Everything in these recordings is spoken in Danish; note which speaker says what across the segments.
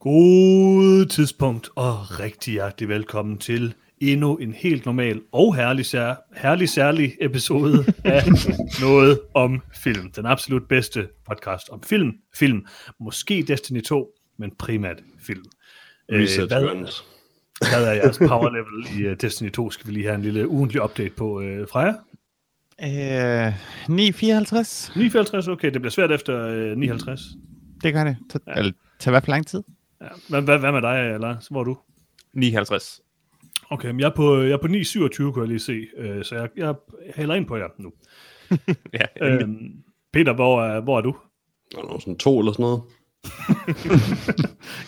Speaker 1: God tidspunkt og rigtig hjertelig velkommen til endnu en helt normal og herlig, sær, herlig særlig episode af Noget om Film. Den absolut bedste podcast om film. Film. Måske Destiny 2, men primært film. Øh,
Speaker 2: Research
Speaker 1: hvad-
Speaker 2: Guns.
Speaker 1: Hvad er jeres power level i uh, Destiny 2? Skal vi lige have en lille ugentlig update på uh, Freja?
Speaker 3: Øh, 9,54.
Speaker 1: 59, okay, det bliver svært efter uh, 59.
Speaker 3: Det gør det. Det ja. eller, tager i hvert fald lang tid.
Speaker 1: Ja. Hvad, hvad, hvad med dig, Lars? Hvor er du?
Speaker 4: 59.
Speaker 1: Okay, men jeg er på, jeg er på 9,27, kunne jeg lige se, øh, så jeg, jeg hælder ind på jer nu.
Speaker 4: Ja,
Speaker 1: Øhm, Peter, hvor er, hvor er du?
Speaker 2: Der er sådan to eller sådan noget.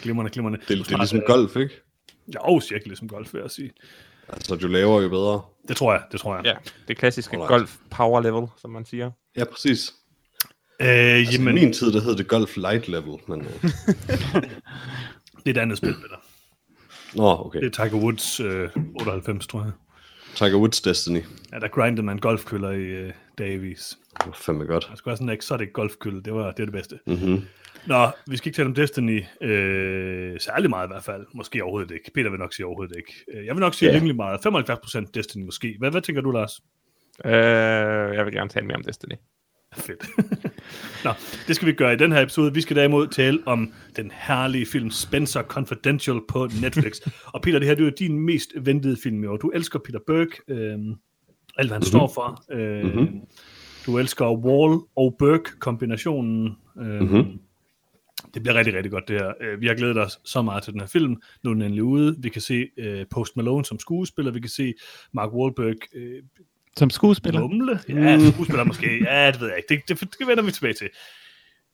Speaker 1: Glimrende, glimrende.
Speaker 2: Det, det er
Speaker 1: Smart,
Speaker 2: ligesom
Speaker 1: øh,
Speaker 2: golf, ikke?
Speaker 1: Ja, og cirka ligesom golf, vil jeg sige.
Speaker 2: Altså, jo lavere, jo bedre.
Speaker 1: Det tror jeg, det tror jeg.
Speaker 4: ja. det klassiske
Speaker 2: Alright.
Speaker 4: golf power level, som man siger.
Speaker 2: Ja, præcis.
Speaker 1: Øh,
Speaker 2: Altså,
Speaker 1: jamen,
Speaker 2: I min tid, der hed det golf light level. Men... øh,
Speaker 1: det er et andet spil, Peter.
Speaker 2: Nå, okay.
Speaker 1: Det er Tiger Woods øh, 98, tror jeg.
Speaker 2: Tiger Woods Destiny.
Speaker 1: Ja, der grindede man golfkøller i øh, davis.
Speaker 2: Det var fandme godt.
Speaker 1: Der skulle være sådan en exotic golfkølle, det var det, er det bedste.
Speaker 2: Mm-hmm.
Speaker 1: Nå, vi skal ikke tale om Destiny øh, særlig meget i hvert fald. Måske overhovedet ikke. Peter vil nok sige overhovedet ikke. Øh, Jeg vil nok sige
Speaker 2: Ja.
Speaker 1: yeah. rimelig meget. 75% Destiny måske. Hvad, hvad tænker du, Lars?
Speaker 4: Øh, jeg vil gerne tale mere om Destiny.
Speaker 1: Fedt. Nå, det skal vi gøre i den her episode. Vi skal derimod tale om den herlige film Spencer Confidential på Netflix. og Peter, det her det er jo din mest ventede film i år. Du elsker Peter Berg, øh, alt hvad han står for. Øh,
Speaker 2: Mhm.
Speaker 1: Du elsker Wall og Berg-kombinationen. Øh,
Speaker 2: Mhm.
Speaker 1: Det bliver rigtig, rigtig godt det her. Øh, Vi har glædet os så meget til den her film. Nu er den endelig ude. Vi kan se øh, Post Malone som skuespiller. Vi kan se Mark Wahlberg øh,
Speaker 3: Som skuespiller.
Speaker 1: Mumle? Ja, skuespiller måske. Ja, det ved jeg ikke. Det, det, det vender vi tilbage til.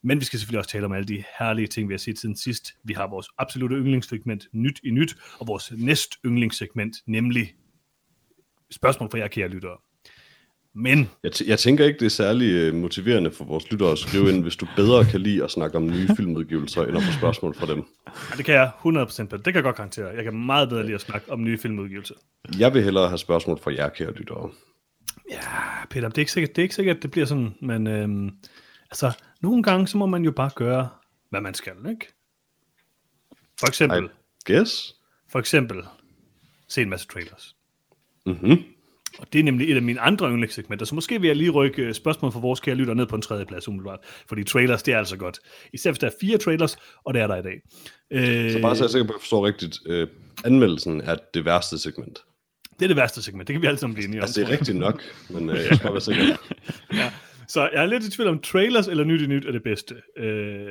Speaker 1: Men vi skal selvfølgelig også tale om alle de herlige ting, vi har set siden sidst. Vi har vores absolutte yndlingssegment, Nyt i Nyt, og vores næst yndlingssegment, nemlig spørgsmål fra jer, kære lyttere. Men
Speaker 2: Jeg, t- jeg tænker ikke, det er særlig øh, motiverende for vores lyttere at skrive ind, hvis du bedre kan lide at snakke om nye filmudgivelser, end at få spørgsmål fra dem.
Speaker 1: ja, det kan jeg 100% på. Det kan jeg godt garantere. Jeg kan meget bedre lide at snakke om nye filmudgivelser.
Speaker 2: Jeg vil hellere have spørgsmål fra jer, kære lyttere.
Speaker 1: Ja, Ah, Peter, det er ikke sikkert, det, er ikke sikkert, at det bliver sådan, men øhm, altså, nogle gange, så må man jo bare gøre, hvad man skal, ikke? For eksempel,
Speaker 2: I guess?
Speaker 1: For eksempel, se en masse trailers.
Speaker 2: Mm-hmm.
Speaker 1: Og det er nemlig et af mine andre yndlingssegmenter, så måske vil jeg lige rykke øh, spørgsmål fra vores kære lytter ned på en tredje plads umiddelbart. Fordi trailers, det er altså godt. Især hvis der er fire trailers, og det er der i dag. Øh,
Speaker 2: Så bare så jeg er sikker på, at jeg forstår rigtigt. Øh, anmeldelsen er det værste segment.
Speaker 1: Det er det værste segment, det kan vi alle sammen blive enige om.
Speaker 2: Altså, det er rigtigt nok, men øh, jeg skal bare være sikker.
Speaker 1: Så jeg er lidt i tvivl om, trailers eller nyt i nyt er det bedste. Øh, øh,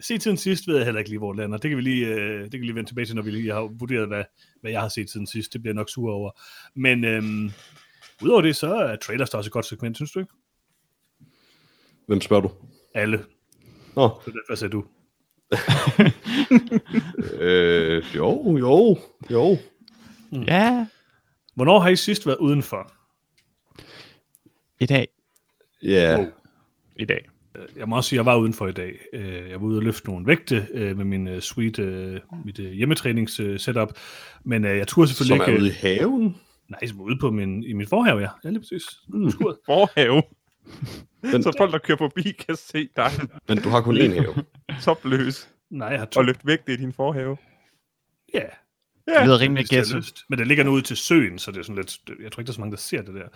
Speaker 1: se tiden sidst ved jeg heller ikke lige, hvor det lander. Det kan vi lige, øh, det kan vi lige vende tilbage til, når vi lige har vurderet, hvad, hvad jeg har set siden sidst. Det bliver jeg nok sur over. Men øhm, udover det, så er trailers da også et godt segment, synes du ikke?
Speaker 2: Hvem spørger du?
Speaker 1: Alle.
Speaker 2: Nå,
Speaker 1: Så det- Hvad sagde du?
Speaker 2: øh, jo, jo, jo.
Speaker 3: Ja.
Speaker 1: Hvornår har I sidst været udenfor?
Speaker 3: I dag.
Speaker 2: Ja,
Speaker 1: Wow.
Speaker 2: yeah.
Speaker 4: I dag.
Speaker 1: Øh, Jeg må også sige, at jeg var udenfor i dag. Øh, Jeg var ude og løfte nogle vægte øh, med min øh, sweet, øh, mit øh, hjemmetrænings øh, setup. Men øh, jeg turde
Speaker 2: som
Speaker 1: selvfølgelig
Speaker 2: er ude
Speaker 1: ikke...
Speaker 2: i Hmm. haven.
Speaker 1: Nej, som er ude på min, i min forhave, ja. Ja, lige præcis. Mm.
Speaker 4: Forhave.
Speaker 2: Den-
Speaker 4: Så folk, der kører forbi, kan se dig
Speaker 2: Men du har kun én have.
Speaker 4: topløs
Speaker 1: Nej, jeg har to.
Speaker 4: og løfte vægte i din forhave.
Speaker 1: Ja,
Speaker 3: Det lyder
Speaker 1: hvis
Speaker 3: rimelig
Speaker 1: jeg
Speaker 3: gæst.
Speaker 1: har lyst. Men det ligger nu ude til søen, så det er sådan lidt... Jeg tror ikke, der er så mange, der ser det der.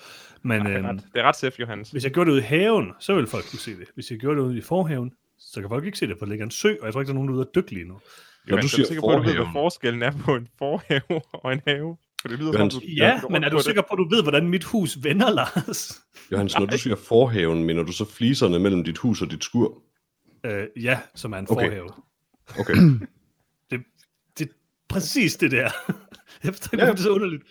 Speaker 1: Men
Speaker 4: Det er
Speaker 1: øh,
Speaker 4: ret, det er ret safe, Johannes.
Speaker 1: hvis jeg gjorde det ude i haven, så ville folk kunne se det. Hvis jeg gjorde det ude i forhaven, så kan folk ikke se det, for der ligger en sø, og jeg tror ikke, der er nogen, der er ude at dykke lige nu.
Speaker 2: Når du
Speaker 4: Johannes, er
Speaker 2: siger
Speaker 4: sikker på, at du ved,
Speaker 2: forhaven,
Speaker 4: hvad forskellen er på en forhave og en have? For det lyder
Speaker 2: Johannes-
Speaker 4: som, du-
Speaker 1: Ja,
Speaker 4: går
Speaker 1: men er
Speaker 4: rundt
Speaker 1: du
Speaker 4: på det.
Speaker 1: sikker på, at du ved, hvordan mit hus vender, Lars?
Speaker 2: Johannes, når du siger forhaven, mener du så fliserne mellem dit hus og dit skur?
Speaker 1: Øh, ja, som er en
Speaker 2: Okay.
Speaker 1: forhave.
Speaker 2: Okay.
Speaker 1: Det, det er præcis det der. Jeg forstår ikke,
Speaker 2: Ja.
Speaker 1: ja. det er så underligt.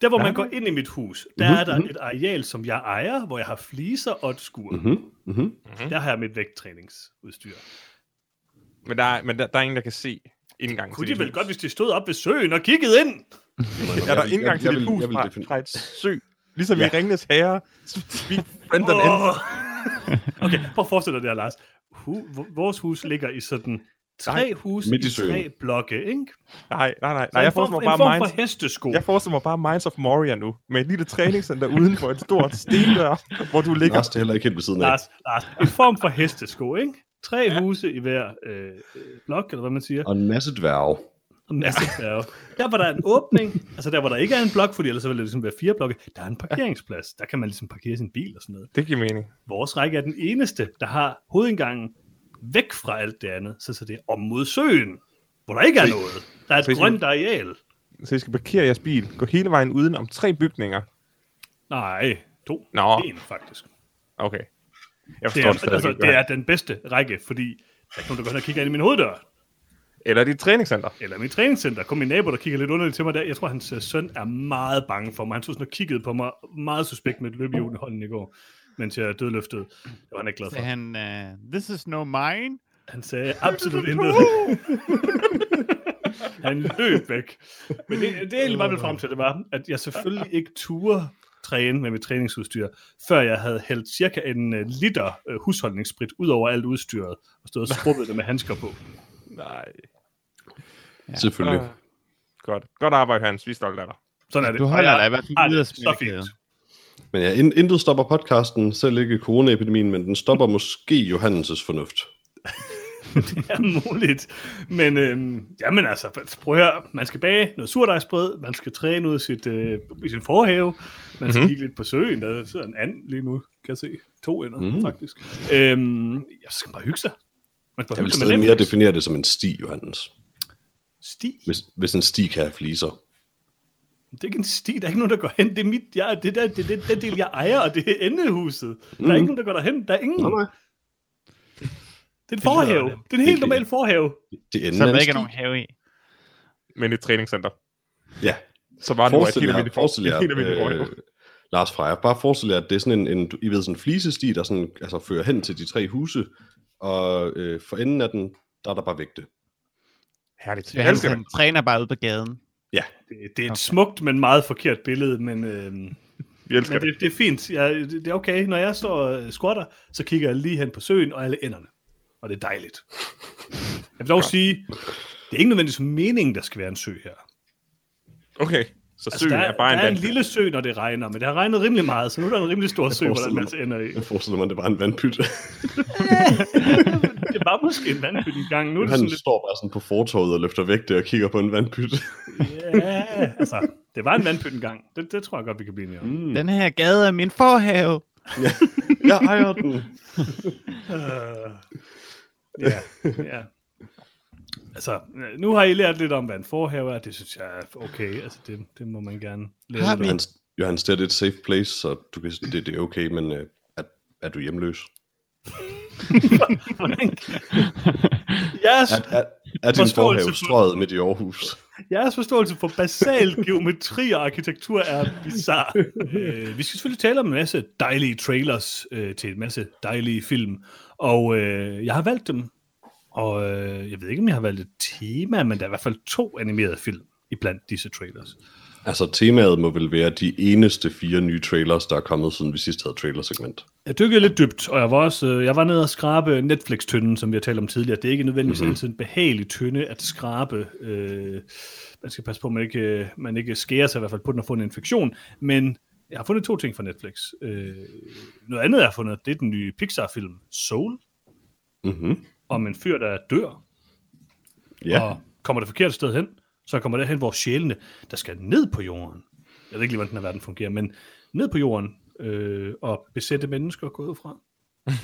Speaker 1: Der, hvor ja. man
Speaker 3: Ja.
Speaker 1: går ind i mit hus, der
Speaker 2: Mhm,
Speaker 1: er der et areal, som jeg ejer, hvor jeg har fliser og et skur. Mm-hmm.
Speaker 2: Mm-hmm. Mm-hmm.
Speaker 1: Der har jeg mit vægttræningsudstyr.
Speaker 4: Men, der er, men der, der er ingen, der kan se indgangen
Speaker 1: Kunne
Speaker 4: til
Speaker 1: de
Speaker 4: dit
Speaker 1: vel
Speaker 4: hus.
Speaker 1: godt, hvis de stod op ved søen og kiggede ind?
Speaker 4: Ja, der er ikke engang til dit hus fra, fra et sø. Ligesom ja. i Ringnes Herre. Vi venter
Speaker 1: Åh,
Speaker 4: oh.
Speaker 1: Okay, prøv at forestille dig det her, Lars. Hu- vores hus ligger i sådan tre huse
Speaker 2: midt i
Speaker 1: i
Speaker 2: søen.
Speaker 1: tre blokke, ikke?
Speaker 4: Nej, nej, nej.
Speaker 1: Så
Speaker 4: nej jeg
Speaker 1: Altså, en form,
Speaker 4: forestiller
Speaker 1: en form
Speaker 4: mig bare Minds...
Speaker 1: for hestesko.
Speaker 4: Jeg forestiller mig bare Minds of Moria nu, med et lille træningscenter uden for et stort stendør, hvor du ligger.
Speaker 2: Lars, det er heller ikke helt ved siden af.
Speaker 1: Lars, Lars, en form for hestesko, ikke? Tre ja. huse i hver øh, øh, blok, eller hvad man siger.
Speaker 2: Og en masse dværge.
Speaker 1: Og en masse bjerge. Der var der er en åbning, altså der hvor der ikke er en blok, fordi ellers så ville det ligesom være fire blokke. Der er en parkeringsplads, der kan man ligesom parkere sin bil og sådan noget.
Speaker 4: Det giver mening.
Speaker 1: Vores række er den eneste, der har hovedindgangen væk fra alt det andet, så, så det er om mod søen, hvor der ikke er noget. Der er et
Speaker 4: Præcis.
Speaker 1: grønt areal.
Speaker 4: Så I skal parkere jeres bil, gå hele vejen uden om tre bygninger.
Speaker 1: Nej, to.
Speaker 4: Nå.
Speaker 1: En faktisk.
Speaker 4: Okay. Jeg
Speaker 1: Det
Speaker 4: forstår
Speaker 1: er,
Speaker 4: det, stadig
Speaker 1: altså,
Speaker 4: ikke,
Speaker 1: det
Speaker 4: hvad-
Speaker 1: er den bedste række, fordi der kommer du godt og kigger ind i min hoveddør.
Speaker 4: Eller dit træningscenter.
Speaker 1: eller mit træningscenter. Kom min nabo, der kigger lidt underligt til mig der. Jeg tror, hans øh, søn er meget bange for mig. Han tog sådan og kiggede på mig meget suspekt med et løbehjul i hånden i går, mens jeg dødløftede. Det var han ikke glad
Speaker 3: Sagde
Speaker 1: for.
Speaker 3: han, uh, this is no mine.
Speaker 1: Han sagde absolut intet. han løb væk. Men det, det er egentlig bare ville frem til, det var, at jeg selvfølgelig ikke turde træne med mit træningsudstyr, før jeg havde hældt cirka en øh, liter øh, husholdningssprit ud over alt udstyret, og stod og skrubbede det med handsker på.
Speaker 4: Nej.
Speaker 2: Ja. Selvfølgelig.
Speaker 4: Ah. Godt. Godt arbejde, Hans. Vi er stolte af dig.
Speaker 1: Sådan er det.
Speaker 3: Du
Speaker 1: Og
Speaker 3: holder
Speaker 1: jeg
Speaker 3: dig i hvert fald
Speaker 1: har
Speaker 3: ude
Speaker 1: det
Speaker 3: af
Speaker 1: så fint.
Speaker 3: smilekæden.
Speaker 2: Men ja, in- intet stopper podcasten, selv ikke coronaepidemien, men den stopper måske Johannes' fornuft.
Speaker 1: det er muligt. Men øhm, jamen altså, prøv at høre, man skal bage noget surdejsbrød, man skal træne ud i sit, øh, i sin forhave, man skal
Speaker 4: Mhm.
Speaker 1: mm-hmm. kigge lidt på søen, der sidder en and lige nu, kan jeg se. To ender,
Speaker 2: Mm.
Speaker 1: mm. faktisk. Øhm, jeg skal bare hygge sig. Man skal bare
Speaker 2: Jeg vil
Speaker 1: hygge sig med
Speaker 2: stadig mere
Speaker 1: Netflix.
Speaker 2: definere det som en sti, Johannes.
Speaker 1: Sti?
Speaker 2: Hvis, hvis en sti kan have fliser.
Speaker 1: Det er ikke en sti, der er ikke nogen, der går hen. Det er mit, jeg, det der, det, det, den del, jeg ejer, og det er endehuset. Mm-hmm. Der er
Speaker 2: Mhm.
Speaker 1: ikke nogen, der går derhen. Der er ingen.
Speaker 2: Nej, nej.
Speaker 1: Det er en
Speaker 2: lyder-
Speaker 1: forhave. Det er en helt
Speaker 2: det-
Speaker 1: normal forhave.
Speaker 2: Det ender
Speaker 3: Så
Speaker 2: af en
Speaker 3: der ikke er
Speaker 2: sti.
Speaker 3: nogen have i.
Speaker 4: Men et træningscenter.
Speaker 2: Ja,
Speaker 4: Så var det jo et
Speaker 2: forestil
Speaker 4: helt
Speaker 2: jer,
Speaker 4: almindeligt for-
Speaker 2: forestil
Speaker 4: et
Speaker 2: jer
Speaker 4: helt almindeligt forhave.
Speaker 2: øh, Lars Freja, bare forestil jer, at det er sådan en, en I ved, sådan en flisesti, der sådan, altså, fører hen til de tre huse, og øh, for enden af den, der er der bare vægte.
Speaker 4: Herligt.
Speaker 3: Ja,
Speaker 4: Jeg
Speaker 3: han,
Speaker 4: elsker det.
Speaker 3: han træner bare ude på gaden.
Speaker 2: Mm.
Speaker 1: Det, det er et
Speaker 3: Okay.
Speaker 1: smukt, men meget forkert billede, men... Øhm,
Speaker 4: Vi elsker
Speaker 1: Men
Speaker 4: det.
Speaker 1: det, det er fint. Jeg, det det er okay. Når jeg står og squatter, så kigger jeg lige hen på søen og alle enderne. Og det er dejligt. Jeg vil dog sige, det er ikke nødvendigvis meningen, der skal være en sø her.
Speaker 4: Okay. Så
Speaker 1: Altså,
Speaker 4: søen
Speaker 1: der,
Speaker 4: er bare en
Speaker 1: der er en
Speaker 4: dansk.
Speaker 1: lille sø, når det regner, men det har regnet rimelig meget, så nu er der en rimelig stor sø, hvor der er en
Speaker 2: forestiller
Speaker 1: masse ender i.
Speaker 2: Jeg forestiller mig, at det var en vandpyt.
Speaker 1: Det var måske en vandpyt en gang. Nu er det sådan
Speaker 2: Han
Speaker 1: lidt...
Speaker 2: står bare sådan på fortorvet og løfter vægte og kigger på en vandpyt.
Speaker 1: Ja, altså, det var en vandpyt en gang. Det, det tror jeg godt, vi kan blive enige om.
Speaker 2: Mm.
Speaker 3: Den her gade er min forhave.
Speaker 2: Jeg ejer den.
Speaker 1: Øh, Ja, ja. Altså, nu har I lært lidt om, hvad en forhave er. Det synes jeg er okay. Altså, det, det må man gerne lære.
Speaker 3: Har
Speaker 1: lidt om.
Speaker 2: Johannes, Johannes, det er et safe place, så du kan, det, det er okay, men øh, er, er du hjemløs?
Speaker 1: Hvordan- jeres,
Speaker 2: Er, er, er din
Speaker 1: Forståelse
Speaker 2: forhave
Speaker 1: for-
Speaker 2: strøget midt i Aarhus?
Speaker 1: jeres forståelse for basal geometri og arkitektur er bizarre. Øh, vi skal selvfølgelig tale om en masse dejlige trailers øh, til en masse dejlige film. Og øh, jeg har valgt dem. Og øh, jeg ved ikke, om jeg har valgt et tema, men der er i hvert fald to animerede film iblandt disse trailers.
Speaker 2: Altså, temaet må vel være de eneste fire nye trailers, der er kommet, siden vi sidst havde trailersegment.
Speaker 1: Jeg dykkede lidt dybt, og jeg var også øh, jeg var nede og skrabe Netflix-tynden, som vi har talt om tidligere. Det er ikke nødvendigvis mm-hmm. altid en behagelig tynde at skrabe. Øh, man skal passe på, at man ikke, øh, man ikke skærer sig i hvert fald på den og får en infektion. Men jeg har fundet to ting fra Netflix. Øh, noget andet, jeg har fundet, det er den nye Pixar-film Soul,
Speaker 2: Mm-hmm.
Speaker 1: om en fyr, der dør,
Speaker 2: Ja,
Speaker 1: og kommer det forkerte sted hen, så kommer det hen, hvor sjælene, der skal ned på jorden. Jeg ved ikke lige, hvordan den her verden fungerer, men ned på jorden øh, og besætte mennesker og gå ud fra.
Speaker 2: flere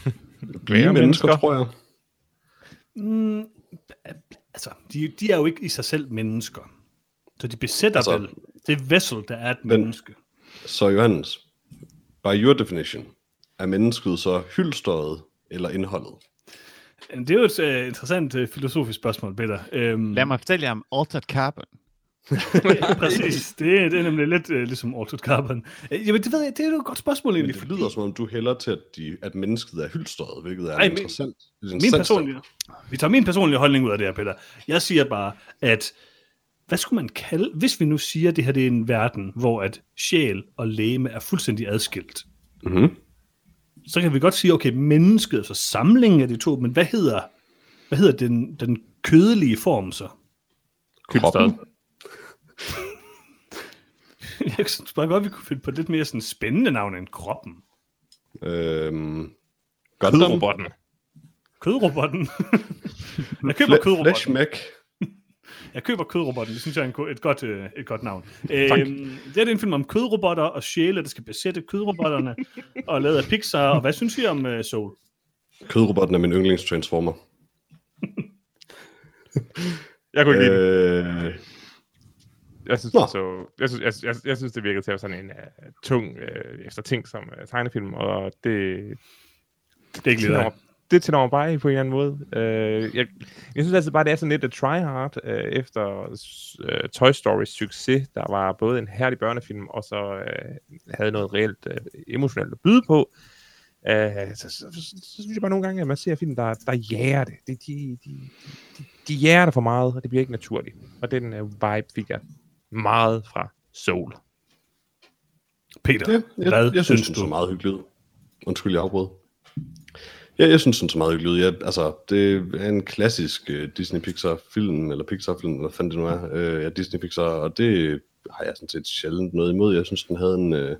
Speaker 2: mennesker,
Speaker 4: mennesker.
Speaker 2: tror jeg.
Speaker 1: Mm, altså, de, de er jo ikke i sig selv mennesker. Så de besætter
Speaker 2: Altså-
Speaker 1: altså, vel det vessel, der er et
Speaker 2: Men-
Speaker 1: menneske.
Speaker 2: Så Johannes, by your definition, er mennesket så hyldstøjet eller indholdet?
Speaker 1: Men det er jo et uh, interessant uh, filosofisk spørgsmål, Peter. Øhm,
Speaker 3: Lad mig fortælle jer om Altered Carbon.
Speaker 1: præcis. Det, er- det er nemlig lidt uh, ligesom Altered Carbon. Øh, jamen, det ved jeg, det er jo et godt spørgsmål
Speaker 2: Men
Speaker 1: egentlig.
Speaker 2: det lyder som om, du hælder til, at, de, at mennesket er hyldstøjet, hvilket er
Speaker 1: Ej,
Speaker 2: Ej,
Speaker 1: min-
Speaker 2: interessant. Min,
Speaker 1: min personlige, vi tager min personlige holdning ud af det her, Peter. Jeg siger bare, at hvad skulle man kalde, hvis vi nu siger, at det her det er en verden, hvor at sjæl og læme er fuldstændig adskilt,
Speaker 2: Mm-hmm.
Speaker 1: så kan vi godt sige, okay, mennesket, altså samlingen af de to, men hvad hedder, hvad hedder den, den kødelige form så?
Speaker 5: Kødstad.
Speaker 1: Jeg synes bare godt, vi kunne finde på et lidt mere sådan spændende navn end kroppen.
Speaker 2: Øhm, Gundam.
Speaker 5: Kødrobotten.
Speaker 1: Kødrobotten. jeg køber
Speaker 2: Fle- Flesh
Speaker 1: kødrobotten.
Speaker 2: Mech.
Speaker 1: Jeg køber kødrobotten, det synes jeg er en, ko- et, godt, øh, et godt navn. Øhm, det er en film om kødrobotter og sjæle, der skal besætte kødrobotterne, og lavet af Pixar. Og hvad synes I om øh, Soul?
Speaker 2: Kødrobotten er min yndlingstransformer.
Speaker 4: Jeg kunne ikke lide det.
Speaker 2: Øh,
Speaker 4: Jeg synes,
Speaker 2: nå.
Speaker 4: det så, jeg, synes, jeg, jeg, jeg synes, det virkede til at være sådan en uh, tung uh, efter ting som uh, tegnefilm, og det,
Speaker 1: Det er ikke
Speaker 4: tænder mig, det tænder mig bare af på en eller anden måde. Uh, jeg, jeg synes altid bare, det er sådan lidt at try hard uh, efter uh, Toy Stories succes, der var både en herlig børnefilm, og så uh, havde noget reelt uh, emotionelt at byde på. Uh, så, så, så, så synes jeg bare nogle gange, at man ser film, der, der jager det. De, de, de, de, de jager det for meget, og det bliver ikke naturligt. Og den uh, vibe fik jeg meget fra Soul.
Speaker 1: Peter,
Speaker 2: ja, jeg,
Speaker 1: hvad
Speaker 2: jeg synes, den så meget hyggelig ud. Undskyld, jeg afbrød. Ja, jeg synes, den så meget hyggelig ud. Jeg, altså, det er en klassisk uh, Disney-Pixar-film, eller Pixar-film, eller hvad fanden det nu er. Uh, ja, Disney-Pixar, og det har jeg sådan set sjældent noget imod. Jeg synes, den havde en... Uh, jeg,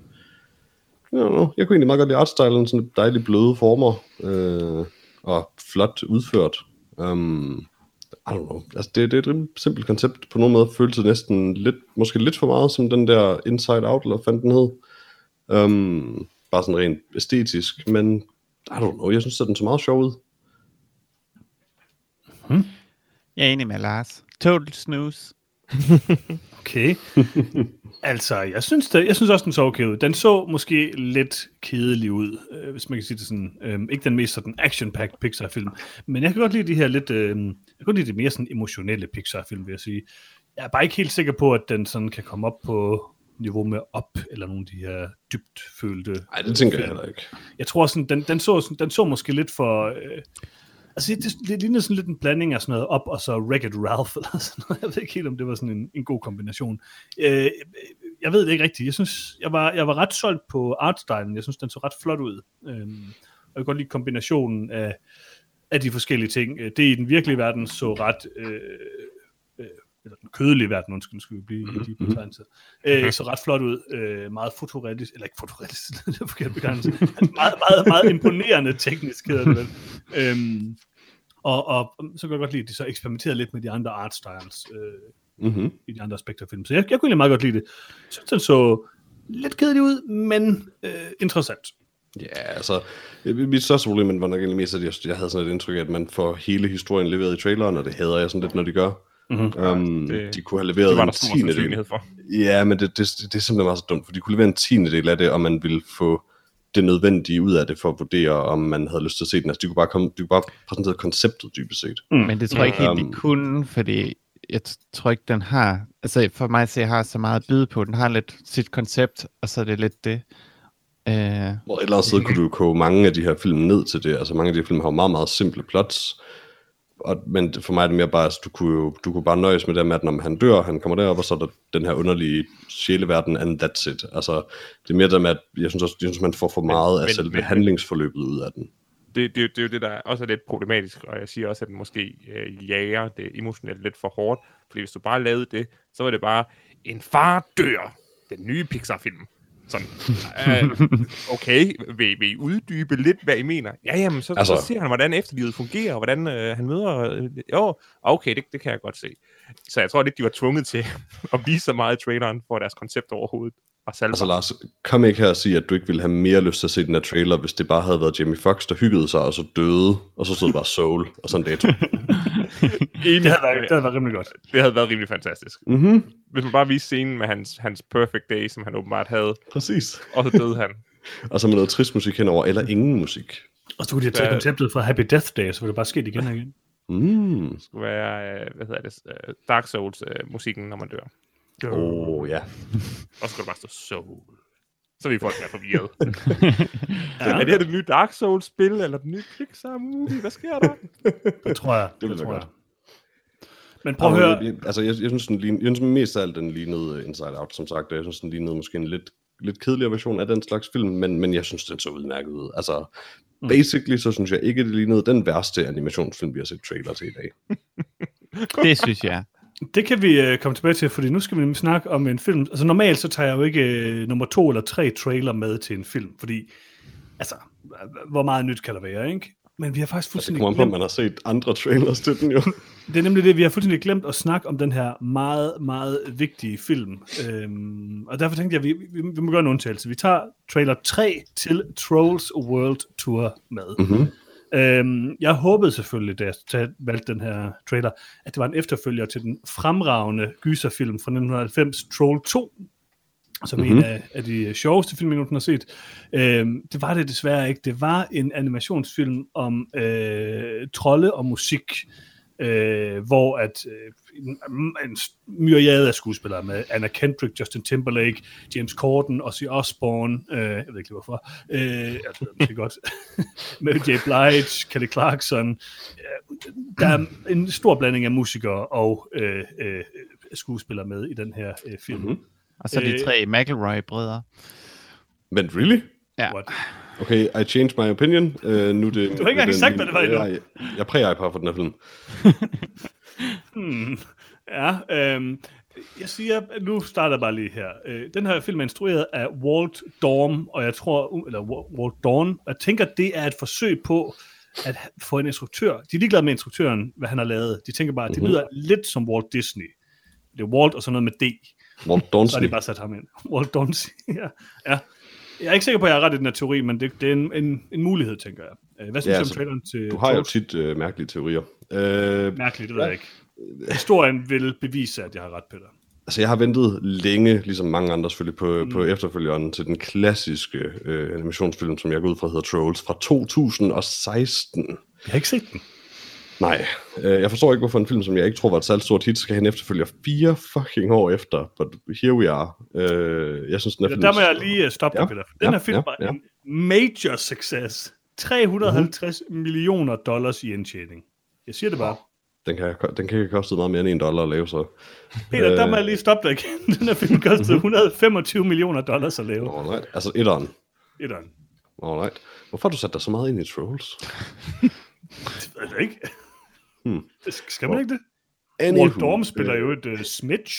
Speaker 2: know, jeg kunne egentlig meget godt lide artstylen, sådan dejlige bløde former, øh, og flot udført. Um, I don't know. Altså, det, det er et rimelig simpelt koncept. På nogen måde føles det næsten lidt, måske lidt for meget som den der Inside Out, eller hvad fanden den hed. Um, bare sådan rent æstetisk, men I don't know, jeg synes, at den så meget sjov ud.
Speaker 3: Jeg er enig med Lars. Total snooze.
Speaker 1: Okay. altså, jeg synes, det, jeg synes også, den så okay ud. Den så måske lidt kedelig ud, øh, hvis man kan sige det sådan. Øh, ikke den mest sådan action-packed Pixar-film. Men jeg kan godt lide de her lidt... Øh, jeg kan godt lide de mere sådan emotionelle Pixar-film, vil jeg sige. Jeg er bare ikke helt sikker på, at den sådan kan komme op på niveau med op, eller nogle af de her dybt følte
Speaker 2: Nej, det tænker jeg heller ikke.
Speaker 1: jeg tror sådan, den, den, så, sådan- den så måske lidt for... Øh, altså, det, det lignede sådan lidt en blanding af sådan noget op, og så Wreck-It Ralph, eller sådan noget. Jeg ved ikke helt, om det var sådan en, en god kombination. Øh, jeg ved det ikke rigtigt. Jeg synes, jeg var, jeg var ret solgt på artstylen. Jeg synes, den så ret flot ud. Øh, og jeg kan godt lide kombinationen af, af de forskellige ting. Øh, Det i den virkelige verden så ret... Øh, øh, eller den kødelige verden, undskyld, skal vi blive
Speaker 4: Mhm,
Speaker 1: i de betegnelser, øh, så ret flot ud, øh, meget fotorealistisk, eller ikke fotorealistisk, det er forkert betegnelse, Altså, meget, meget, meget imponerende teknisk hedder det vel. Øhm, og, og så kan jeg godt lide, at de så eksperimenterede lidt med de andre artstyles øh,
Speaker 2: Mm-hmm.
Speaker 1: i de andre Spectre-film, så jeg, jeg kunne egentlig meget godt lide det. Jeg synes, den så lidt kedelig ud, men øh, interessant.
Speaker 2: Ja, altså, øh, mit største problem var nok egentlig mest, at jeg, jeg havde sådan et indtryk af, at man får hele historien leveret i traileren, og det hader jeg sådan lidt, når de gør.
Speaker 1: Mhm.
Speaker 2: Um,
Speaker 4: Det-
Speaker 2: det, de kunne have
Speaker 4: Det
Speaker 2: leveret
Speaker 4: var der
Speaker 2: en
Speaker 4: stor
Speaker 2: tiende del.
Speaker 4: sandsynlighed for.
Speaker 2: Ja, men det, det, det er simpelthen meget så dumt, for de kunne levere en tiende del af det, og man ville få det nødvendige ud af det for at vurdere, om man havde lyst til at se den. Altså, de kunne bare, komme, de kunne bare præsentere konceptet dybest set.
Speaker 3: Men det tror jeg ikke helt,
Speaker 2: Mm.
Speaker 3: de kunne, fordi jeg t- tror ikke, den har... Altså for mig at se, har så meget at byde på. Den har lidt sit koncept, og så er det lidt det. Øh,
Speaker 2: Hvor ellers så kunne du jo koge mange af de her film ned til det. Altså mange af de her film har jo meget, meget simple plots. Og, men for mig er det mere bare, at altså, du kunne jo du kunne bare nøjes med det med, at når han dør, han kommer derop, og så er der den her underlige sjæleverden, and that's it. Altså, det er mere det med, at jeg synes også, jeg synes, man får for meget af
Speaker 4: men-
Speaker 2: selve
Speaker 4: men- Mm.
Speaker 2: handlingsforløbet ud af den.
Speaker 4: det, det, det er jo det, der også er lidt problematisk, og jeg siger også, at den måske øh, jager det emotionelt lidt for hårdt, fordi hvis du bare lavede det, så var det bare, en far dør, den nye Pixar-film. Sådan, øh, okay, vil, vil I uddybe lidt, hvad I mener? Ja, jamen, så, altså,
Speaker 2: Altså-
Speaker 4: så ser han, hvordan efterlivet fungerer, og hvordan øh, han møder... Øh, jo, okay, det, det kan jeg godt se. Så jeg tror lidt, de var tvunget til at vise så meget i traileren, for at deres koncept overhovedet var salgbar.
Speaker 2: Altså Lars, kom ikke her og sig, at du ikke ville have mere lyst til at se den her trailer, hvis det bare havde været Jamie Foxx, der hyggede sig, og så døde, og så stod der bare Soul, og sådan en dato.
Speaker 4: Enig.
Speaker 1: Det havde været, det havde været rimelig godt.
Speaker 4: det havde været rimelig fantastisk.
Speaker 2: mhm,
Speaker 4: hvis man bare viste scenen med hans, hans perfect day, som han åbenbart havde,
Speaker 2: præcis.
Speaker 4: og så døde han.
Speaker 2: Og så med noget trist musik henover, eller ingen musik.
Speaker 1: Og så kunne de have taget
Speaker 4: Hvad-
Speaker 1: konceptet fra Happy Death Day, så ville det bare ske igen og igen.
Speaker 2: Mm.
Speaker 4: Det skulle være, øh, hvad hedder det, øh, Dark Souls-musikken, når man dør.
Speaker 2: Åh, oh, ja.
Speaker 4: Og så skulle det bare stå Soul. Så vil folk være forvirret.
Speaker 1: Ja.
Speaker 4: Er det her det nye Dark Souls-spil, eller den nye Pixar-movie? Hvad sker der?
Speaker 1: Det tror jeg. Det,
Speaker 2: ville
Speaker 1: det tror
Speaker 2: være
Speaker 1: jeg.
Speaker 2: godt.
Speaker 1: Men prøv at
Speaker 2: Jamen,
Speaker 1: høre,
Speaker 2: øh, Jeg, jeg, altså, jeg, jeg, synes, den lignede, jeg synes mest af alt, den lignede Inside Out, som sagt. og Jeg synes, den lignede måske en lidt lidt kedeligere version af den slags film, men, men jeg synes, den så udmærket ud. Altså,
Speaker 1: Mm.
Speaker 2: basically, så synes jeg ikke, det lignede den værste animationsfilm, vi har set trailer til i dag.
Speaker 3: Det synes jeg.
Speaker 1: Det kan vi øh, komme tilbage til, fordi nu skal vi nemlig snakke om en film. Altså normalt så tager jeg jo ikke øh, nummer to eller tre trailer med til en film, fordi altså, h- hvor meget nyt kan der være, ikke? Men vi har faktisk
Speaker 2: Altså,
Speaker 1: fuldstændig
Speaker 2: det kommer an på, om
Speaker 1: glemt,
Speaker 2: man har set andre trailers til den jo.
Speaker 1: det er nemlig det, vi har fuldstændig glemt at snakke om den her meget, meget vigtige film. Øhm, og derfor tænkte jeg, vi, vi, vi må gøre en undtagelse. Vi tager trailer 3 til Trolls World Tour med.
Speaker 2: Mm-hmm.
Speaker 1: Øhm, jeg håbede selvfølgelig, da jeg ta- valgte den her trailer, at det var en efterfølger til den fremragende gyserfilm fra 1990, Troll 2, som mm-hmm. en af, af de sjoveste film, jeg nogensinde har set. Øhm, det var det desværre ikke. Det var en animationsfilm om øh, trolde og musik, øh, hvor at øh, en, en myriade af skuespillere med Anna Kendrick, Justin Timberlake, James Corden, Ozzy Osbourne, øh, jeg ved ikke lige hvorfor, øh, jeg ved det måske godt, Mary J. Blige, Kelly Clarkson, øh, der er en stor blanding af musikere og øh, øh, skuespillere med i den her øh, film.
Speaker 2: Mhm.
Speaker 1: Mm-hmm.
Speaker 3: Og så de
Speaker 1: Øh.
Speaker 3: tre McElroy-brødre.
Speaker 2: Men really?
Speaker 3: Ja.
Speaker 1: What?
Speaker 2: Okay, I changed my opinion. Uh, nu er det,
Speaker 1: Du har ikke engang sagt, hvad det var endnu.
Speaker 2: Jeg, jeg præger på for den her film.
Speaker 1: Hmm. Ja, øhm, jeg siger, nu starter jeg bare lige her. Øh, den her film er instrueret af Walt Dorn, og jeg tror, eller Wa- Walt Dorn, og jeg tænker, det er et forsøg på at få en instruktør. De er ligeglade med instruktøren, hvad han har lavet. De tænker bare, at det
Speaker 2: Mhm.
Speaker 1: lyder lidt som Walt Disney. Det er Walt og sådan noget med D.
Speaker 2: Walt
Speaker 1: Så har
Speaker 2: Donsny.
Speaker 1: de bare sat ham ind. Walt Donsi. ja. ja. Jeg er ikke sikker på, at jeg har ret i den her teori, men det, det er en, en, en mulighed, tænker jeg. Øh, Hvad synes
Speaker 2: Ja,
Speaker 1: ja, du om
Speaker 2: altså,
Speaker 1: traileren til
Speaker 2: Du har jo
Speaker 1: Trolls?
Speaker 2: tit øh, mærkelige teorier. Øh,
Speaker 1: Mærkeligt, det ved jeg ikke. Historien vil bevise, at jeg har ret, Peter.
Speaker 2: Altså, jeg har ventet længe, ligesom mange andre selvfølgelig, på, mm. på efterfølgeren til den klassiske øh, animationsfilm, som jeg går ud fra hedder Trolls, fra 2016.
Speaker 1: Jeg har ikke set den.
Speaker 2: Nej, øh, jeg forstår ikke, hvorfor en film, som jeg ikke tror var et særligt stort hit, skal have en efterfølger fire fucking år efter. But here we are. Øh, jeg synes, den er
Speaker 1: Ja, der må jeg lige øh, stoppe ja,
Speaker 2: Ja,
Speaker 1: dig, Peter. Den ja,
Speaker 2: ja,
Speaker 1: her film
Speaker 2: ja,
Speaker 1: var
Speaker 2: ja.
Speaker 1: en major success. 350
Speaker 2: Mhm.
Speaker 1: mm-hmm. millioner dollars i indtjening. Jeg siger det bare.
Speaker 2: Den kan, den kan ikke koste meget mere end en dollar at lave, så...
Speaker 1: Peter, der må
Speaker 2: Øh.
Speaker 1: jeg lige stoppe dig igen. Den her film kostede
Speaker 2: Mhm.
Speaker 1: 125 millioner dollars at lave.
Speaker 2: Alright. Altså, etteren.
Speaker 1: Etteren.
Speaker 2: Alright. Hvorfor har du sat dig så meget ind i Trolls?
Speaker 1: Det ved jeg ikke.
Speaker 2: Hmm.
Speaker 1: Skal man ikke det?
Speaker 2: Anywho,
Speaker 1: Walt Dorm spiller
Speaker 2: øh,
Speaker 1: jo et uh, smitch.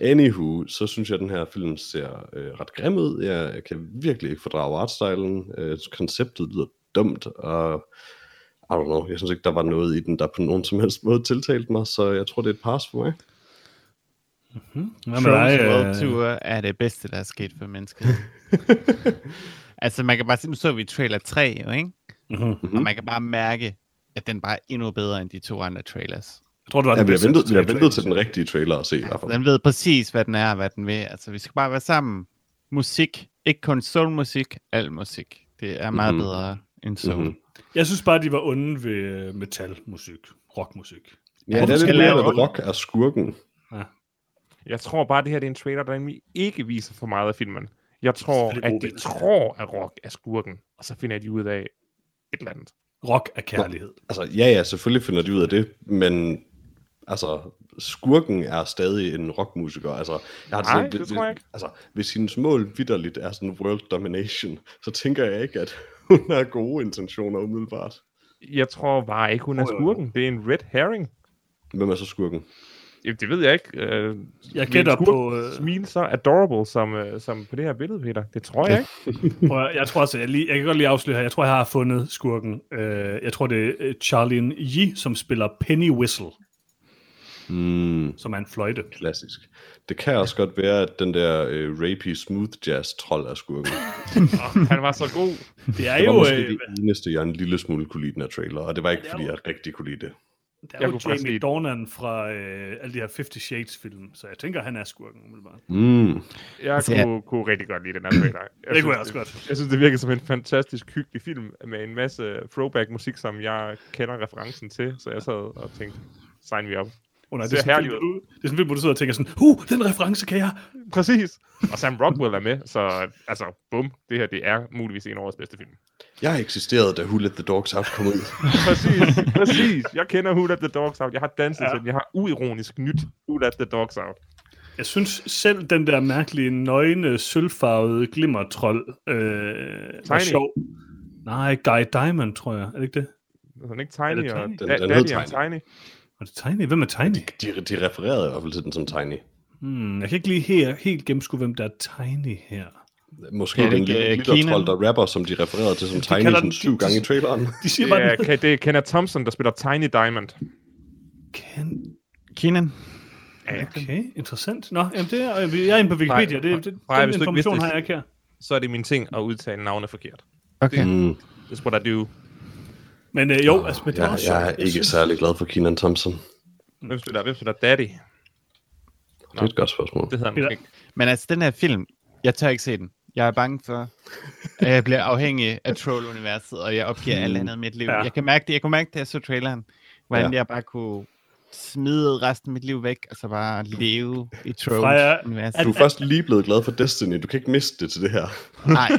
Speaker 2: Anywho, så synes jeg, at den her film ser øh, ret grim ud. Jeg, jeg kan virkelig ikke fordrage artstylen. Øh, konceptet lyder dumt, og I don't know, jeg synes ikke, der var noget i den, der på nogen som helst måde tiltalte mig, så jeg tror, det er et pas for mig.
Speaker 1: Hvad øh?
Speaker 3: Trolls World Tour er det bedste, der er sket for mennesket. altså, man kan bare se, nu så vi trailer 3, jo, ikke?
Speaker 1: Mhm.
Speaker 3: Og man kan bare mærke, at den bare er endnu bedre end de to andre trailers.
Speaker 1: Jeg tror, det var
Speaker 2: Ja,
Speaker 1: den
Speaker 2: vi har
Speaker 1: bedste
Speaker 2: ventet, vi har
Speaker 1: trailer.
Speaker 2: ventet til den rigtige trailer at se i hvert fald.
Speaker 3: Den ved præcis, hvad den er og hvad den vil. Altså, vi skal bare være sammen. Musik. Ikke kun soulmusik, al musik. Det er meget
Speaker 2: Mhm.
Speaker 3: mm-hmm. bedre end soul.
Speaker 2: Mhm.
Speaker 3: Mm-hmm.
Speaker 1: Jeg synes bare, de var onde ved øh, metalmusik. Rockmusik.
Speaker 2: Ja,
Speaker 3: Hvorfor
Speaker 2: det er
Speaker 3: skal
Speaker 2: lidt
Speaker 3: lave
Speaker 2: mere, at
Speaker 3: rollen?
Speaker 2: rock er skurken.
Speaker 4: Jeg tror bare, det her det er en trailer, der nemlig ikke viser for meget af filmen. Jeg tror,
Speaker 1: Selvfølgelig
Speaker 4: at
Speaker 1: god
Speaker 4: de
Speaker 1: idé.
Speaker 4: tror, at Rock er skurken, og så finder de ud af et eller andet.
Speaker 1: Rock er kærlighed.
Speaker 2: Altså, ja, ja, selvfølgelig finder de ud af det, men altså, skurken er stadig en rockmusiker. Altså, jeg har det
Speaker 4: Nej,
Speaker 2: sådan,
Speaker 4: det tror jeg ikke.
Speaker 2: Altså, hvis hendes mål vidderligt er sådan world domination, så tænker jeg ikke, at hun har gode intentioner umiddelbart.
Speaker 4: Jeg tror bare ikke, hun er
Speaker 1: Jo, jo, jo.
Speaker 4: skurken. Det er en red herring.
Speaker 2: Hvem er så skurken?
Speaker 4: Jamen, det ved jeg ikke. Øh,
Speaker 1: Jeg gætter på...
Speaker 4: Øh...
Speaker 1: Øh,
Speaker 4: Smil så adorable som, øh, som på det her billede, Peter. Det tror jeg ikke.
Speaker 1: Prøv, at- jeg tror altså, jeg, lige, jeg kan godt lige afsløre her, jeg tror, jeg har fundet skurken. Øh, jeg tror, det er øh, Charlene Yi, som spiller Penny Whistle,
Speaker 2: Mm,
Speaker 1: som er en fløjte.
Speaker 2: klassisk. Det kan også godt være, at den der øh, rapey smooth jazz trold er skurken.
Speaker 4: Han var så god.
Speaker 1: Det er
Speaker 2: Det
Speaker 1: jo,
Speaker 2: var måske
Speaker 1: øh,
Speaker 2: det eneste, jeg en lille smule kunne lide den her trailer, og det var ikke, fordi jeg rigtig kunne lide det.
Speaker 1: der
Speaker 4: Jeg
Speaker 1: er jo
Speaker 4: kunne faktisk
Speaker 1: Jamie
Speaker 4: lide-
Speaker 1: Dornan fra øh, alle de her 50 Shades-film, så jeg tænker, han er skurken umiddelbart.
Speaker 2: Mm.
Speaker 4: Jeg
Speaker 3: Altså, jeg-
Speaker 4: kunne, kunne rigtig godt lide den her trailer. Jeg
Speaker 1: Det kunne jeg også godt.
Speaker 4: Jeg synes, det virker som en fantastisk hyggelig film med en masse throwback-musik, som jeg kender referencen til. Så jeg sad og tænkte, sign me up.
Speaker 1: Oh, nej, det,
Speaker 4: Ser
Speaker 1: er sådan, en
Speaker 4: herlig
Speaker 1: film, du, det er sådan en film, hvor du sidder og tænker sådan, huh, den reference kan jeg.
Speaker 4: Præcis. Og Sam Rockwell er med, så altså, bum, det her det er muligvis en af årets bedste film.
Speaker 2: Jeg eksisterede, da Who Let The Dogs Out kom ud.
Speaker 4: Præcis, præcis. Jeg kender Who Let The Dogs Out. Jeg har danset
Speaker 1: Ja.
Speaker 4: ja. til den. Jeg har uironisk nyt Who Let The Dogs Out.
Speaker 1: Jeg synes selv, den der mærkelige, nøgne, sølvfarvede glimmertrold øh, var
Speaker 4: Tiny.
Speaker 1: sjov. Nej, Guy Diamond, tror jeg. Er det ikke det?
Speaker 4: Er den ikke Tiny?
Speaker 1: Er det
Speaker 4: og
Speaker 1: Tiny?
Speaker 4: Da-
Speaker 2: Den- den hed
Speaker 4: Daddy og
Speaker 2: Tiny.
Speaker 4: Tiny.
Speaker 1: Var det Tiny? Hvem er Tiny?
Speaker 2: De, de refererede i hvert fald til den som Tiny.
Speaker 1: Hmm, jeg kan ikke lige her, helt gennemskue, hvem der er Tiny her.
Speaker 2: Måske
Speaker 3: Ja,
Speaker 2: ja,
Speaker 3: det
Speaker 2: den
Speaker 3: er
Speaker 2: lille
Speaker 3: ikke, øh,
Speaker 2: glittertrold,
Speaker 3: Kenan.
Speaker 2: der rapper, som de refererede til som Tiny
Speaker 1: kalder
Speaker 2: sådan
Speaker 1: den-
Speaker 2: syv gange i traileren.
Speaker 1: De siger
Speaker 4: Det
Speaker 1: bare,
Speaker 4: er,
Speaker 1: den
Speaker 4: Ke- det er Kenneth Thompson, der spiller Tiny Diamond.
Speaker 1: kan...
Speaker 3: Keenan.
Speaker 1: Okay, interessant. Nå, jamen det er, øh, jeg er inde på Wikipedia. Det, det,
Speaker 4: Nej,
Speaker 1: den
Speaker 4: hvis du ikke vidste
Speaker 1: information
Speaker 4: det-
Speaker 1: har jeg ikke her.
Speaker 4: Så er det min ting at udtale navne forkert.
Speaker 3: Okay.
Speaker 2: Mm.
Speaker 4: That's what I do.
Speaker 1: Men øh, jo, altså, men det
Speaker 2: Jeg,
Speaker 1: var også
Speaker 2: Mm. jeg
Speaker 1: sjovt.
Speaker 2: er ikke
Speaker 1: synes-
Speaker 2: særlig glad for Keenan Thompson.
Speaker 4: Hvem spiller, hvem spiller Daddy?
Speaker 2: Det er et godt spørgsmål.
Speaker 4: Det hedder
Speaker 1: Peter.
Speaker 4: han ikke.
Speaker 3: Men altså, den her film, jeg tør ikke se den. Jeg er bange for, at jeg bliver afhængig af Troll-universet, og jeg opgiver alt andet i mit liv.
Speaker 1: Ja.
Speaker 3: Ja. Jeg kan mærke det, jeg kunne mærke det, da jeg så traileren, hvordan
Speaker 2: Ja.
Speaker 3: ja. jeg bare kunne smide resten af mit liv væk, og så bare leve i
Speaker 2: Du
Speaker 3: Troll-universet.
Speaker 2: er først lige blevet glad for Destiny. Du kan ikke miste det til det her.
Speaker 3: Nej,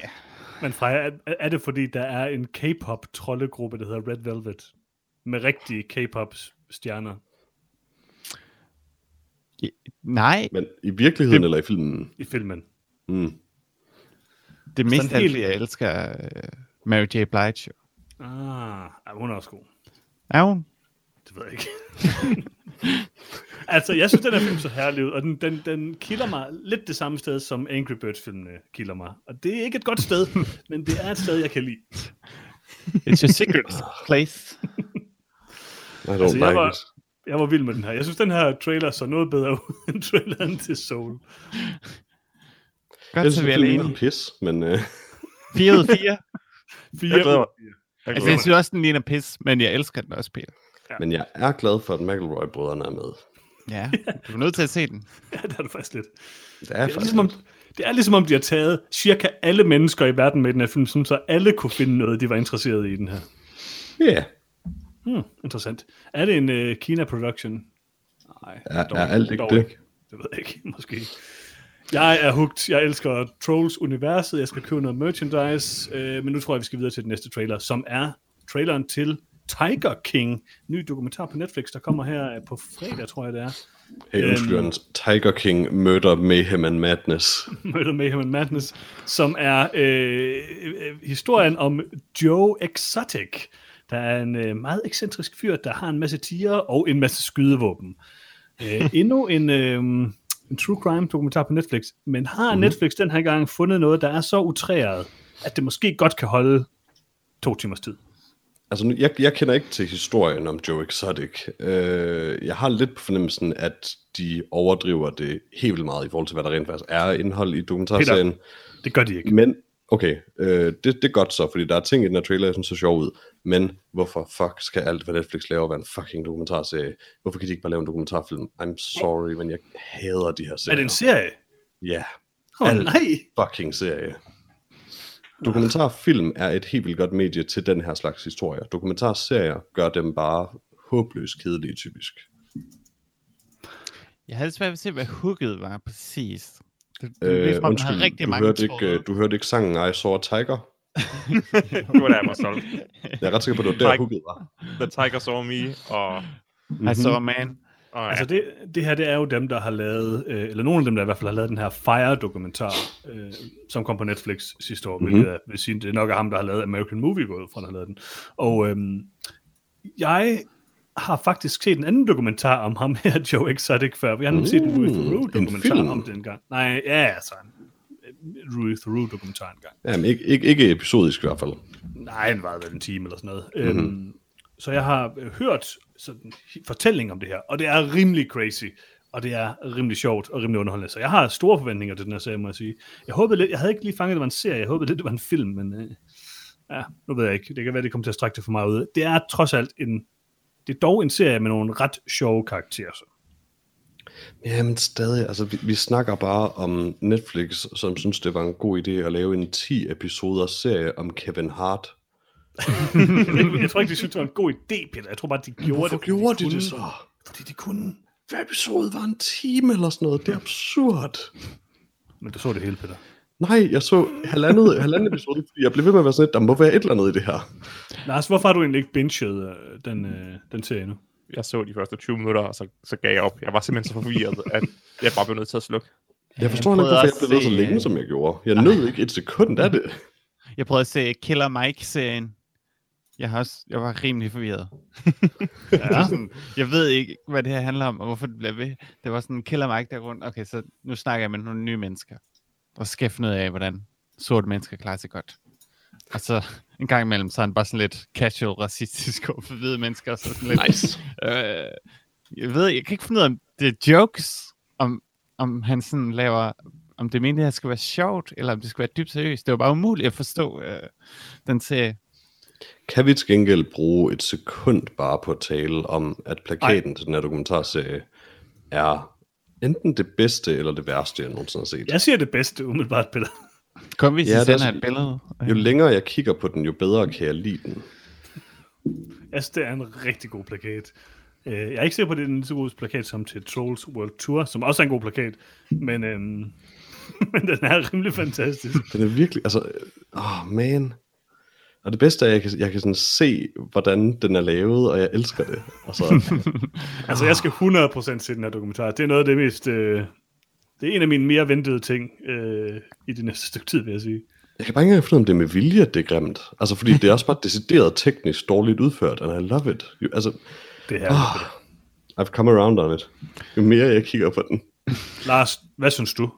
Speaker 1: Men Freja, er, er det fordi, der er en K-pop trollegruppe, der hedder Red Velvet? Med rigtige K-pop stjerner.
Speaker 3: nej,
Speaker 2: Men i virkeligheden eller i filmen?
Speaker 1: i filmen.
Speaker 2: Mm.
Speaker 3: det er mest
Speaker 1: Sådan
Speaker 3: af alt,
Speaker 1: helt-
Speaker 3: jeg elsker øh, Mary J. Blige.
Speaker 1: Ah, ja, hun er også god.
Speaker 3: Er hun?
Speaker 1: Det ved jeg ikke. altså, jeg synes, den her film så herlig ud, og den, den, den kilder mig lidt det samme sted, som Angry Birds-filmene kilder mig. Og det er ikke et godt sted, men det er et sted, jeg kan lide.
Speaker 3: It's your secret place.
Speaker 2: I don't
Speaker 1: Altså, jeg
Speaker 2: like
Speaker 1: var-
Speaker 2: it.
Speaker 1: Jeg var vild med den her. Jeg synes, den her trailer så noget bedre ud end traileren til Soul.
Speaker 3: Godt, så vi er
Speaker 2: filmen
Speaker 3: alene.
Speaker 2: er pis, men øh,
Speaker 3: 4 ud af 4.
Speaker 4: Jeg glæder mig. Jeg
Speaker 3: Altså,
Speaker 4: glæder
Speaker 3: jeg
Speaker 4: mig.
Speaker 3: synes også, den ligner pis, men jeg elsker den også, Peter.
Speaker 2: men jeg er glad for, at McElroy-brødrene er med.
Speaker 3: Ja, du er nødt til at se den.
Speaker 1: Ja, det er det faktisk lidt.
Speaker 2: Det er,
Speaker 1: Det er,
Speaker 2: faktisk...
Speaker 1: ligesom, om, det er ligesom om, de har taget cirka alle mennesker i verden med i den her film, sådan så alle kunne finde noget, de var interesseret i i den her.
Speaker 2: Ja,
Speaker 1: Hmm, interessant. Er det en øh, Kina-production? Nej.
Speaker 2: er,
Speaker 1: dog
Speaker 2: er alt ikke
Speaker 1: dog
Speaker 2: det?
Speaker 1: Det ved jeg ikke, måske. Jeg er hooked. Jeg elsker Trolls-universet. Jeg skal købe noget merchandise. Øh, men nu tror jeg, vi skal videre til den næste trailer, som er traileren til Tiger King. Ny dokumentar på Netflix, der kommer her øh, på fredag, tror jeg det er.
Speaker 2: Hey,
Speaker 1: Øhm.
Speaker 2: undskyld, Jørgens. Tiger King, Murder, Mayhem and Madness.
Speaker 1: Murder, Mayhem and Madness, som er øh, øh, historien om Joe Exotic, der er en øh, meget ekscentrisk fyr, der har en masse tiger og en masse skydevåben. Øh, endnu en, øh, en true crime dokumentar på Netflix, men har mm. Netflix den her gang fundet noget, der er så utræret, at det måske godt kan holde to timers tid.
Speaker 2: Altså, nu- jeg, jeg kender ikke til historien om Joe Exotic. Øh, jeg har lidt på fornemmelsen, at de overdriver det helt vildt meget i forhold til, hvad der rent faktisk er af indhold i dokumentarserien.
Speaker 1: Det gør de ikke.
Speaker 2: Men, okay, øh, det, det er godt så, fordi der er ting i den her trailer, jeg synes er sjov ud. Men hvorfor fuck skal alt, hvad Netflix laver, være en fucking dokumentarserie? Hvorfor kan de ikke bare lave en dokumentarfilm? I'm sorry, men jeg hader de her
Speaker 1: Er
Speaker 2: serier.
Speaker 1: det en serie?
Speaker 2: Ja,
Speaker 1: Åh oh,
Speaker 2: Alt.
Speaker 1: nej!
Speaker 2: fucking serie. Dokumentarfilm er et helt vildt godt medie til den her slags historier. Dokumentarserier gør dem bare håbløst kedelige, typisk.
Speaker 3: Jeg havde svært ved at se, hvad hooket var præcis. Det, det, øh,
Speaker 2: Øh,
Speaker 3: det, undskyld, har rigtig
Speaker 2: du,
Speaker 3: mange
Speaker 2: hørte
Speaker 3: tråde.
Speaker 2: ikke, øh, du hørte ikke sangen I Saw a Tiger?
Speaker 4: Nu er der mig solgt.
Speaker 2: Jeg er ret sikker på, det var der,
Speaker 4: Tiger.
Speaker 2: hooket var.
Speaker 4: The Tiger Saw Me,
Speaker 3: I
Speaker 4: og...
Speaker 3: saw a Altså,
Speaker 2: Mhm.
Speaker 3: man.
Speaker 4: og ja.
Speaker 1: Altså det, det her, det er jo dem, der har lavet, øh, eller nogle af dem, der i hvert fald har lavet den her Fire-dokumentar, øh, som kom på Netflix sidste år, mm-hmm.
Speaker 2: Mhm.
Speaker 1: hvilket jeg vil sige, det er nok er ham, der har lavet American Movie, gået fra, han har lavet den. Og øhm, jeg har faktisk set en anden dokumentar om ham her, Joe Exotic, før. Jeg har nemlig set en Ruth
Speaker 2: Mm,
Speaker 1: Rue-dokumentar
Speaker 2: en
Speaker 1: om
Speaker 2: film.
Speaker 1: den gang. Nej, ja, altså en øh, Ruth Rue-dokumentar en gang.
Speaker 2: Jamen, ikke, ikke, ikke episodisk i hvert fald.
Speaker 1: Nej, den varede vel en time eller sådan noget. Mm-hmm. Øhm, så jeg har øh, hørt sådan, hi- fortælling om det her, og det er rimelig crazy, og det er rimelig sjovt og rimelig underholdende. Så jeg har store forventninger til den her serie, må jeg sige. Jeg håbede lidt, jeg havde ikke lige fanget, at det var en serie, jeg håbede lidt, det var en film, men øh, ja, nu ved jeg ikke. Det kan være, det kommer til at strække det for meget ud. Det er trods alt en, det er dog en serie med nogle ret sjove karakterer. Så.
Speaker 2: Jamen stadig, altså vi, vi snakker bare om Netflix, som synes, det var en god idé at lave en 10-episoder serie om Kevin Hart.
Speaker 1: Jeg tror ikke, de synes, det var en god idé, Peter. Jeg tror bare, de gjorde det. fordi kunne. Fordi de kunne.
Speaker 2: Hver episode var en time eller sådan noget. Det er absurd.
Speaker 1: Men du så det hele, Peter.
Speaker 2: Nej, jeg så halvandet, halvandet episode, fordi jeg blev ved med at være sådan lidt, der må være et eller andet i det her.
Speaker 1: Lars, hvorfor har du egentlig ikke binget øh, den, øh, den serie nu?
Speaker 4: jeg så de første 20 minutter, og så, så gav jeg op. Jeg var simpelthen så forvirret, at jeg bare blev nødt til at slukke.
Speaker 2: Jeg forstår ikke,
Speaker 3: prøvede
Speaker 2: hvorfor jeg
Speaker 3: også
Speaker 2: blev ved så
Speaker 3: at se,
Speaker 2: længe,
Speaker 3: øh,
Speaker 2: som jeg gjorde. Jeg nød ikke et sekund af det.
Speaker 3: Jeg prøvede at se Killer Mike-serien. Jeg, har også, jeg var rimelig forvirret.
Speaker 1: Ja.
Speaker 3: Jeg ved ikke, hvad det her handler om, og hvorfor det bliver ved. Det var sådan Killer Mike der rundt. Okay, så nu snakker jeg med nogle nye mennesker. Og så skal jeg finde ud af, hvordan sorte mennesker klarer sig godt. Og så en gang imellem, så er han bare sådan lidt casual racistisk over for hvide mennesker. og Så sådan lidt,
Speaker 2: Nice.
Speaker 3: Øh, jeg ved, jeg kan ikke finde ud af, om det er jokes, om, om han sådan laver, om det mener, at det skal være sjovt, eller om det skal være dybt seriøst. Det var bare umuligt at forstå øh, den serie.
Speaker 2: Kan vi til gengæld bruge et sekund bare på at tale om, at plakaten til den her dokumentarserie er enten det bedste eller det værste, jeg nogensinde har set.
Speaker 1: Jeg siger det bedste umiddelbart, Peter.
Speaker 3: Kom, vi
Speaker 2: Ja,
Speaker 3: ja,
Speaker 2: det er
Speaker 3: sender
Speaker 2: så-
Speaker 3: et billede. Øh,
Speaker 2: Jo længere jeg kigger på den, jo bedre kan jeg lide den.
Speaker 1: Altså, det er en rigtig god plakat. Øh, Jeg er ikke sikker på, at det er en lige så god plakat som til Trolls World Tour, som også er en god plakat, men, øhm, men den er rimelig fantastisk.
Speaker 2: Den er virkelig, altså, åh oh man. Og det bedste er, at jeg kan, jeg kan sådan se, hvordan den er lavet, og jeg elsker det. Altså,
Speaker 1: Altså, jeg skal 100% se den her dokumentar. Det er noget af det mest... Øh, det er en af mine mere ventede ting øh, i det næste stykke tid, vil jeg sige.
Speaker 2: jeg kan bare ikke engang finde ud af, om det er med vilje, at det er grimt. Altså, fordi det er også bare decideret teknisk dårligt udført, and I love it. Jo, altså,
Speaker 1: Det her.
Speaker 2: oh, I've come around on it. Jo mere jeg kigger på den.
Speaker 1: Lars, hvad synes du?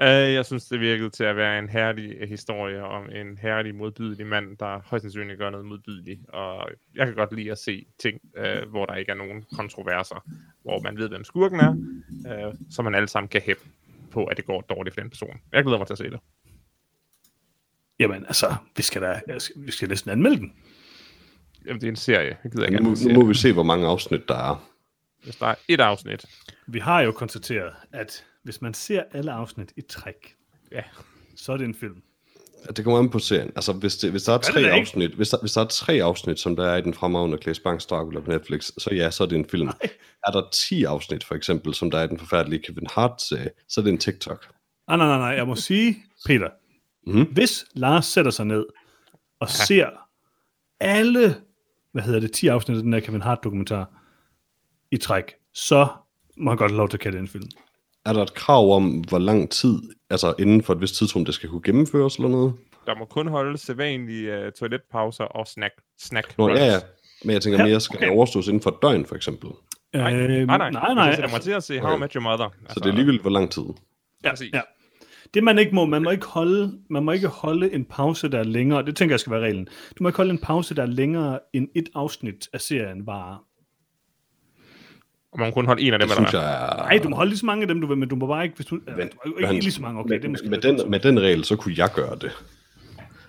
Speaker 4: Øh, jeg synes, det virkede til at være en herlig historie om en herlig modbydelig mand, der højst sandsynligt gør noget modbydeligt. Og jeg kan godt lide at se ting, øh, hvor der ikke er nogen kontroverser. Hvor man ved, hvem skurken er, øh, så man alle sammen kan hæppe på, at det går dårligt for den person. Jeg glæder mig til at se det.
Speaker 1: Jamen, altså, vi skal da jeg skal- vi skal næsten anmelde den.
Speaker 4: Jamen, det er en serie. Jeg gider ikke
Speaker 2: Nu,
Speaker 4: andet
Speaker 2: nu må vi se, hvor mange afsnit der er.
Speaker 4: Hvis der er et afsnit.
Speaker 1: Vi har jo konstateret, at hvis man ser alle afsnit i træk,
Speaker 4: Ja.
Speaker 1: så er det en film.
Speaker 2: Det kommer an på serien. Altså, hvis, det, hvis der er
Speaker 1: det
Speaker 2: tre
Speaker 1: da ikke.
Speaker 2: afsnit, hvis der, hvis der er tre afsnit, som der er i den fremragende Klaas Bangs Dracula på Netflix, så ja, så er det en film. Nej. Er der 10 afsnit, for eksempel, som der er i den forfærdelige Kevin Hart serie, så er det en TikTok.
Speaker 1: Ah, nej, nej, nej, jeg må sige, Peter,
Speaker 2: Mhm.
Speaker 1: hvis Lars sætter sig ned og ja. ser alle, hvad hedder det, 10 afsnit af den her Kevin Hart-dokumentar i træk, så må han godt have lov til at kalde det en film.
Speaker 2: Er der et krav om, hvor lang tid, altså inden for et vist tidsrum, det skal kunne gennemføres eller noget?
Speaker 4: Der må kun holde sædvanlige uh, toiletpauser og snack. snack
Speaker 2: Nå, ja,
Speaker 4: breaks.
Speaker 2: ja. Men jeg tænker
Speaker 1: Ja,
Speaker 2: mere, skal
Speaker 1: okay.
Speaker 2: okay. overstås inden for et døgn, for eksempel.
Speaker 4: Nej,
Speaker 1: Øhm,
Speaker 4: nej, Altså,
Speaker 1: nej,
Speaker 4: nej. Hvis
Speaker 1: nej.
Speaker 4: Jeg sætter mig til at se How I
Speaker 2: Okay.
Speaker 4: Met Your Mother. Altså,
Speaker 2: Så det er ligegyldigt, hvor lang tid.
Speaker 1: Ja,
Speaker 4: Præcis.
Speaker 1: ja. Det man ikke må, man må ikke holde, man må ikke holde en pause, der er længere, det tænker jeg skal være reglen. Du må ikke holde en pause, der er længere end et afsnit af serien varer.
Speaker 4: Og man må kun holde en af dem,
Speaker 2: Det
Speaker 4: eller
Speaker 2: synes
Speaker 4: hvad?
Speaker 2: jeg er...
Speaker 1: Nej, du må holde lige så mange af dem, du vil, men du må bare ikke, hvis du, men, du må ikke
Speaker 2: men-
Speaker 1: lige så mange, okay,
Speaker 2: med,
Speaker 1: det er måske
Speaker 2: med, den, med den regel, så kunne jeg gøre det.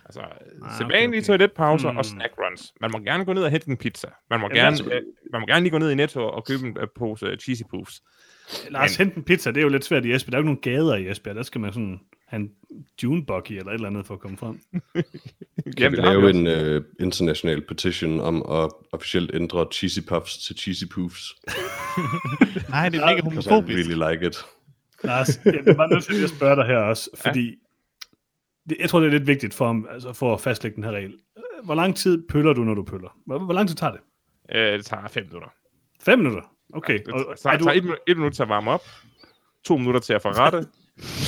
Speaker 4: Altså,
Speaker 1: okay,
Speaker 4: sædvanlige
Speaker 1: okay.
Speaker 4: toiletpauser
Speaker 1: Hmm.
Speaker 4: og snack runs. Man må gerne gå ned og hente en pizza. Man må, gerne,
Speaker 1: altså-
Speaker 4: øh, man må gerne lige gå ned i Netto og købe en øh, pose cheesy puffs.
Speaker 1: Lars, hent en pizza, det er jo lidt svært i Esbjerg. Der er jo ikke nogen gader i Esbjerg, der skal man sådan have en junebuggy eller et eller andet for at komme frem.
Speaker 2: Kan Jamen, vi
Speaker 4: det har
Speaker 2: lave
Speaker 4: også.
Speaker 2: en øh, international petition om at officielt ændre Cheesy Puffs til Cheesy Poofs?
Speaker 3: Nej, det er ikke
Speaker 2: Because I
Speaker 3: homofobisk.
Speaker 2: really like it.
Speaker 1: Lars, jeg bliver bare nødt til lige at spørge dig her også, fordi det, jeg tror, det er lidt vigtigt for, altså for at fastlægge den her regel. Øh, Hvor lang tid pøller du, når du pøller? Hvor, hvor lang tid tager det?
Speaker 4: Øh, det tager fem minutter.
Speaker 1: Fem minutter? Okay.
Speaker 4: Det
Speaker 1: Og,
Speaker 4: tager,
Speaker 1: er du,
Speaker 4: tager et, minu- et minut til at varme op, to minutter til at forrette,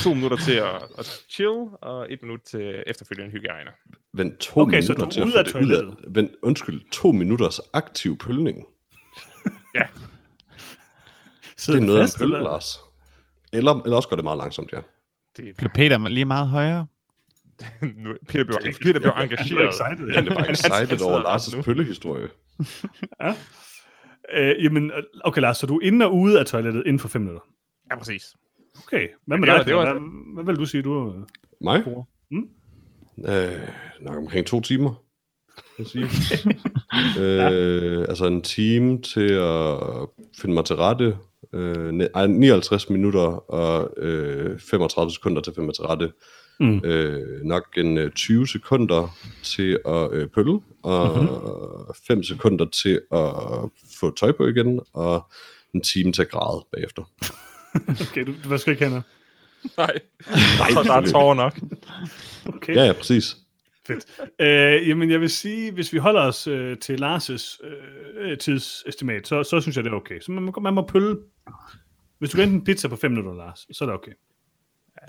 Speaker 4: to minutter til at, at chill, og et minut til efterfølgende hygiejne.
Speaker 2: Vent to
Speaker 1: Okay, så
Speaker 2: minutter
Speaker 1: du er
Speaker 2: til at
Speaker 1: ude
Speaker 2: få
Speaker 1: af
Speaker 2: det ud af...
Speaker 1: toilettet.
Speaker 2: Vent, undskyld, to minutters aktiv pølning.
Speaker 4: Ja,
Speaker 2: Det
Speaker 1: sidder
Speaker 2: er noget af
Speaker 1: fast,
Speaker 2: en pøl,
Speaker 1: eller?
Speaker 2: Lars. Eller, eller også går det meget langsomt, ja.
Speaker 4: det,
Speaker 3: Blev Peter lige meget højere?
Speaker 4: nu, Peter blev, Peter blev engageret.
Speaker 1: Du er excited, ja.
Speaker 2: Jeg er bare excited
Speaker 4: sidder
Speaker 2: over
Speaker 4: der
Speaker 2: Lars' pøllehistorie.
Speaker 1: Øh, jamen, okay Lars, så du er inde og ude af toilettet inden for fem minutter.
Speaker 4: Ja, præcis.
Speaker 1: Okay, hvad med
Speaker 4: Ja,
Speaker 1: dig?
Speaker 4: det var-
Speaker 1: Peter? hvad, hvad vil du sige, du... øh?
Speaker 2: Mig?
Speaker 1: Mm.
Speaker 2: Øh, nok omkring to timer. vil jeg Sige. øh, altså en time til at finde mig til rette. Øh, ne- ej, 59 minutter og øh, 35 sekunder til at finde mig til rette.
Speaker 1: Mm.
Speaker 2: Øh, nok en øh, 20 sekunder til at øh, pølle, og
Speaker 1: Mhm.
Speaker 2: mm-hmm. 5 sekunder til at få tøj på igen, og en time til at græde bagefter.
Speaker 1: Okay, du, du hvad skal ikke have noget?
Speaker 4: Nej,
Speaker 2: Nej,
Speaker 4: så der er tårer nok.
Speaker 1: Okay.
Speaker 2: Ja, ja, præcis.
Speaker 1: Fedt. Øh, jamen, jeg vil sige, hvis vi holder os øh, til Lars' øh, tidsestimat, så, så synes jeg, det er okay. Så man, må- man må pølle. Hvis du kan hente en pizza på 5 minutter, Lars, så er det okay.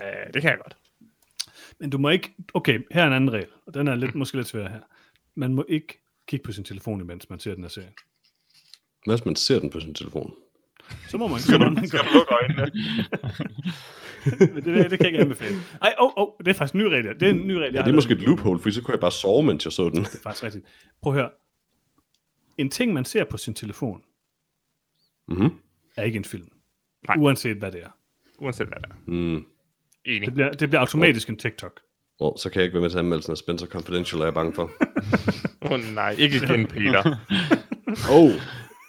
Speaker 4: Øh, det kan jeg godt.
Speaker 1: Men du må ikke... Okay, her er en anden regel, og den er lidt, måske lidt svær her. Man må ikke kigge på sin telefon, imens man ser den her serie.
Speaker 2: Hvad hvis man ser den på sin telefon?
Speaker 1: Så må man, så må man gøre
Speaker 4: Luk øjnene.
Speaker 1: det. Det, det kan jeg ikke anbefale. Ej, åh, oh, oh, det er faktisk en ny regel. her. Det er en ny regel.
Speaker 2: Ja, det er måske et loophole, for så kunne jeg bare sove, mens jeg så den.
Speaker 1: Det er faktisk rigtigt. Prøv at høre. En ting, man ser på sin telefon,
Speaker 2: Mhm.
Speaker 1: er ikke en film.
Speaker 4: Nej.
Speaker 1: Nej. Uanset hvad det er.
Speaker 4: Uanset hvad der er.
Speaker 2: Mm.
Speaker 4: Enig.
Speaker 1: Det bliver, det bliver automatisk en TikTok.
Speaker 2: Oh, så kan jeg ikke være med til anmeldelsen af Spencer Confidential, er jeg bange for.
Speaker 4: Åh oh, nej, ikke igen, Peter.
Speaker 2: Oh,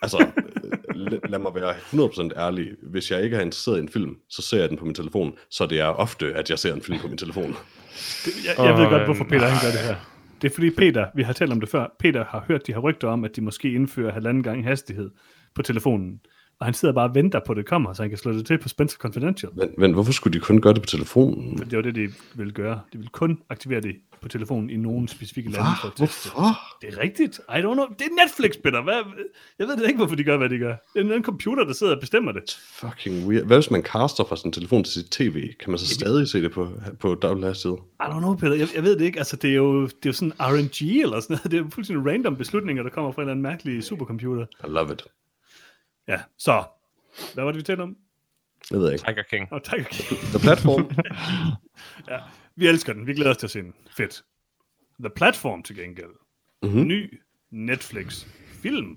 Speaker 2: altså, øh, lad, lad mig være 100% ærlig. Hvis jeg ikke er interesseret i en film, så ser jeg den på min telefon. Så det er ofte, at jeg ser en film på min telefon.
Speaker 1: Det, jeg, jeg ved
Speaker 4: Åh,
Speaker 1: godt, hvorfor Peter han
Speaker 4: nej.
Speaker 1: gør det her. Det er fordi Peter, vi har talt om det før, Peter har hørt de her rygter om, at de måske indfører halvanden gang hastighed på telefonen. Og han sidder bare og venter på, at det kommer, så han kan slå det til på Spencer Confidential.
Speaker 2: Men, men hvorfor skulle de kun gøre det på telefonen?
Speaker 1: Det var det, de ville gøre. De ville kun aktivere det på telefonen i nogle specifikke lande. for at teste det.
Speaker 2: Hvorfor?
Speaker 1: Det er rigtigt. I don't know. Det er Netflix, Peter. Hvad? Jeg ved det ikke, hvorfor de gør, hvad de gør. Det er en anden computer, der sidder og bestemmer det.
Speaker 2: Fucking weird. Hvad hvis man caster fra sin telefon til sit tv? Kan man så stadig se det på, på dobbelt hastighed?
Speaker 1: I don't know, Peter. Jeg, jeg ved det ikke. Altså, det er jo, det er jo sådan RNG eller sådan noget. Det er jo fuldstændig random beslutninger, der kommer fra en eller anden mærkelig supercomputer.
Speaker 2: I love it.
Speaker 1: Ja, så. Hvad var det, vi talte om?
Speaker 2: Jeg ved jeg ikke.
Speaker 4: Tiger King.
Speaker 1: Oh, tak.
Speaker 2: The Platform.
Speaker 1: Vi elsker den. Vi glæder os til at se den. Fedt. The Platform til gengæld.
Speaker 2: Mhm.
Speaker 1: Mm-hmm. Ny Netflix-film.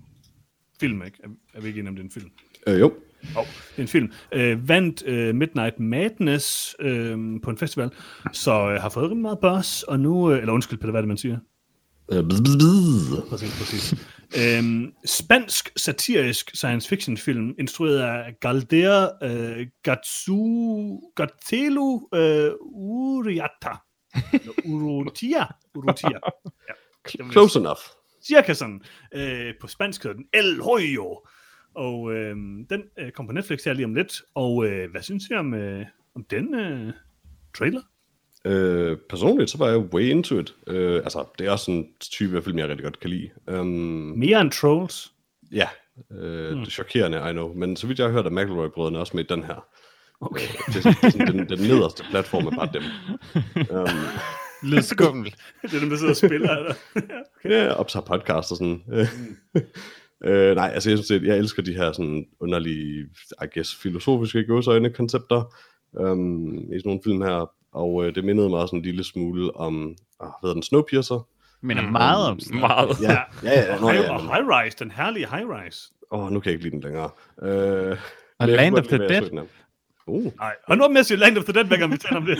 Speaker 1: Film, ikke? Er- Er vi ikke enige om, det er en film?
Speaker 2: øh, jo.
Speaker 1: Jo, det er en film. Øh, vandt øh, Midnight Madness øh, på en festival, så øh, har fået rimelig meget buzz, og nu... Øh, eller undskyld, Peter, hvad er det, man siger?
Speaker 2: Øh, bzz, bzz, bzz.
Speaker 1: Præcis, præcis. øhm, spansk satirisk science fiction film, instrueret af Galdera øh, Gatsu, Gatelu øh, Uriata. Eller Urutia. Urutia. Ja.
Speaker 2: Close enough.
Speaker 1: Cirka sådan. Øh, på spansk hedder den El Hoyo. Og øh, den øh, kom på Netflix her lige om lidt. Og øh, hvad synes I om, øh, om den øh, trailer?
Speaker 2: Øh, personligt, så var jeg way into it. Øh, altså, det er også en type af film, jeg rigtig godt kan lide. Um,
Speaker 1: Mere end Trolls.
Speaker 2: Ja, øh, mm. det er chokerende, I know. Men så vidt jeg har hørt, er McElroy-brødrene også med i den her.
Speaker 1: Okay.
Speaker 2: Øh, Det, er sådan- den, den nederste platform er bare dem. Um,
Speaker 3: Lidt skummel.
Speaker 1: det er dem, der sidder og spiller. Eller?
Speaker 2: ja, optager podcast og sådan. øh, nej, altså jeg synes, at jeg elsker de her sådan underlige, I guess, filosofiske gåseøjne koncepter um, i sådan nogle film her. Og øh, det mindede mig også en lille smule om, ah, hvad hedder den, Snowpiercer?
Speaker 3: Men er meget om sådan noget.
Speaker 4: Meget.
Speaker 1: Ja.
Speaker 2: ja, ja. Nå,
Speaker 1: Og,
Speaker 2: ja
Speaker 1: og
Speaker 2: men-
Speaker 1: High Rise, den herlige High Rise.
Speaker 2: Åh, oh, nu kan jeg ikke lide den længere. Øh, men jeg
Speaker 3: Og
Speaker 2: kunne
Speaker 3: Land
Speaker 2: godt
Speaker 3: of
Speaker 2: lide,
Speaker 3: the
Speaker 2: hvad jeg så
Speaker 3: Dead.
Speaker 2: den af. Uh,
Speaker 1: Nej, og nu med at sige Land of the Dead, hver gang vi taler om det.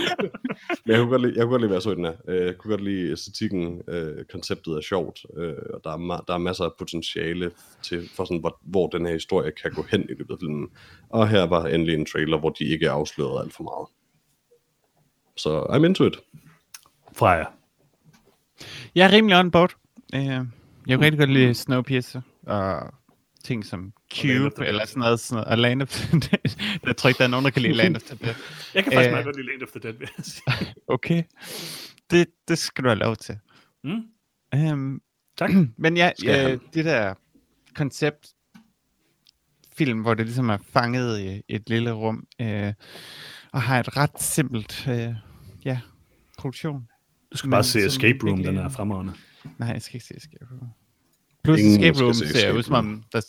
Speaker 2: Men jeg kunne godt lide, jeg kunne godt lide hvad jeg så i den her. Øh, Jeg kunne godt lide æstetikken, øh, konceptet er sjovt, øh, og der er, ma- der er masser af potentiale til, for sådan, hvor, hvor den her historie kan gå hen i løbet af filmen. Og her var endelig en trailer, hvor de ikke afslørede alt for meget. Så I'm into it.
Speaker 1: Freja.
Speaker 3: Jeg er rimelig on board. Øh, jeg kan rigtig godt lide Snowpiercer og ting som
Speaker 1: of the
Speaker 3: Cube
Speaker 1: Dead.
Speaker 3: eller sådan noget. Sådan noget. Og Land of the Dead. Jeg tror ikke, der er nogen, der kan lide Land of the Dead.
Speaker 1: Jeg kan faktisk
Speaker 3: Øh.
Speaker 1: meget godt lide Land of the Dead, vil jeg sige.
Speaker 3: Okay. Det, det skal du have lov til.
Speaker 1: Mm.
Speaker 3: Øhm,
Speaker 1: Tak.
Speaker 3: men ja,
Speaker 2: Skal
Speaker 3: ja
Speaker 2: han.
Speaker 3: det der koncept film, hvor det ligesom er fanget i et lille rum, øh, og har et ret simpelt øh, ja, produktion.
Speaker 1: Du skal bare
Speaker 3: Men
Speaker 1: se
Speaker 3: som
Speaker 1: Escape Room,
Speaker 3: virkelig-
Speaker 1: den er fremragende.
Speaker 3: Nej, jeg skal ikke se Escape Room. Plus
Speaker 2: Ingen
Speaker 3: Escape
Speaker 2: skal
Speaker 3: Room
Speaker 2: se
Speaker 3: ser
Speaker 2: Escape
Speaker 3: ud som om, der,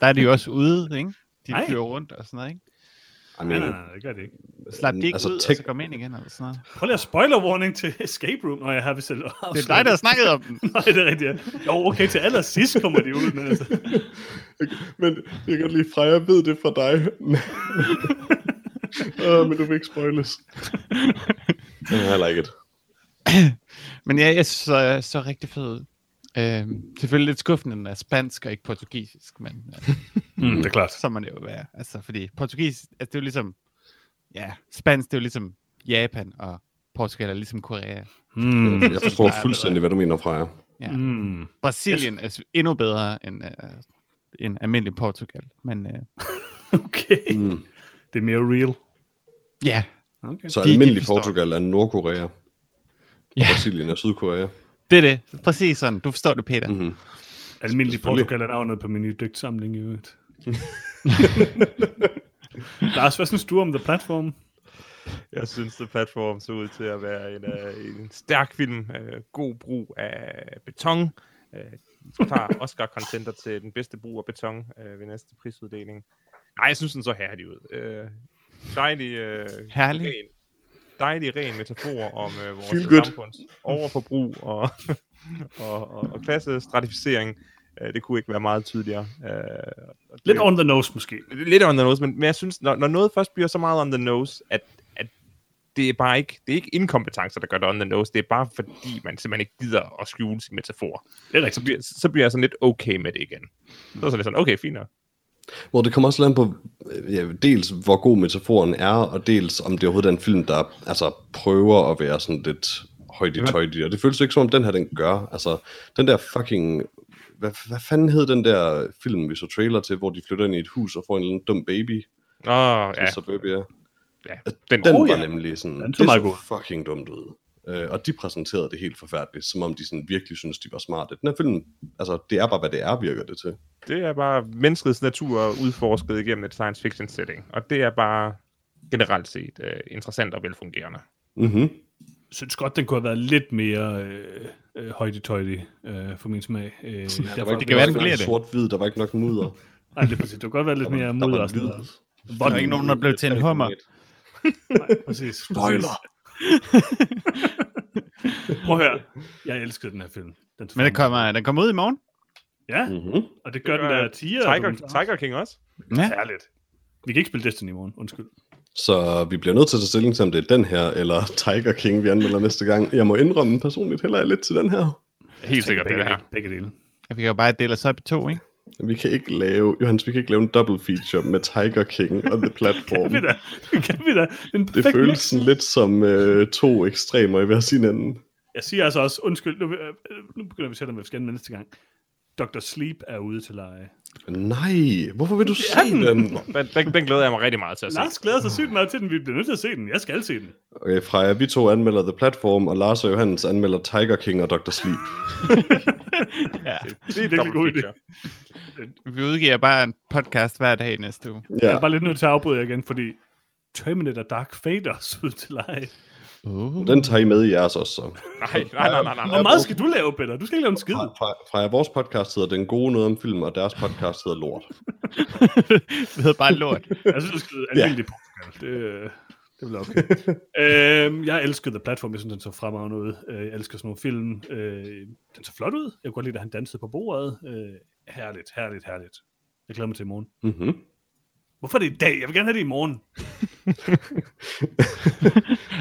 Speaker 3: der er de jo også ude, ikke? De
Speaker 1: Nej.
Speaker 3: flyver rundt og sådan noget, ikke?
Speaker 2: I
Speaker 1: Nej,
Speaker 2: mean,
Speaker 1: nej, nej, det gør det ikke.
Speaker 3: Slap de ikke
Speaker 2: altså,
Speaker 3: altså, ud, og
Speaker 2: tænk-
Speaker 3: så kom ind igen eller sådan noget.
Speaker 1: Prøv lige at spoiler warning til Escape Room, når jeg har vist selv
Speaker 3: Det er dig, der har snakket om den.
Speaker 1: Nej, det er rigtigt. ja. Jo, okay, til allersidst kommer de ud, men altså...
Speaker 3: altså.
Speaker 2: Men jeg kan godt lide, Freja ved det fra dig. uh, men du vil ikke spoiles. I like it.
Speaker 3: Men ja, jeg så, så rigtig fed ud. Øh, selvfølgelig lidt skuffende, den er spansk og ikke portugisisk, men øh,
Speaker 1: Mm, det er klart.
Speaker 3: så må det jo være. Altså, fordi portugis, altså, det er jo ligesom, ja, spansk, det er jo ligesom Japan, og Portugal er ligesom Korea.
Speaker 1: Mm.
Speaker 2: Jeg forstår fuldstændig, hvad du mener, Freja.
Speaker 3: Ja.
Speaker 1: Mm.
Speaker 3: Brasilien er s- endnu bedre end, øh, end almindelig Portugal, men øh,
Speaker 1: Okay.
Speaker 2: Mm.
Speaker 1: Det er mere real.
Speaker 3: ja,
Speaker 1: Okay.
Speaker 2: Så
Speaker 3: De- de
Speaker 2: almindelig
Speaker 3: forstår.
Speaker 2: Portugal er Nordkorea.
Speaker 3: Ja.
Speaker 2: Brasilien er Sydkorea.
Speaker 3: Det er det. Præcis sådan. Du forstår det, Peter. Mm-hmm.
Speaker 1: Almindelig
Speaker 2: Selvfølgelig.
Speaker 1: Portugal er navnet på min nye digtsamling i øvrigt. Lars, hvad synes du om The Platform?
Speaker 4: Jeg synes, The Platform så ud til at være en, uh, en stærk film. Uh, god brug af beton. Uh, jeg tager Oscar contenter til den bedste brug af beton uh, ved næste prisuddeling. Nej, jeg synes, den så herlig ud. Uh, dejlig, uh,
Speaker 3: Herlig.
Speaker 4: Ren, dejlig ren metafor om uh, vores
Speaker 2: Feel good.
Speaker 4: samfunds overforbrug og, og, og, og klassestratificering. Uh, det kunne ikke være meget tydeligere. Uh,
Speaker 1: Lidt on the nose måske.
Speaker 4: lidt on the nose, men, men jeg synes, når, når noget først bliver så meget on the nose, at, at det er bare ikke, det er ikke inkompetencer, der gør det on the nose, det er bare fordi, man simpelthen ikke gider at skjule sin metafor.
Speaker 1: Det er
Speaker 4: Så
Speaker 1: rigtigt.
Speaker 4: bliver, så bliver jeg sådan lidt okay med det igen. Så er det sådan, okay, fint nok.
Speaker 2: Hvor det kommer også lidt an på, øh, ja, dels hvor god metaforen er, og dels om det overhovedet er en film, der altså, prøver at være sådan lidt højt i tøjt Og det føles ikke som om den her, den gør. Altså, den der fucking... Hvad, hvad fanden hed den der film, vi så trailer til, hvor de flytter ind i et hus og får en eller anden dum baby?
Speaker 4: Åh, ja,
Speaker 2: Ja. Suburbia.
Speaker 4: ja.
Speaker 2: Den,
Speaker 4: Den,
Speaker 2: den
Speaker 1: Åh,
Speaker 2: var
Speaker 1: ja.
Speaker 2: nemlig sådan,
Speaker 1: Den
Speaker 2: den
Speaker 1: så
Speaker 2: det
Speaker 1: meget
Speaker 2: så fucking dumt ud. Øh, og de præsenterede det helt forfærdeligt, som om de sådan virkelig synes de var smarte. Den her film, altså det er bare, hvad det er, virker det til.
Speaker 4: det er bare menneskets natur udforsket igennem et science fiction setting, og det er bare generelt set øh, interessant og velfungerende.
Speaker 2: Mm-hmm.
Speaker 1: Jeg synes godt, den kunne have været lidt mere øh, øh, højdetøjtig øh, for min smag. Øh,
Speaker 2: Der
Speaker 1: derfor,
Speaker 2: var ikke, der
Speaker 3: kan være,
Speaker 2: var
Speaker 3: den
Speaker 2: ikke
Speaker 3: bliver
Speaker 2: nok
Speaker 3: det.
Speaker 2: sort-hvid, der var ikke nok mudder.
Speaker 1: Nej, det er præcis. Det kunne godt være lidt mere mod og sådan noget.
Speaker 3: Der er ikke nogen, der blev til en hummer.
Speaker 1: Nej, præcis.
Speaker 2: Spoiler.
Speaker 1: Prøv at høre. Jeg elskede den her film. Den
Speaker 3: Men den kommer, den kommer ud i morgen.
Speaker 1: Ja,
Speaker 2: Mm-hmm.
Speaker 1: og det gør den der tiger.
Speaker 4: Tiger, Tiger King også?
Speaker 3: Ja.
Speaker 1: Herligt. Vi kan ikke spille Destiny i morgen, undskyld.
Speaker 2: Så vi bliver nødt til at tage stilling til, om det er den her, eller Tiger King, vi anmelder næste gang. Jeg må indrømme personligt heller lidt til den her.
Speaker 4: Helt sikkert det
Speaker 1: Altså, begge,
Speaker 4: her.
Speaker 1: dele, begge dele.
Speaker 3: Vi kan jo bare dele os op i to, ikke?
Speaker 2: Vi kan ikke lave, Johannes, vi kan ikke lave en double feature med Tiger King og The Platform.
Speaker 1: Kan vi da? Kan vi da? En
Speaker 2: Det
Speaker 1: perfekt
Speaker 2: føles
Speaker 1: mix.
Speaker 2: sådan lidt som øh, to ekstremer i hver sin ende.
Speaker 1: Jeg siger altså også, undskyld, nu, øh, nu begynder vi selv, om vi skal anmelde næste gang. Dr. Sleep er ude til leje.
Speaker 2: Nej, hvorfor vil du se
Speaker 1: er den.
Speaker 2: den?
Speaker 4: Den, den, den glæder jeg mig rigtig meget til at se.
Speaker 1: Lars glæder sig sygt meget til den. Vi bliver nødt til at se den. Jeg skal se den.
Speaker 2: Okay, Freja, vi to anmelder The Platform, og Lars og Johannes anmelder Tiger King og Dr. Sleep.
Speaker 3: Ja.
Speaker 1: Det er en virkelig god idé.
Speaker 3: Vi udgiver bare en podcast hver dag i næste uge.
Speaker 1: Jeg
Speaker 2: Ja,
Speaker 1: er bare lidt nødt til at afbryde jer igen, fordi Terminator Dark Fate er også ude til leje.
Speaker 3: Uh.
Speaker 2: den tager I med i jeres også, så.
Speaker 4: Nej, nej, nej, nej, nej.
Speaker 1: Hvor meget skal du lave, Peter? Du skal ikke lave en skid.
Speaker 2: Fra- Freja, vores podcast hedder Den Gode Noget om Film, og deres podcast hedder Lort.
Speaker 3: det hedder bare lort.
Speaker 1: Jeg synes, du skal hedde almindelig Portugal. Det, øh, det bliver okay. øhm, jeg elskede The Platform. Jeg synes, den så fremragende ud. Øh, jeg elsker sådan nogle film. Øh, den så flot ud. Jeg kunne godt lide, at han dansede på bordet. Øh, herligt, herligt, herligt. Jeg glæder mig til i morgen.
Speaker 2: Mm-hmm.
Speaker 1: Hvorfor er det i dag? Jeg vil gerne have det i morgen.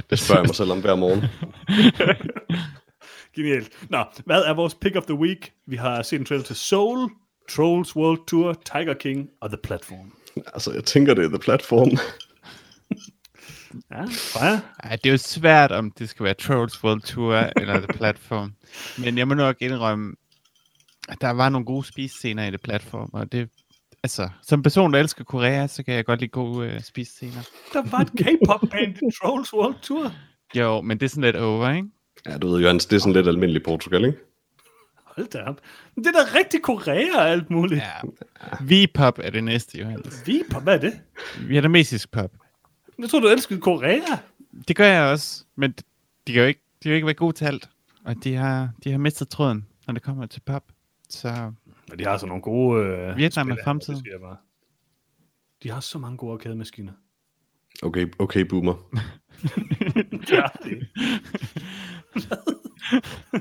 Speaker 2: Det spørger jeg mig selv om hver morgen.
Speaker 1: Genialt. Nå, hvad er vores pick of the week? Vi har set en trailer til Soul, Trolls World Tour, Tiger King og The Platform.
Speaker 2: Altså, jeg tænker, det er The Platform.
Speaker 1: Ja, Freja?
Speaker 3: Ej, det er jo svært, om det skal være Trolls World Tour eller The Platform. Men jeg må nok indrømme, at der var nogle gode spisescener i The Platform, og det, altså, som person, der elsker Korea, så kan jeg godt lide gode øh, spisescener.
Speaker 1: Der var et K-pop-band i Trolls World Tour.
Speaker 3: Jo, men det er sådan lidt over, ikke?
Speaker 2: Ja, du ved, Johannes, det er sådan lidt almindelig Portugal, ikke?
Speaker 1: Hold da op. Men det er da rigtig Korea og alt muligt. Ja.
Speaker 3: Ja. V-pop er det næste, Johannes.
Speaker 1: Viper, hvad er det?
Speaker 3: Vietnamesisk pop.
Speaker 1: Jeg tror, du elskede Korea.
Speaker 3: Det gør jeg også, men de kan jo ikke, de kan jo ikke være gode til alt. Og de har, de har mistet tråden, når det kommer til pop. Så
Speaker 1: Men de har altså nogle gode... Øh,
Speaker 3: Vietnam er
Speaker 1: spillere,
Speaker 3: fremtiden.
Speaker 1: det siger jeg bare. De har så mange gode arcade-maskiner.
Speaker 2: Okay, okay, boomer.
Speaker 1: Ja.
Speaker 2: Old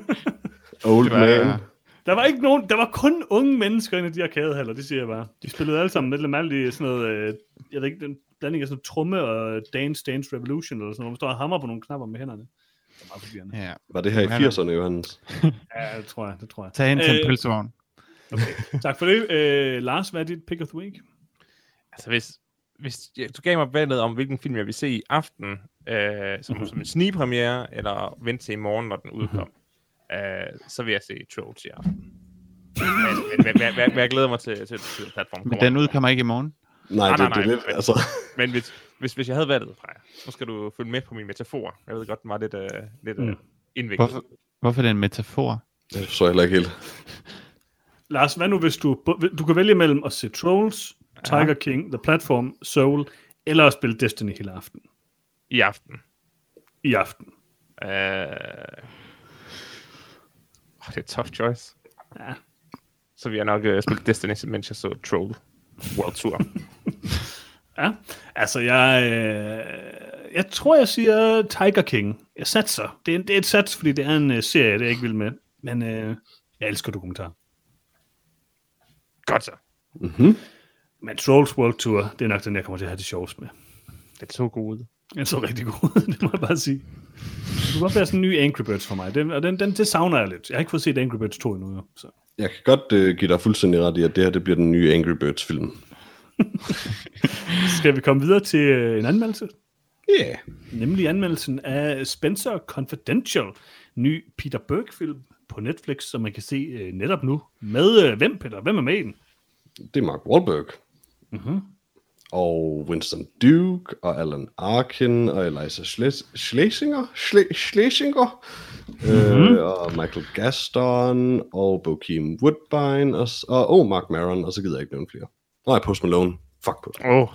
Speaker 3: det var,
Speaker 2: man.
Speaker 1: Der var ikke nogen, der var kun unge mennesker inde i de arkadehaller, det siger jeg bare. De spillede alle sammen lidt alt i sådan noget, øh, jeg ved ikke, den blanding af sådan tromme og Dance Dance Revolution eller sådan noget, hvor man står og hammer på nogle knapper med hænderne. Det er meget forvirrende.
Speaker 3: ja,
Speaker 2: Var det her i
Speaker 3: Han er-
Speaker 2: 80'erne, Johannes?
Speaker 1: Ja, det tror jeg, det tror jeg.
Speaker 3: tag ind til en
Speaker 1: Øh,
Speaker 3: pølsevogn.
Speaker 1: Tak for det. Øh, Lars, hvad er dit pick of the week?
Speaker 4: Altså, hvis, hvis jeg, du gav mig valget om, hvilken film jeg vil se i aften, øh, som,
Speaker 3: Mhm.
Speaker 4: mm-hmm. som en snigpremiere, eller vente til i morgen, når den udkom, øh, så vil jeg se Trolls i aften. Men, men, men, men, men, men jeg glæder mig til, til, til platformen
Speaker 3: Men
Speaker 4: kommer.
Speaker 3: den udkommer ikke i morgen.
Speaker 2: Nej,
Speaker 4: Nej,
Speaker 2: det,
Speaker 4: nej,
Speaker 2: det er
Speaker 4: nej.
Speaker 2: lidt, altså...
Speaker 4: Men hvis, hvis, hvis jeg havde valget, Freja, nu skal du følge med på min metafor. Jeg ved godt, den var lidt, øh, lidt
Speaker 1: Mm.
Speaker 4: øh, indviklet.
Speaker 3: Hvorfor, Hvorfor er det en metafor?
Speaker 2: Det forstår jeg heller ikke helt.
Speaker 1: Lars, hvad nu hvis du... Du kan vælge mellem at se Trolls, Tiger King, The Platform, Soul, eller at spille Destiny hele aften.
Speaker 4: i aften.
Speaker 1: I aften.
Speaker 4: Øh... Oh, det er et tough choice.
Speaker 1: Ja.
Speaker 4: Så vi har nok uh, spillet Destiny, mens jeg så Troll World Tour.
Speaker 1: Ja, altså jeg, øh, jeg tror, jeg siger Tiger King. Jeg satser. Det er, det er et sats, fordi det er en øh, serie, det er jeg ikke vil med. Men øh, jeg elsker dokumentar.
Speaker 4: Godt så.
Speaker 1: Men Trolls World Tour, det er nok den, jeg kommer til at have det sjovest med.
Speaker 4: Det er to gode.
Speaker 1: Den er så rigtig god, det må jeg bare sige. Det kunne godt være sådan en ny Angry Birds for mig. Den, og den, den, det savner jeg lidt. Jeg har ikke fået set Angry Birds 2 endnu. jo, Så.
Speaker 2: Jeg kan godt øh, give dig fuldstændig ret i, at det her det bliver den nye Angry Birds-film.
Speaker 1: Skal vi komme videre til øh, en anmeldelse?
Speaker 2: Ja. Yeah.
Speaker 1: Nemlig anmeldelsen af Spencer Confidential, ny Peter Berg-film på Netflix, som man kan se øh, netop nu. Med øh, hvem, Peter? Hvem er med i den?
Speaker 2: Det er Mark Wahlberg. Mm-hmm. Og Winston Duke, og Alan Arkin, og Eliza Schles- Schlesinger, Schle- Schlesinger mm-hmm. øh, og Michael Gaston, og Bokeem Woodbine, og, s- og oh, Mark Maron, og så gider jeg ikke nævne flere. Nej, Post Malone. Fuck Post Malone.
Speaker 4: Åh,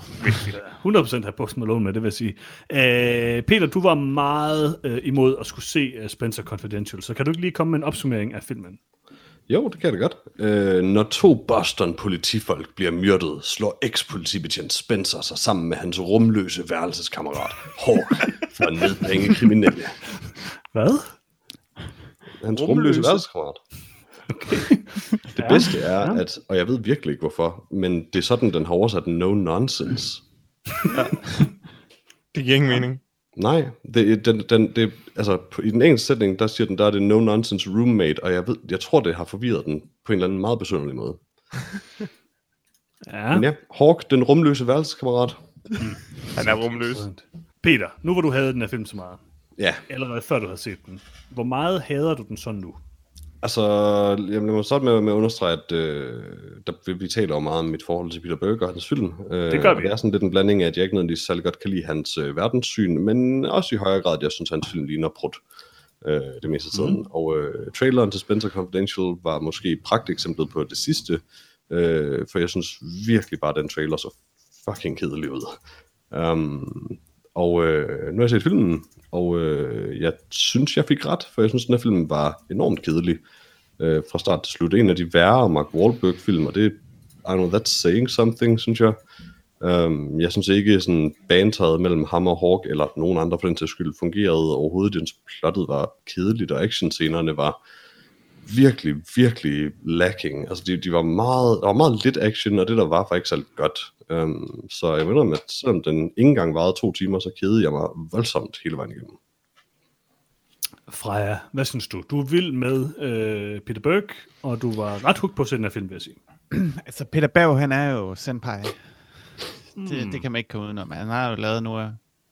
Speaker 4: oh,
Speaker 1: 100% har Post Malone med, det vil jeg sige. Øh, Peter, du var meget øh, imod at skulle se øh, Spencer Confidential, så kan du ikke lige komme med en opsummering af filmen?
Speaker 2: Jo, det kan det godt. Øh, når to Boston-politifolk bliver myrdet, slår eks-politibetjent Spencer sig sammen med hans rumløse værelseskammerat, Hawk, for at nedbringe kriminelle.
Speaker 1: Hvad?
Speaker 2: Hans
Speaker 1: Rumløse.
Speaker 2: rumløse, rumløse værelseskammerat. Okay. det bedste er, ja. at, og jeg ved virkelig ikke hvorfor, men det er sådan, den har oversat no nonsense.
Speaker 4: det giver ingen mening.
Speaker 2: Nej, det, den, den, det, altså, på, i den engelske sætning, der siger den, der er det no nonsense roommate, og jeg, ved, jeg tror, det har forvirret den på en eller anden meget besynderlig måde.
Speaker 1: Ja.
Speaker 2: Men ja, Hawk, den rumløse værelseskammerat.
Speaker 4: Han er rumløs.
Speaker 1: Peter, nu hvor du havde den her film så meget,
Speaker 2: Ja,
Speaker 1: allerede før du havde set den, hvor meget hader du den så nu?
Speaker 2: Altså, jamen, lad mig starte med, med at understrege, at øh, der, vi- vi taler jo meget om mit forhold til Peter Berger og hans film. Øh,
Speaker 1: Det gør
Speaker 2: og
Speaker 1: vi.
Speaker 2: Det er sådan lidt en blanding af, at jeg ikke nødvendigvis særlig godt kan lide hans øh, verdenssyn, men også i højere grad, at jeg synes, at hans film ligner prut øh, det meste af tiden. Mm. Og øh, traileren til Spencer Confidential var måske pragteksemplet på det sidste, øh, for jeg synes virkelig bare, at den trailer så fucking kedelig ud. Um, og øh, nu har jeg set filmen, og øh, jeg synes, jeg fik ret, for jeg synes, den her film var enormt kedelig øh, fra start til slut. En af de værre Mark Wahlberg-film, og det I don't know, that's saying something, synes jeg. Um, jeg synes ikke, sådan banteret mellem ham og Hawk, eller nogen andre for den sags skyld, fungerede overhovedet. Jeg synes, plottet var kedeligt, og actionscenerne var virkelig, virkelig lacking. Altså, de, de var meget, der var meget lidt action, og det der var, var ikke særlig godt. Um, så jeg mener, at selvom den ikke engang varede to timer, så kedede jeg mig voldsomt hele vejen igennem.
Speaker 1: Freja, hvad synes du? Du er vild med øh, Peter Berg, og du var ret hooked på at se den her film, vil jeg sige.
Speaker 3: Altså, Peter Berg, han er jo senpai. Mm. Det, det kan man ikke komme udenom. Han har jo lavet nogle af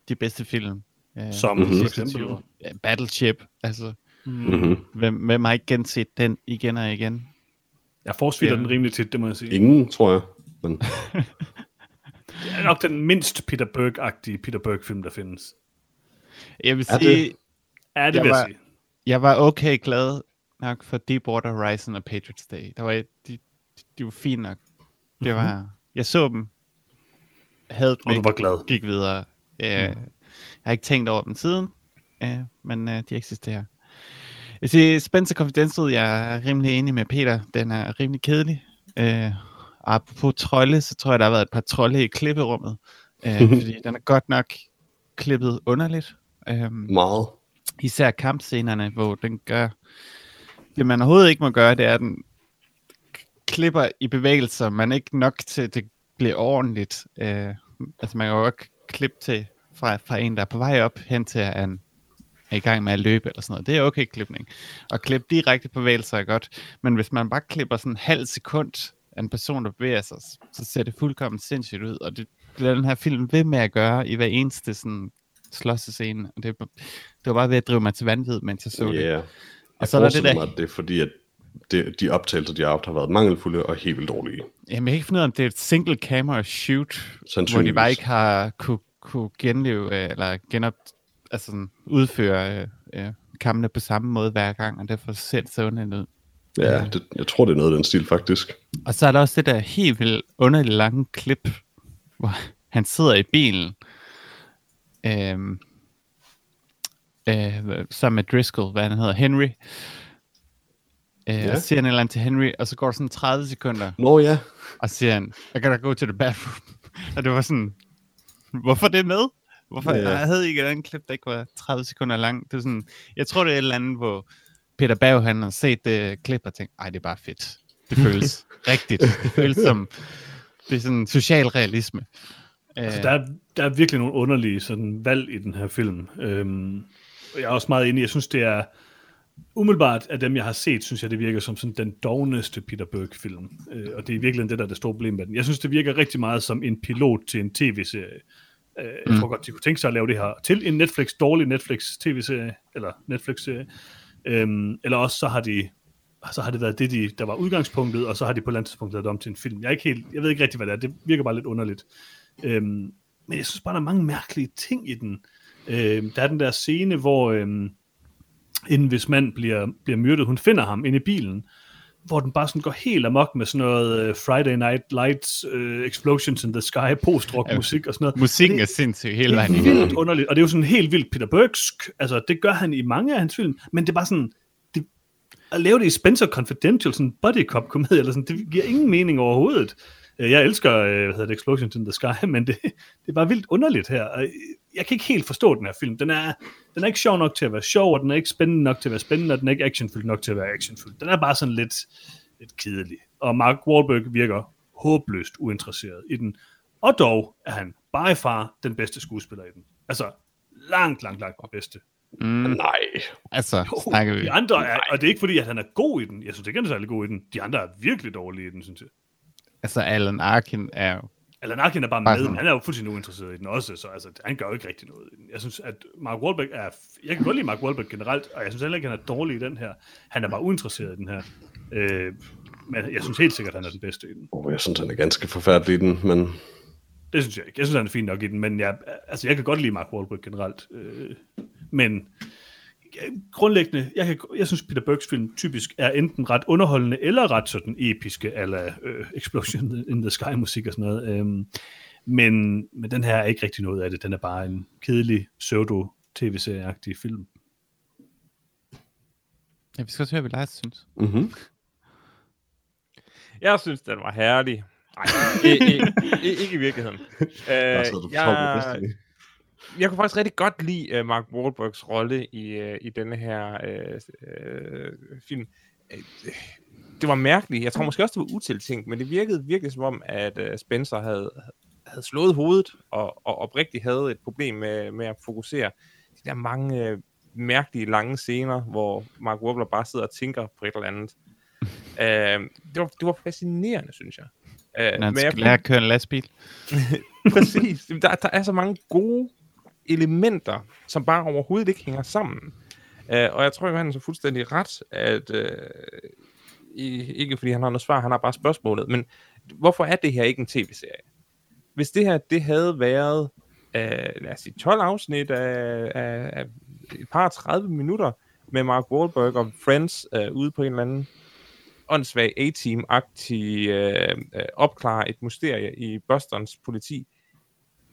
Speaker 3: de bedste film. Øh,
Speaker 1: Som
Speaker 3: de
Speaker 1: for
Speaker 3: sidste
Speaker 1: eksempel?
Speaker 3: 20 år. Ja, Battleship, altså.
Speaker 2: Mm-hmm.
Speaker 3: Hvem, hvem har ikke genset den igen og igen?
Speaker 1: Jeg forsvitter
Speaker 3: Ja.
Speaker 1: den rimelig tit, det må jeg sige.
Speaker 2: Ingen, tror jeg. Men
Speaker 1: Det er nok den mindst Peter Berg-agtige Peter Berg-film, der findes.
Speaker 3: Jeg vil
Speaker 2: Er
Speaker 3: sige,
Speaker 2: det-
Speaker 1: Ja, det
Speaker 3: Jeg
Speaker 1: vil jeg
Speaker 3: var-
Speaker 1: sige.
Speaker 3: jeg var okay glad nok for Deepwater Horizon og Patriots Day. Der var, de, de, de var fine nok. Det var, Jeg så dem. Havde dem
Speaker 1: Mhm. Og du
Speaker 3: ikke,
Speaker 1: var glad. Mhm.
Speaker 3: Gik videre. Øh, Jeg har ikke tænkt over dem siden, øh, men øh, de eksisterer. Jeg siger, Spencer Confidential, jeg er rimelig enig med Peter. Den er rimelig kedelig. Øh, og apropos trolde, så tror jeg, der har været et par trolde i klipperummet. Øh, fordi den er godt nok klippet underligt. Øh,
Speaker 2: meget.
Speaker 3: især kampscenerne, hvor den gør det, man overhovedet ikke må gøre, det er, at den k- klipper i bevægelser, man er ikke nok til, at det bliver ordentligt. Øh, altså, man kan jo ikke klippe til fra, fra en, der er på vej op, hen til, at han er i gang med at løbe eller sådan noget. Det er okay klipning. Og klippe direkte bevægelser er godt, men hvis man bare klipper sådan en halv sekund af en person, der bevæger sig, s- så ser det fuldkommen sindssygt ud, og det bliver den her film ved med at gøre i hver eneste sådan slåssescene. Og Det, er b- det var bare ved at drive mig til vanvid, mens jeg så det.
Speaker 2: Ja.
Speaker 3: Og så er der det
Speaker 2: forestiller
Speaker 3: der...
Speaker 2: mig, at det er fordi, at det, de optagelser, de har haft, har været mangelfulde og helt vildt dårlige.
Speaker 3: Jamen, jeg kan ikke finde ud af, om det er et single camera shoot, hvor de bare
Speaker 2: Sandsynligvis.
Speaker 3: ikke har kunne, kunne genleve, øh, eller genop, altså sådan, udføre øh, øh, kampene på samme måde hver gang, og derfor ser det så underligt ud.
Speaker 2: Ja, det, jeg tror, det er noget af den stil, faktisk.
Speaker 3: Og så er der også det der helt vildt underligt lange klip, hvor han sidder i bilen øhm, øh, sammen med Driscoll, hvad han hedder, Henry. Øh,
Speaker 2: Ja.
Speaker 3: ja. Og siger han et eller andet til Henry, og så går der sådan 30 sekunder,
Speaker 2: Nå ja,
Speaker 3: og siger han, I gotta go to the bathroom. og det var sådan, hvorfor det med? Hvorfor
Speaker 2: Ja.
Speaker 3: ja. jeg havde I ikke et andet klip, der ikke var 30 sekunder lang? Det er sådan, jeg tror, det er et eller andet, hvor Peter Berg, han har set det klip og tænkt, ej, det er bare fedt. Det føles rigtigt. Det føles som, det er sådan social realisme.
Speaker 1: Altså,
Speaker 3: Øh,
Speaker 1: der, er, der er virkelig nogle underlige sådan, valg i den her film. Øhm, og jeg er også meget enig. Jeg synes, det er umiddelbart af dem, jeg har set, synes jeg, det virker som sådan den dogneste Peter Berg-film. Øh, og det er virkelig det, der er det store problem med den. Jeg synes, det virker rigtig meget som en pilot til en tv-serie. Øh, jeg
Speaker 3: Mm.
Speaker 1: tror godt, de kunne tænke sig at lave det her til en Netflix, dårlig Netflix tv-serie, eller Netflix-serie. Øhm, eller også så har de så har det været det, de, der var udgangspunktet, og så har de på et eller andet tidspunkt lavet det om til en film. Jeg, er ikke helt, jeg ved ikke rigtig, hvad det er. Det virker bare lidt underligt. Øhm, men jeg synes bare, der er mange mærkelige ting i den. Øhm, der er den der scene, hvor øhm, en hvis mand bliver, bliver myrdet, hun finder ham inde i bilen, hvor den bare sådan går helt amok med sådan noget øh, Friday Night Lights, øh, Explosions in the Sky, post-rock musik og sådan noget.
Speaker 3: musikken er sindssyg hele vejen
Speaker 1: Det er
Speaker 3: igennem.
Speaker 1: vildt underligt, og det er jo sådan helt vildt Peter Bergsk, altså det gør han i mange af hans film, men det er bare sådan, det, at lave det i Spencer Confidential, sådan en buddy cop komedie, eller sådan, det giver ingen mening overhovedet. Øh, Jeg elsker, øh, hvad hedder det, Explosions in the Sky, men det, det er bare vildt underligt her. og øh, Jeg kan ikke helt forstå den her film. Den er, den er ikke sjov nok til at være sjov, og den er ikke spændende nok til at være spændende, og den er ikke actionfyldt nok til at være actionfyldt. Den er bare sådan lidt, lidt kedelig. Og Mark Wahlberg virker håbløst uinteresseret i den. Og dog er han by far den bedste skuespiller i den. Altså, langt, langt, langt den bedste.
Speaker 3: Mm,
Speaker 2: nej.
Speaker 3: altså, snakker vi.
Speaker 1: De andre er, og det er ikke fordi, at han er god i den. Jeg synes ikke, han er særlig god i den. De andre er virkelig dårlige i den, synes jeg.
Speaker 3: Altså, Alan Arkin er jo
Speaker 1: Alan Arkin er bare
Speaker 3: Bare
Speaker 1: med,
Speaker 3: sådan.
Speaker 1: men han er jo fuldstændig uinteresseret i den også, så altså, han gør jo ikke rigtig noget. i den. Jeg synes, at Mark Wahlberg er... Jeg kan godt lide Mark Wahlberg generelt, og jeg synes heller ikke, han er dårlig i den her. Han er bare uinteresseret i den her. Øh, men jeg synes helt sikkert, han er den bedste i den.
Speaker 2: Oh, jeg synes, han er ganske forfærdelig i den, men
Speaker 1: Det synes jeg ikke. Jeg synes, han er fint nok i den, men jeg, altså, jeg kan godt lide Mark Wahlberg generelt. Øh, men jeg- grundlæggende, jeg, kan, jeg synes, Peter Bergs film typisk er enten ret underholdende, eller ret sådan episke, ala øh, Explosion in the Sky-musik og sådan noget. Øhm, men, men den her er ikke rigtig noget af det. Den er bare en kedelig, pseudo-tv-serieagtig film.
Speaker 3: Ja, vi skal også høre, hvad Lars synes.
Speaker 2: mm-hmm.
Speaker 4: Jeg synes, den var herlig. Nej, ikke, ikke i virkeligheden. Øh,
Speaker 2: jeg, sidder, du
Speaker 4: jeg,
Speaker 2: jeg...
Speaker 4: jeg kunne faktisk rigtig godt lide uh, Mark Wahlbergs rolle i, uh, i denne her uh, uh, film. Øh, Det var mærkeligt. Jeg tror måske også, det var utiltænkt, men det virkede virkelig som om, at uh, Spencer havde, havde slået hovedet og, og oprigtigt havde et problem med, med at fokusere. De der mange uh, mærkelige lange scener, hvor Mark Wahlberg bare sidder og tænker på et eller andet. Uh, det, var, det var fascinerende, synes jeg. Uh,
Speaker 3: Når han skal lære at køre en lastbil.
Speaker 4: Præcis. Jamen, Der, der er så mange gode elementer, som bare overhovedet ikke hænger sammen. Uh, og jeg tror, at han er så fuldstændig ret, at uh, ikke fordi han har noget svar, han har bare spørgsmålet, men hvorfor er det her ikke en tv-serie? Hvis det her, det havde været, uh, lad os sige, 12 afsnit af, af, af et par 30 minutter med Mark Wahlberg og Friends uh, ude på en eller anden åndssvag A-team-agtig øh, øh, opklare et mysterie i Bostons politi.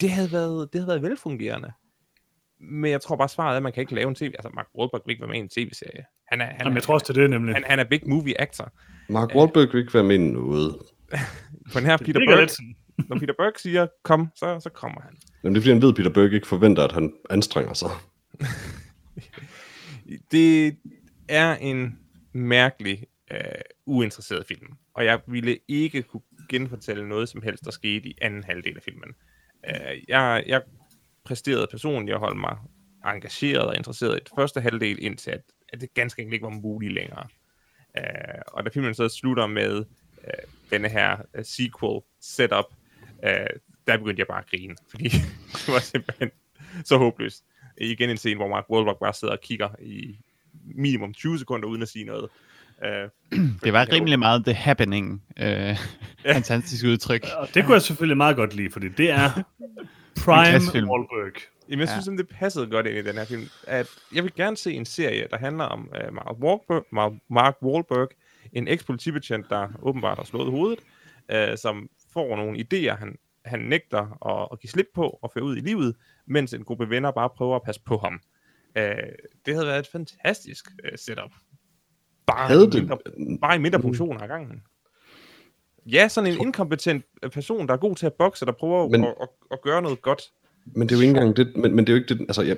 Speaker 4: Det havde været, det havde været velfungerende. Men jeg tror bare, svaret er, at man kan ikke lave en tv... Altså, Mark Wahlberg vil ikke være med i en tv-serie. Han er, han,
Speaker 1: Jamen,
Speaker 4: er-
Speaker 1: jeg tror også, det er det nemlig.
Speaker 4: han, han er big movie actor.
Speaker 2: Mark Wahlberg vil ikke være med i noget.
Speaker 4: På den her
Speaker 1: Det
Speaker 4: Peter
Speaker 1: virker lidt
Speaker 4: Berg,
Speaker 1: sådan.
Speaker 4: når Peter Berg siger, kom, så, så kommer han.
Speaker 2: Jamen, det er fordi, han ved, at Peter Berg ikke forventer, at han anstrenger sig.
Speaker 4: Det er en mærkelig, øh, uinteresseret film. Og jeg ville ikke kunne genfortælle noget som helst, der skete i anden halvdel af filmen. Øh, jeg, jeg præsterede personligt at holde mig engageret og interesseret i det første halvdel, indtil at, at det ganske enkelt ikke var muligt længere. Øh, og da filmen så slutter med øh, denne her øh, sequel setup, øh, der begyndte jeg bare at grine, fordi det var simpelthen så håbløst. Igen en scene, hvor Mark Wahlberg bare sidder og kigger i minimum 20 sekunder uden at sige noget. Øh,
Speaker 3: Det var rimelig meget The Happening. Øh, fantastisk udtryk.
Speaker 1: Og det kunne jeg selvfølgelig meget godt lide, fordi det er
Speaker 3: klassefilm.
Speaker 1: Prime Wahlberg.
Speaker 4: Jamen, jeg
Speaker 3: Ja.
Speaker 4: synes, ja. det passede godt ind i den her film. At jeg vil gerne se en serie, der handler om uh, Mark, Wahlberg, Mark, Mark Wahlberg, en eks-politibetjent, der åbenbart har slået hovedet, uh, som får nogle idéer, han, han nægter at, at give slip på og føre ud i livet, mens en gruppe venner bare prøver at passe på ham. Uh, det havde været et fantastisk uh, setup. Bare
Speaker 2: Havde Mm-hmm.
Speaker 4: i
Speaker 2: det-
Speaker 4: mindre, bare i mindre funktioner af gangen. Ja, sådan en inkompetent øh, person, der er god til at bokse, der prøver
Speaker 2: Men-
Speaker 4: Men... at, at, at gøre noget godt.
Speaker 2: Men det er jo ikke engang det, men, men det er jo ikke det, altså, jeg,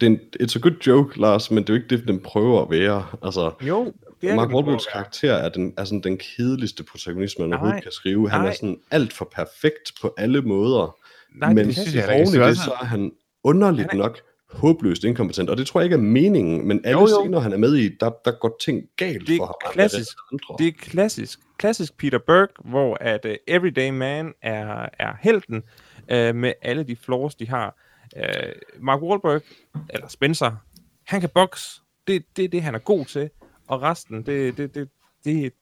Speaker 2: det er en, it's a good joke, Lars, men det er jo ikke det, den prøver at være. Altså,
Speaker 4: Jo, det
Speaker 2: det
Speaker 4: er
Speaker 2: Mark
Speaker 4: det, man
Speaker 2: Wahlbergs
Speaker 4: prøver at
Speaker 2: karakter er, den, er sådan den kedeligste protagonist, man
Speaker 4: Nej,
Speaker 2: overhovedet kan skrive. Han
Speaker 4: nej.
Speaker 2: er sådan alt for perfekt på alle måder,
Speaker 4: Nej, det
Speaker 2: men
Speaker 4: synes
Speaker 3: jeg da
Speaker 2: oven
Speaker 3: ikke,
Speaker 2: i
Speaker 3: det er
Speaker 2: det,
Speaker 3: også-
Speaker 2: så er han underligt nok håbløst inkompetent, og det tror jeg ikke er meningen, men alle
Speaker 4: Jo,
Speaker 2: jo,
Speaker 4: jo.
Speaker 2: jo. scener, han er med i, der, der går ting galt
Speaker 4: Det er
Speaker 2: for ham. og
Speaker 4: klassisk.
Speaker 2: alle Andre.
Speaker 4: Det er klassisk. Klassisk Peter Berg, hvor at uh, Everyday Man er, er helten uh, med alle de flaws, de har. Uh, Mark Wahlberg, eller Spencer, han kan boxe. Det er det, er det, han er god til. Og resten, det, det, det, det,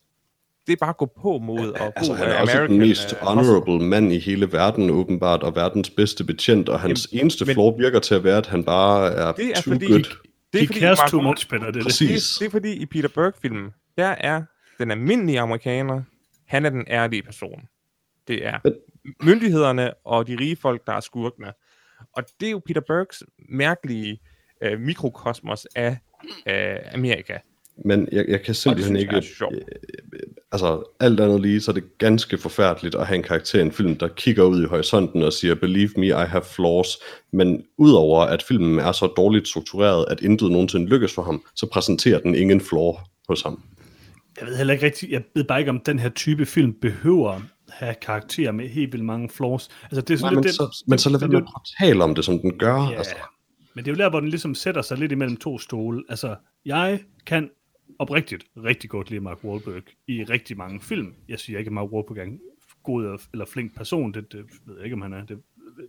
Speaker 4: det er bare at gå på mod og
Speaker 2: Altså,
Speaker 4: god
Speaker 2: han er
Speaker 4: øh,
Speaker 2: også den
Speaker 4: American,
Speaker 2: mest
Speaker 4: øh, hustle.
Speaker 2: honorable mand i hele verden, åbenbart, og verdens bedste betjent, og hans
Speaker 4: Jamen,
Speaker 2: eneste
Speaker 4: men-
Speaker 2: men, flaw virker til at være, at han bare er,
Speaker 4: Det er
Speaker 2: too
Speaker 4: fordi,
Speaker 2: good.
Speaker 4: det
Speaker 1: He
Speaker 4: er fordi
Speaker 1: cares
Speaker 4: Mark
Speaker 1: too
Speaker 4: Wahlberg-
Speaker 1: much, Peter. Det, er det.
Speaker 2: Præcis.
Speaker 4: Det, er- det er fordi i Peter Berg-filmen, der er den almindelige amerikaner, han er den ærlige person. Det er myndighederne og de rige folk, der er skurkene. Og det er jo Peter Bergs mærkelige øh, mikrokosmos af øh, Amerika.
Speaker 2: Men jeg, jeg kan simpelthen
Speaker 4: synes jeg
Speaker 2: ikke...
Speaker 4: er sjovt.
Speaker 2: øh, øh, Altså, alt andet lige, så er det ganske forfærdeligt at have en karakter i en film, der kigger ud i horisonten og siger, believe me, I have flaws. Men udover at filmen er så dårligt struktureret, at intet nogensinde lykkes for ham, så præsenterer den ingen flaw hos ham.
Speaker 1: Jeg ved heller ikke rigtigt, jeg ved bare ikke, om den her type film behøver have karakterer med helt vildt mange flaws. Altså, det er sådan
Speaker 2: Nej, men,
Speaker 1: lidt,
Speaker 2: så, men så lad være
Speaker 1: det,
Speaker 2: med
Speaker 1: det,
Speaker 2: at tale om det, som den gør.
Speaker 1: Ja.
Speaker 2: Altså.
Speaker 1: Men det er jo der, hvor den ligesom sætter sig lidt imellem to stole. Altså, jeg kan oprigtigt rigtig godt lide Mark Wahlberg i rigtig mange film. Jeg siger ikke, at Mark Wahlberg er en god og- eller flink person. Det, det ved jeg ikke, om han er. Det det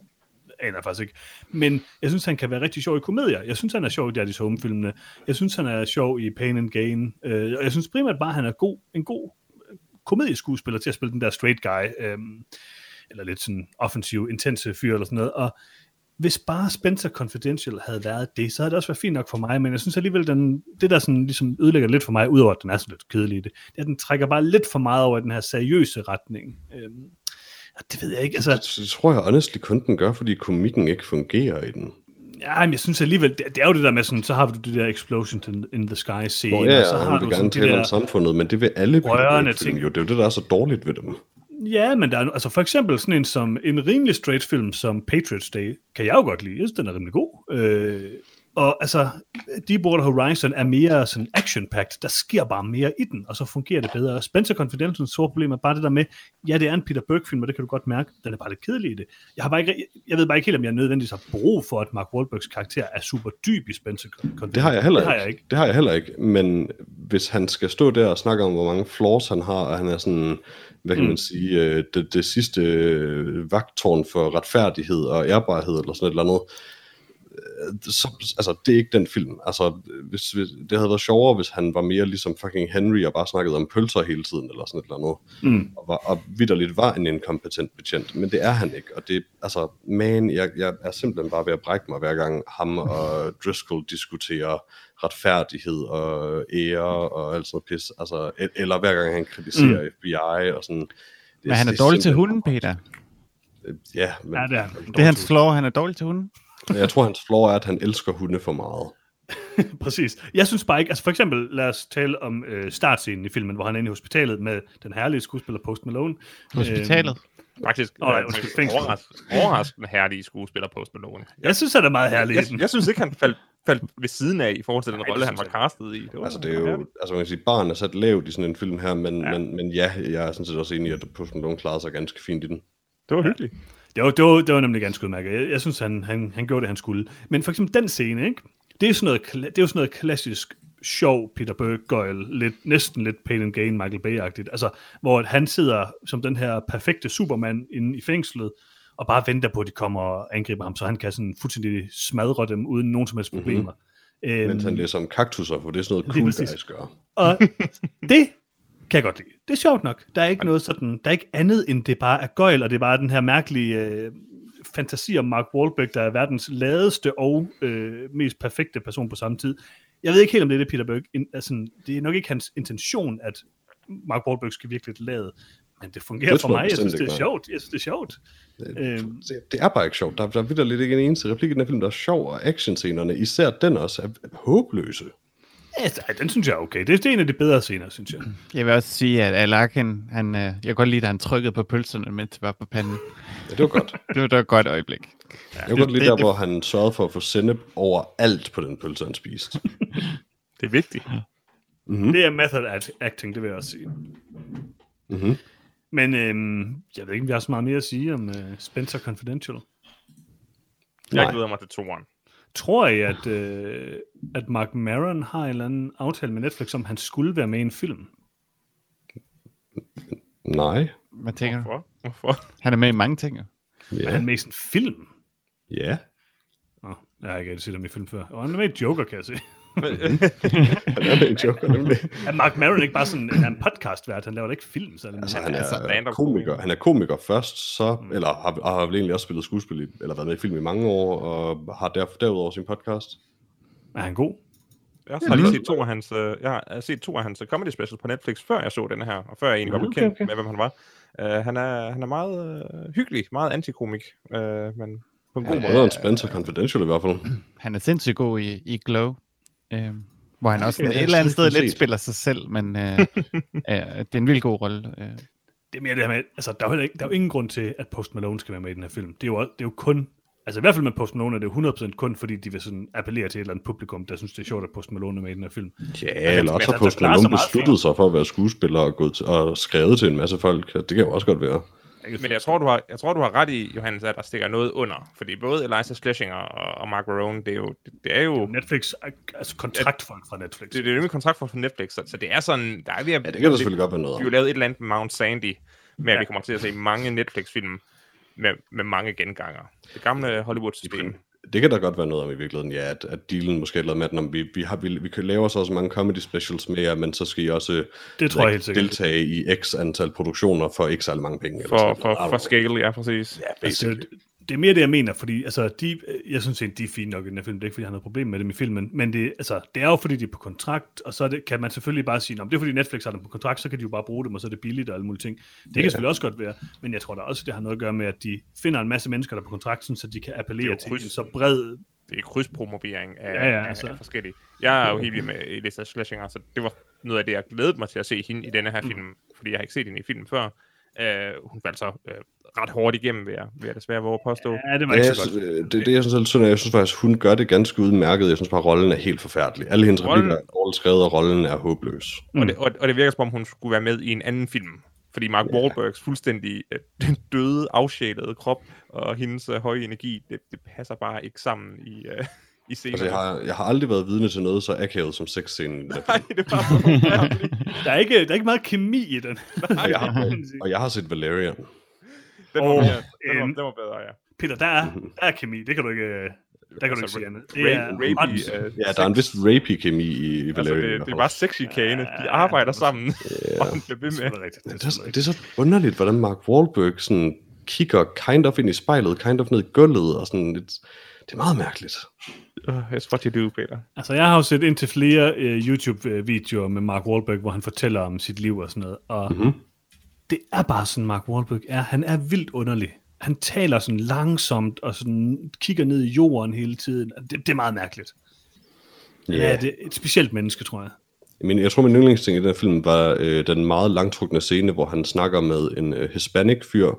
Speaker 1: aner jeg faktisk ikke. Men jeg synes, han kan være rigtig sjov i komedier. Jeg synes, han er sjov i Daddy's Home-filmene. Jeg synes, han er sjov i Pain and Gain. Øh, og jeg synes primært bare, at han er god, en god øh, komedieskuespiller til at spille den der straight guy. Øh, eller lidt sådan offensiv, intense fyr eller sådan noget. Og hvis bare Spencer Confidential havde været det, så havde det også været fint nok for mig, men jeg synes alligevel, den, det der sådan ligesom ødelægger lidt for mig, udover at den er sådan lidt kedelig, i det er, at den trækker bare lidt for meget over i den her seriøse retning. Øhm, og det ved jeg ikke, altså,
Speaker 2: Det, det tror jeg honestly kun den gør, fordi komikken ikke fungerer i den.
Speaker 1: ja, men jeg synes alligevel, det, det, er jo det der med sådan, så har du det der Explosion in, in the Sky scene,
Speaker 2: Nå, ja,
Speaker 1: og så
Speaker 2: ja,
Speaker 1: altså, har
Speaker 2: han vil
Speaker 1: du
Speaker 2: gerne
Speaker 1: sådan
Speaker 2: tale
Speaker 1: de
Speaker 2: der...
Speaker 1: der,
Speaker 2: om samfundet, men det vil alle
Speaker 1: Rørende
Speaker 2: film
Speaker 1: ting.
Speaker 2: jo. Det er jo det, der er så dårligt ved dem.
Speaker 1: Ja, men der er, altså for eksempel sådan en, som, en rimelig straight film som Patriots Day, kan jeg jo godt lide. Jeg synes, den er rimelig god. Øh, og altså, Deepwater Horizon er mere sådan action -packed. Der sker bare mere i den, og så fungerer det bedre. Spencer Confidential's store problem er bare det der med, ja, det er en Peter Berg-film, og det kan du godt mærke. Den er bare lidt kedelig i det. Jeg, har bare ikke, ri- jeg ved bare ikke helt, om jeg nødvendigvis har brug for, at Mark Wahlbergs karakter er super dyb i Spencer Confidential.
Speaker 2: Det har jeg heller
Speaker 1: det
Speaker 2: ikke.
Speaker 1: har jeg ikke.
Speaker 2: Det har jeg heller ikke. Men hvis han skal stå der og snakke om, hvor mange flaws han har, og han er sådan, hvad kan mm. man sige, øh, det, det sidste øh, vagtårn for retfærdighed og ærbarhed, eller sådan et eller andet, øh, så, altså, det er ikke den film. Altså, hvis, hvis, det havde været sjovere, hvis han var mere ligesom fucking Henry og bare snakkede om pølser hele tiden, eller sådan et eller andet.
Speaker 1: Mm.
Speaker 2: Og, var, og vidderligt var en inkompetent betjent, men det er han ikke. Og det, altså, man, jeg, jeg er simpelthen bare ved at brække mig, hver gang ham og Driscoll diskuterer retfærdighed og ære og alt sådan noget pis. Altså, e- eller hver gang han kritiserer mm. FBI og sådan. Det,
Speaker 3: Men han er
Speaker 2: det
Speaker 3: dårlig til
Speaker 2: simpelthen-
Speaker 3: hunden, Peter.
Speaker 2: Ja, men
Speaker 1: Ja, det er
Speaker 3: Det er hans flaw, han er dårlig til hunden.
Speaker 2: jeg tror, hans flaw er, at han elsker hunde for meget.
Speaker 1: Præcis. Jeg synes bare ikke, altså for eksempel, lad os tale om øh, startscenen i filmen, hvor han er inde i hospitalet med den herlige skuespiller Post Malone.
Speaker 3: Hospitalet.
Speaker 4: Faktisk
Speaker 1: Åh, nej,
Speaker 4: øh,
Speaker 1: undskyld,
Speaker 4: faktisk
Speaker 1: fængsel.
Speaker 4: overraskende, overraskende herlige skuespiller på Malone.
Speaker 1: Øhm, jeg synes, han er meget herlig. i den.
Speaker 4: Jeg, jeg synes ikke, han faldt faldt ved siden af i forhold til den
Speaker 1: Nej, det
Speaker 4: rolle, han var
Speaker 1: synes
Speaker 4: castet i. Det var
Speaker 2: Altså, det er jo, altså man kan sige, barn er sat lavt i sådan en film her, men ja, men, men ja jeg er sådan set også enig i, at Post Malone klarede sig ganske fint i den.
Speaker 4: det var hyggeligt.
Speaker 1: Det var, det, var, det var nemlig ganske udmærket. Jeg, jeg synes, han, han, han gjorde det, han skulle. Men for eksempel den scene, ikke? Det er, sådan noget, kla- det er jo sådan noget klassisk sjov Peter Berg-gøjl, lidt, næsten lidt pain and gain Michael Bay-agtigt. Altså, hvor at han sidder som den her perfekte supermand inde i fængslet, og bare venter på, at de kommer og angriber ham, så han kan sådan fuldstændig smadre dem uden nogen som helst problemer. Mm-hmm.
Speaker 2: Mhm. Mens han læser om kaktusser, for det er sådan noget
Speaker 1: Lige
Speaker 2: cool
Speaker 1: præcis.
Speaker 2: guys gør.
Speaker 1: Og det kan jeg godt lide. Det er sjovt nok. Der er ikke noget sådan, der er ikke andet, end det bare er gøjl, og det er bare den her mærkelige øh, fantasi om Mark Wahlberg, der er verdens ladeste og øh, mest perfekte person på samme tid. Jeg ved ikke helt, om det er det, Peter Berg. In, altså, det er nok ikke hans intention, at Mark Wahlberg skal virkelig lidt lade, men det fungerer
Speaker 2: Det
Speaker 1: for
Speaker 2: tror jeg
Speaker 1: mig. Jeg
Speaker 2: bestemt
Speaker 1: synes, det
Speaker 2: ikke,
Speaker 1: er
Speaker 2: nej.
Speaker 1: sjovt. Jeg synes, det er sjovt. Øhm,
Speaker 2: Se, Det er bare ikke sjovt. Der, der er lidt ikke en eneste replik i den her film, der er sjov, og actionscenerne, især den også, er håbløse.
Speaker 1: altså, ej, den synes jeg er okay. Det, det er en af de bedre scener, synes jeg.
Speaker 3: Jeg vil også sige, at Alakin, han, øh, jeg kan godt lide, at han trykkede på pølserne, mens det var på panden.
Speaker 2: Ja, det var godt.
Speaker 3: Det var da et godt øjeblik.
Speaker 2: Jeg kunne godt lide
Speaker 3: det-
Speaker 2: der,
Speaker 3: det-
Speaker 2: hvor han sørgede for at få sennep over alt på den pølse, han spiste.
Speaker 4: Det er vigtigt.
Speaker 1: Mm. Det er method act- acting, det vil jeg også sige.
Speaker 2: Mhm.
Speaker 1: Men øhm, jeg ved ikke, om vi har så meget mere at sige om øh, Spencer Confidential.
Speaker 4: Jeg
Speaker 2: Nej.
Speaker 4: glæder mig til toeren.
Speaker 1: Tror I, at, øh, at Mark Maron har en eller anden aftale med Netflix, om han skulle være med i en film?
Speaker 2: Nej.
Speaker 3: Hvad tænker du?
Speaker 4: Hvorfor? Hvorfor?
Speaker 3: Han er med i mange ting. jo.
Speaker 1: Ja. Er han
Speaker 2: Ja.
Speaker 1: med i sådan en film?
Speaker 2: ja.
Speaker 1: Nå, jeg har ikke rigtig set ham i film før. Og han er med i Joker, kan jeg se.
Speaker 2: Han er med i Joker, nemlig.
Speaker 1: Er Mark Maron ikke bare sådan han er en podcastvært? Han laver da ikke film, så altså,
Speaker 2: Altså, han
Speaker 4: er så
Speaker 2: er,
Speaker 4: random.
Speaker 2: komiker. Han er komiker først, så, eller har, har vel egentlig også spillet skuespil, i, eller været med i film i mange år, og har derfor derudover sin podcast.
Speaker 1: Er han god?
Speaker 4: Jeg har lige set to af hans, øh, jeg har set to af hans øh, comedy specials på Netflix, før jeg så den her, og før jeg egentlig
Speaker 1: Nå,
Speaker 4: godt blev
Speaker 1: okay,
Speaker 4: kendt
Speaker 1: okay.
Speaker 4: med, hvem han var. Uh, han, er, han er meget øh, hyggelig, meget antikomik, øh, men på en god
Speaker 2: God
Speaker 4: måde.
Speaker 2: måde, en Spencer Confidential i hvert fald.
Speaker 3: Han er sindssygt god i, i Glow, øh, hvor han også
Speaker 2: det
Speaker 3: sådan
Speaker 2: har
Speaker 3: et
Speaker 2: jeg
Speaker 3: eller
Speaker 2: slet
Speaker 3: andet sted
Speaker 2: ikke
Speaker 3: lidt
Speaker 2: set.
Speaker 3: spiller sig selv, men øh, øh, det er en vild god rolle. Øh.
Speaker 1: Det er mere det her med, altså, der er, jo heller ikke, der er jo ingen grund til, at Post Malone skal være med i den her film. Det er jo, også- det er jo kun, altså i hvert fald med Post Malone er det jo 100% kun, fordi de vil sådan appellere til et eller andet publikum, der synes, det er sjovt, at Post Malone er med i den her film.
Speaker 2: Ja, altså, eller også
Speaker 1: Spencer
Speaker 2: har Post
Speaker 1: klarer sig
Speaker 2: Malone
Speaker 1: meget
Speaker 2: besluttet sig for at være skuespiller og, gået til, og skrevet til en masse folk. Det kan jo også godt være.
Speaker 4: Men jeg tror, du har, jeg tror, du har ret i, Johannes, at der stikker noget under. Fordi både Eliza Schlesinger og, og Mark Marone, det er jo, det, det er jo
Speaker 1: Netflix, altså kontraktfolk fra Netflix.
Speaker 4: Uh. det, det er jo nemlig kontrakt for Netflix, så, så det er sådan, der er ved at,
Speaker 2: Ja, det kan der selvfølgelig godt være noget
Speaker 4: Vi har jo
Speaker 2: om.
Speaker 4: lavet et eller andet med Mount Sandy, med at
Speaker 1: Ja.
Speaker 4: vi kommer til at se mange Netflix-film med, med mange genganger. Det gamle Hollywood-system.
Speaker 2: Det kan der godt være noget om i virkeligheden, ja, at, at dealen måske er lavet med, at når vi, vi, har, vi, vi kan lave så også mange comedy specials med jer, men så skal I også øh,
Speaker 1: Det tror jeg helt sikkert.
Speaker 2: deltage i x antal produktioner for ikke særlig mange penge.
Speaker 4: For,
Speaker 2: sådan
Speaker 4: for,
Speaker 2: noget.
Speaker 4: for scale, ja, præcis. Ja.
Speaker 1: Altså, det, det er mere det, jeg mener, fordi altså, de, jeg synes egentlig, de er fine nok i den her film. Det er ikke, fordi jeg har noget problem med dem i filmen, men det, altså, det er jo, fordi de er på kontrakt, og så er det, kan man selvfølgelig bare sige, at det er, fordi Netflix har dem på kontrakt, så kan de jo bare bruge dem, og så er det billigt og alle mulige ting. Det kan selvfølgelig også godt være, men jeg tror da også, det har noget at gøre med, at de finder en masse mennesker, der er på kontrakten, så de kan appellere
Speaker 4: jo
Speaker 1: til en
Speaker 4: kryds.
Speaker 1: så bred...
Speaker 4: Det er krydspromovering af,
Speaker 1: Ja,
Speaker 4: ja,
Speaker 1: ja,
Speaker 4: ja,
Speaker 1: altså.
Speaker 4: af, af forskellige. Jeg er jo helt vild med Elisa Schlesinger, så det var noget af det, jeg glædede mig til at se hende i denne her film, fordi jeg har ikke set hende i filmen før. Uh, hun faldt så uh, ret hårdt igennem, vil jeg, vil jeg desværre våge at påstå. Ja.
Speaker 1: Ja, det var
Speaker 2: Ja,
Speaker 1: ikke
Speaker 2: jeg
Speaker 1: så
Speaker 2: synes,
Speaker 1: godt.
Speaker 2: øh, det, det, jeg synes er lidt synd, er, jeg synes faktisk, hun gør det ganske udmærket. Jeg synes bare, rollen er helt forfærdelig. Alle hendes
Speaker 4: Rollen-
Speaker 2: replikker er dårligt skrevet, og rollen er håbløs.
Speaker 4: Og, det, og, og det virker som om, hun skulle være med i en anden film. Fordi Mark Wahlbergs fuldstændig øh, døde, afsjælede krop og hendes øh, høje energi, det, det passer bare ikke sammen i, øh, i scenen.
Speaker 2: Altså, jeg har, jeg har aldrig været vidne til noget så akavet som sexscenen. i den her film.
Speaker 4: Nej, det var så forfærdeligt.
Speaker 1: Der er, ikke, der er ikke meget kemi i den.
Speaker 2: Og jeg har, og jeg har set Valerian.
Speaker 4: Den var,
Speaker 1: Åh,
Speaker 4: mere, den, var,
Speaker 1: en-
Speaker 4: den var bedre, ja.
Speaker 1: Peter, der er, der er kemi. Det kan du ikke... øh, Der
Speaker 2: Altså,
Speaker 1: kan du ikke sige andet. Det
Speaker 4: Rape-
Speaker 1: er
Speaker 4: rapey,
Speaker 1: ånds-
Speaker 4: øh,
Speaker 2: Ja, der er en vis rapey kemi i, i
Speaker 4: altså,
Speaker 2: Valerian.
Speaker 4: det, det er bare sexchikane. De arbejder sammen, og den bliver ved med.
Speaker 1: Det er rigtigt.
Speaker 2: det,
Speaker 1: Det
Speaker 2: er,
Speaker 1: er
Speaker 2: så- det er så underligt, hvordan Mark Wahlberg sådan kigger kind of ind i spejlet, kind of ned i gulvet, og sådan lidt... Det er meget mærkeligt.
Speaker 4: Uh, that's what you do, Peter.
Speaker 1: Altså, jeg har jo set indtil flere øh, YouTube-videoer med Mark Wahlberg, hvor han fortæller om sit liv og sådan noget, og mm-hmm. det er bare sådan, Mark Wahlberg er. Han er vildt underlig. Han taler sådan langsomt og sådan kigger ned i jorden hele tiden. Det, det er meget mærkeligt. Yeah. Ja, det er et specielt menneske, tror jeg.
Speaker 2: Men jeg tror, min yndlingsting i den her film var øh, den meget langtrukne scene, hvor han snakker med en øh, hispanic fyr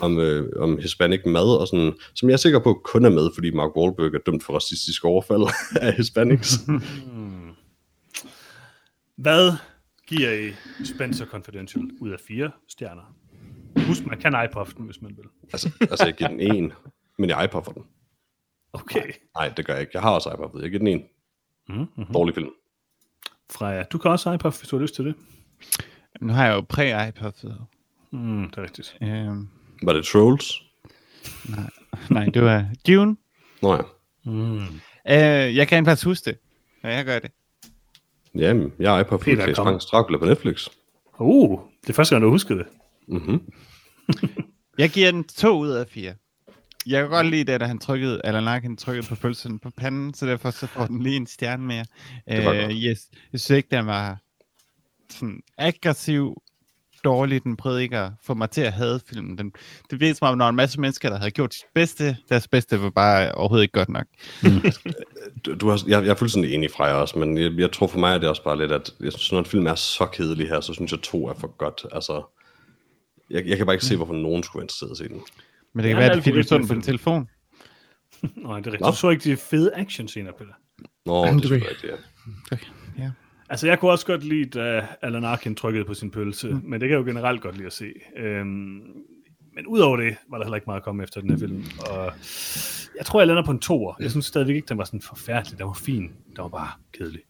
Speaker 2: om, øh, om hispanic mad, og sådan, som jeg er sikker på kun er med, fordi Mark Wahlberg er dømt for racistisk overfald af hispanics.
Speaker 1: Hvad giver I Spencer Confidential ud af fire stjerner? Husk, man kan iPuffen, hvis man vil.
Speaker 2: altså, altså, jeg giver den en, men jeg iPod for den.
Speaker 1: Okay.
Speaker 2: Nej, det gør jeg ikke. Jeg har også iPod, jeg giver den en. Mm-hmm. Dårlig film.
Speaker 1: Freja, du kan også iPuff, hvis du har lyst til det.
Speaker 3: Nu har jeg jo præ-iPod.
Speaker 1: Mm, det er rigtigt.
Speaker 3: Øh,
Speaker 2: Var det Trolls?
Speaker 3: nej, det var Dune.
Speaker 2: Nå ja.
Speaker 1: Mm.
Speaker 3: Øh, jeg kan faktisk huske det, når jeg gør det.
Speaker 2: Jamen, jeg er iPod for
Speaker 1: Peter,
Speaker 2: Claes
Speaker 1: kom.
Speaker 2: Bangs Dracula på Netflix.
Speaker 1: Uh, det er første gang, du husker det.
Speaker 2: Mm-hmm.
Speaker 3: Jeg giver den 2 ud af 4. Jeg kan godt lide det, at han trykkede, eller nej, han trykkede på pølsen på panden, så derfor så får den lige en stjerne mere.
Speaker 2: Det var godt.
Speaker 3: Øh, yes. Jeg synes ikke, den var sådan aggressiv, dårlig, den prædiker, får mig til at hade filmen. Den, det virkede som om, der var en masse mennesker, der havde gjort sit bedste. Deres bedste var bare overhovedet ikke godt nok.
Speaker 2: du, du har, jeg, jeg er fuldstændig enig fra jer også, men jeg, jeg tror for mig, at det er også bare lidt, at jeg synes, når en film er så kedelig her, så synes jeg, to er for godt. Altså, jeg, jeg kan bare ikke se, hvorfor nogen skulle være interesseret i at se den.
Speaker 3: Men det kan
Speaker 1: Ja,
Speaker 3: være,
Speaker 1: en
Speaker 3: at det er
Speaker 1: algoritme
Speaker 3: sådan på
Speaker 1: film.
Speaker 3: din telefon.
Speaker 1: Nej, det er rigtigt. Du så ikke de fede action-scener, Peter.
Speaker 2: Nå, det er sgu rigtigt, ja.
Speaker 3: Ja.
Speaker 1: Altså, jeg kunne også godt lide, da Alan Arkin trykkede på sin pølse, mm. men det kan jeg jo generelt godt lide at se. Øhm, men udover det, var der heller ikke meget at komme efter den her film. Og jeg tror, jeg lander på en toer. Jeg synes stadigvæk ikke, den var sådan forfærdelig. Den var fin. Den var bare kedelig.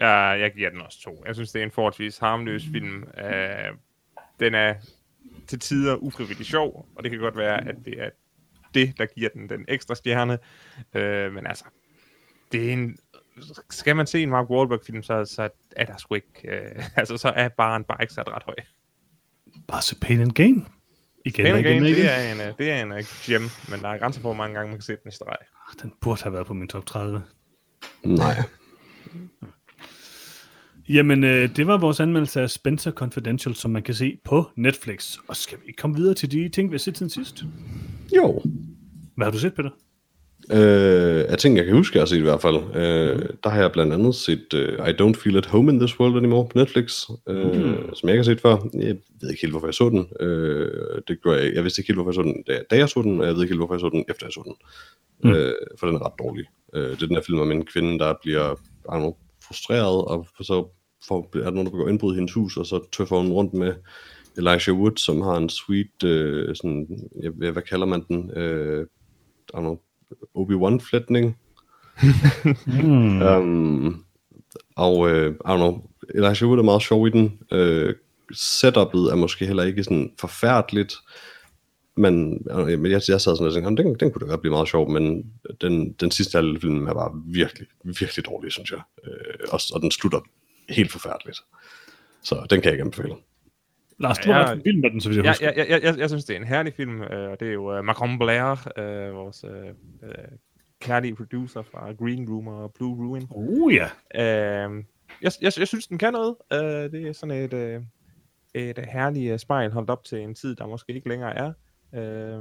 Speaker 4: Jeg, jeg giver den også to. Jeg synes, det er en forholdsvis harmløs film. Øh, den er til tider ufrivillig sjov, og det kan godt være, at det er det, der giver den den ekstra stjerne. Øh, men altså, det er en... Skal man se en Mark Wahlberg-film, så, så er der sgu ikke... Øh, altså, så er baren bare ikke sat ret høj.
Speaker 1: Bare så pain and gain. Igen,
Speaker 4: Pain
Speaker 1: og
Speaker 4: and Gain,
Speaker 1: igen, og igen.
Speaker 4: det er en, øh, det er en øh, gem, men der er grænser for, hvor mange gange man kan se den i streg.
Speaker 1: Ah, Den burde have været på min top 30.
Speaker 2: Nej.
Speaker 1: Jamen, øh, det var vores anmeldelse af Spencer Confidential, som man kan se på Netflix. Og skal vi ikke komme videre til de ting, vi har set siden sidst?
Speaker 2: Jo.
Speaker 1: Hvad har du set, Peter?
Speaker 2: Øh, jeg tænker, jeg kan huske, jeg har set i hvert fald. Øh, der har jeg blandt andet set uh, I Don't Feel At Home In This World Anymore på Netflix, øh, mm. som jeg ikke har set før. Jeg ved ikke helt, hvorfor jeg så den. Øh, det gjorde jeg, jeg vidste ikke helt, hvorfor jeg så den, da, da jeg så den, og jeg ved ikke helt, hvorfor jeg så den, efter jeg så den. Mm. Øh, for den er ret dårlig. Øh, det er den her film om en kvinde, der bliver I don't know, frustreret, og så får, er der nogen, der begår indbrud i hendes hus, og så tøffer hun rundt med Elijah Wood, som har en sweet, øh, sådan, jeg, jeg- hvad kalder man den? Øh, I don't know, Obi-Wan-flætning. mm. um, og, øh, I don't know, Elijah Wood er meget sjov i den. Øh, setup'et er måske heller ikke sådan forfærdeligt, men øh, men jeg, jeg sad sådan og tænkte, "Jamen, den, den kunne da godt blive meget sjov, men den, den sidste halvdel af filmen er bare virkelig, virkelig dårlig, synes jeg. Øh, og, og den slutter helt forfærdeligt. Så den kan jeg ikke anbefale.
Speaker 1: Lars, du
Speaker 4: Ja,
Speaker 1: har
Speaker 4: jeg-
Speaker 1: haft en film med den, så vidt jeg
Speaker 4: Ja,
Speaker 1: husker.
Speaker 4: ja, ja, ja, jeg, jeg synes, det er en herlig film, øh, og det er jo uh, Macron Blair, øh, vores øh, øh, kærlige producer fra Green Room og Blue Ruin.
Speaker 1: Uh, ja.
Speaker 4: Øh, jeg, jeg, jeg synes, den kan noget. Øh, det er sådan et, øh, et herligt øh, spejl holdt op til en tid, der måske ikke længere er. Øh,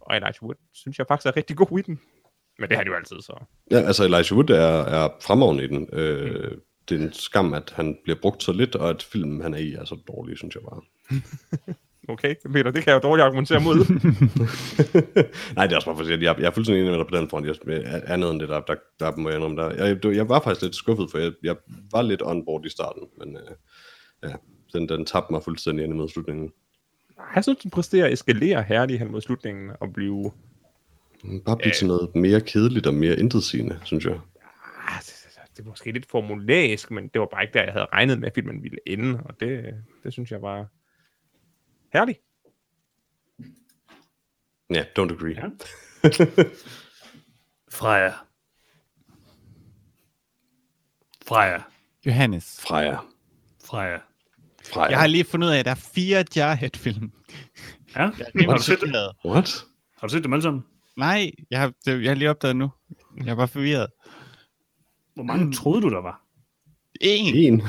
Speaker 4: og Elijah Wood synes jeg faktisk er rigtig god i den. Men det er han jo altid, så.
Speaker 2: Ja, altså Elijah Wood er, er fremragende i den. Øh,
Speaker 3: Mm.
Speaker 2: Det er en skam, at han bliver brugt så lidt, og at filmen, han er i, er så dårlig, synes jeg bare.
Speaker 4: Okay, Peter, det kan jeg jo dårligt argumentere mod.
Speaker 2: Nej, det er også bare for at sige, at jeg, jeg er fuldstændig enig med dig på den front. Jeg, jeg- andet end det, der, der, der må jeg indrømme der. Jeg, det- jeg var faktisk lidt skuffet, for jeg, jeg var lidt on board i starten, men øh, ja, den, den tabte mig fuldstændig ind mod slutningen.
Speaker 4: jeg synes, den præsterer at eskalere herligt hen mod slutningen og blive
Speaker 2: Bare blive til noget mere kedeligt og mere intetsigende, synes jeg.
Speaker 4: Ah, det, det er måske lidt formulæsk, men det var bare ikke der, jeg havde regnet med, at filmen ville ende, og det, det synes jeg var herligt.
Speaker 2: Ja, don't agree. Ja.
Speaker 1: Freja. Freja.
Speaker 3: Johannes.
Speaker 2: Freja.
Speaker 1: Freja.
Speaker 2: Freja.
Speaker 3: Jeg har lige fundet ud af, at der er fire Jarhead-film.
Speaker 1: Ja?
Speaker 3: Har
Speaker 1: Har du set dem?
Speaker 2: What?
Speaker 3: Mm.
Speaker 1: Har du set dem alle sammen?
Speaker 3: Nej, jeg har, det, jeg har lige opdaget nu. Jeg er bare forvirret.
Speaker 1: Hvor mange troede du, der var?
Speaker 3: En.
Speaker 2: En.
Speaker 1: Mm.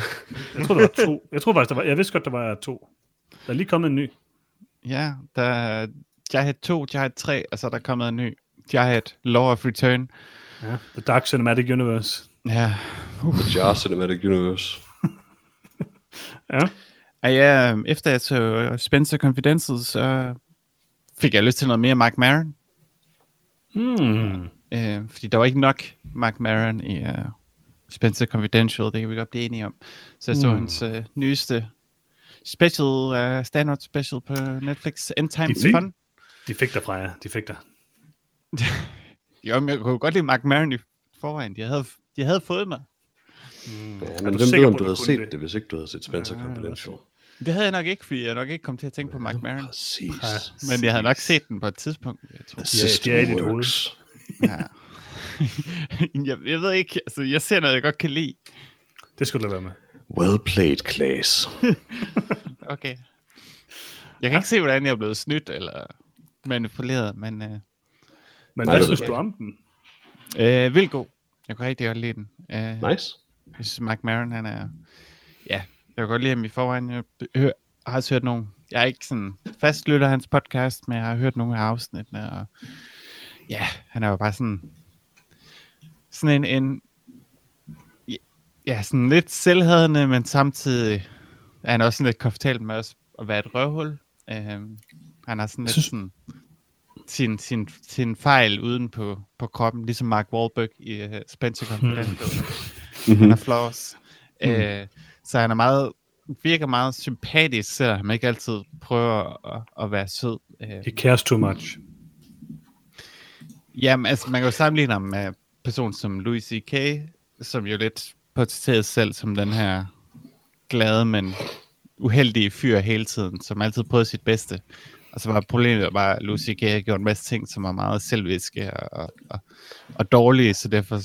Speaker 1: Jeg troede, der var to. Jeg troede faktisk, der var... Jeg vidste godt, der var to. Der er lige kommet en ny.
Speaker 3: Ja, der er Jarhead 2, Jarhead 3, og så er der kommet en ny. Jarhead Law of Return.
Speaker 1: Ja. The Dark Cinematic Universe.
Speaker 3: Ja,
Speaker 2: Jar Cinematic Universe.
Speaker 1: Ja.
Speaker 3: og ja efter jeg så øh, Spencer Confidential, så fik jeg lyst til noget mere Mark Maron.
Speaker 1: Hmm.
Speaker 3: Øh, fordi der var ikke nok Mark Maron i øh, Spencer Confidential, det kan vi godt blive enige om. Så jeg så
Speaker 1: Mm.
Speaker 3: hans øh, nyeste special, øh, stand-up special på Netflix, End Time
Speaker 1: Det er
Speaker 3: Fun.
Speaker 1: De fik dig, Freja. De fik dig.
Speaker 3: Jo, men jeg kunne godt lide Mark Maron i forvejen. De havde, de havde fået mig.
Speaker 2: Ja,
Speaker 1: Er
Speaker 2: men
Speaker 1: du
Speaker 2: hvem
Speaker 1: sikker
Speaker 2: ved, om
Speaker 1: på,
Speaker 2: du
Speaker 1: du
Speaker 2: havde
Speaker 1: kunne
Speaker 2: set
Speaker 1: det?
Speaker 2: det? hvis ikke du havde set Spencer Confidential?
Speaker 3: Det havde jeg nok ikke, fordi jeg nok ikke kom til at tænke på Mark Maron.
Speaker 2: Præcis.
Speaker 3: Men jeg havde nok set den på et tidspunkt. Jeg, tror.
Speaker 1: det er i dit hoved.
Speaker 3: Ja. jeg, jeg ved ikke, altså jeg ser noget, jeg godt kan lide.
Speaker 1: Det skulle du lade være med.
Speaker 2: Well played, Claes.
Speaker 3: Okay. Jeg kan ikke se, hvordan jeg er blevet snydt, eller manipuleret, men øh,
Speaker 1: Men
Speaker 2: Nej,
Speaker 1: hvad
Speaker 2: det ved
Speaker 1: synes
Speaker 2: jeg
Speaker 1: du om den?
Speaker 3: øh, vildt god. Jeg kunne rigtig godt lide den. Øh,
Speaker 2: Nice.
Speaker 3: Jeg synes, Mark Maron, han er... Ja, jeg kan godt lide ham i forvejen. Jeg hører, har også hørt nogen... Jeg er ikke sådan fastlytter af hans podcast, men jeg har hørt nogle af afsnittene, og... Ja, han er jo bare sådan... Sådan en... en ja, sådan lidt selvhadende, men samtidig er han også sådan lidt komfortabel med også at være et røvhul. Øhm, han har sådan lidt
Speaker 1: synes-
Speaker 3: sådan sin, sin, sin fejl uden på, på kroppen, ligesom Mark Wahlberg i uh, Spencer Confidential. Han er flaws. Mm. Øh, så han er meget, virker meget sympatisk, selvom han ikke altid prøver at, at være sød. Øh,
Speaker 1: He cares too much.
Speaker 3: jamen, altså, man kan jo sammenligne ham med en person som Louis C.K., som jo lidt portrætterer sig selv som den her glade, men uheldige fyr hele tiden, som altid prøver sit bedste. Og så var problemet bare, at Louis C.K. har gjort en masse ting, som var meget selviske og, og, og, og dårlige, så derfor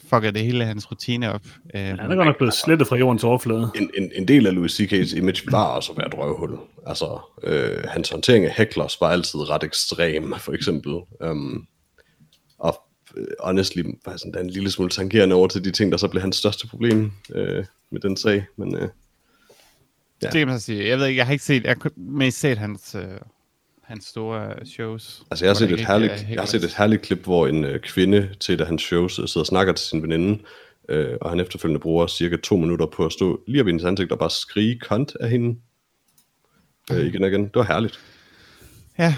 Speaker 3: fucker det hele hans rutine op. Øh,
Speaker 1: Ja, han er godt nok blevet slettet fra jordens overflade.
Speaker 2: en, en, en del af Louis C.K.'s image var også at være et røvhul. Altså, øh, hans håndtering af hecklers var altid ret ekstrem, for eksempel. Um, og øh, honestly, var sådan, der er en lille smule tangerende over til de ting, der så blev hans største problem øh, med den sag. Men øh, Ja.
Speaker 3: Det kan man så sige. Jeg ved ikke, jeg har ikke set, jeg har kun mest set hans, øh, hans store shows.
Speaker 2: altså, jeg har,
Speaker 3: Hvor
Speaker 2: set
Speaker 3: der
Speaker 2: et
Speaker 3: ikke øh,
Speaker 2: herligt,
Speaker 3: er helt
Speaker 2: jeg har set et
Speaker 3: plads.
Speaker 2: herligt klip, hvor en øh, kvinde til et af hans shows øh, sidder og snakker til sin veninde, øh, og han efterfølgende bruger cirka to minutter på at stå lige op i hendes ansigt og bare skrige kont af hende.
Speaker 3: Mm.
Speaker 2: Øh, igen og igen. Det var herligt.
Speaker 3: Ja.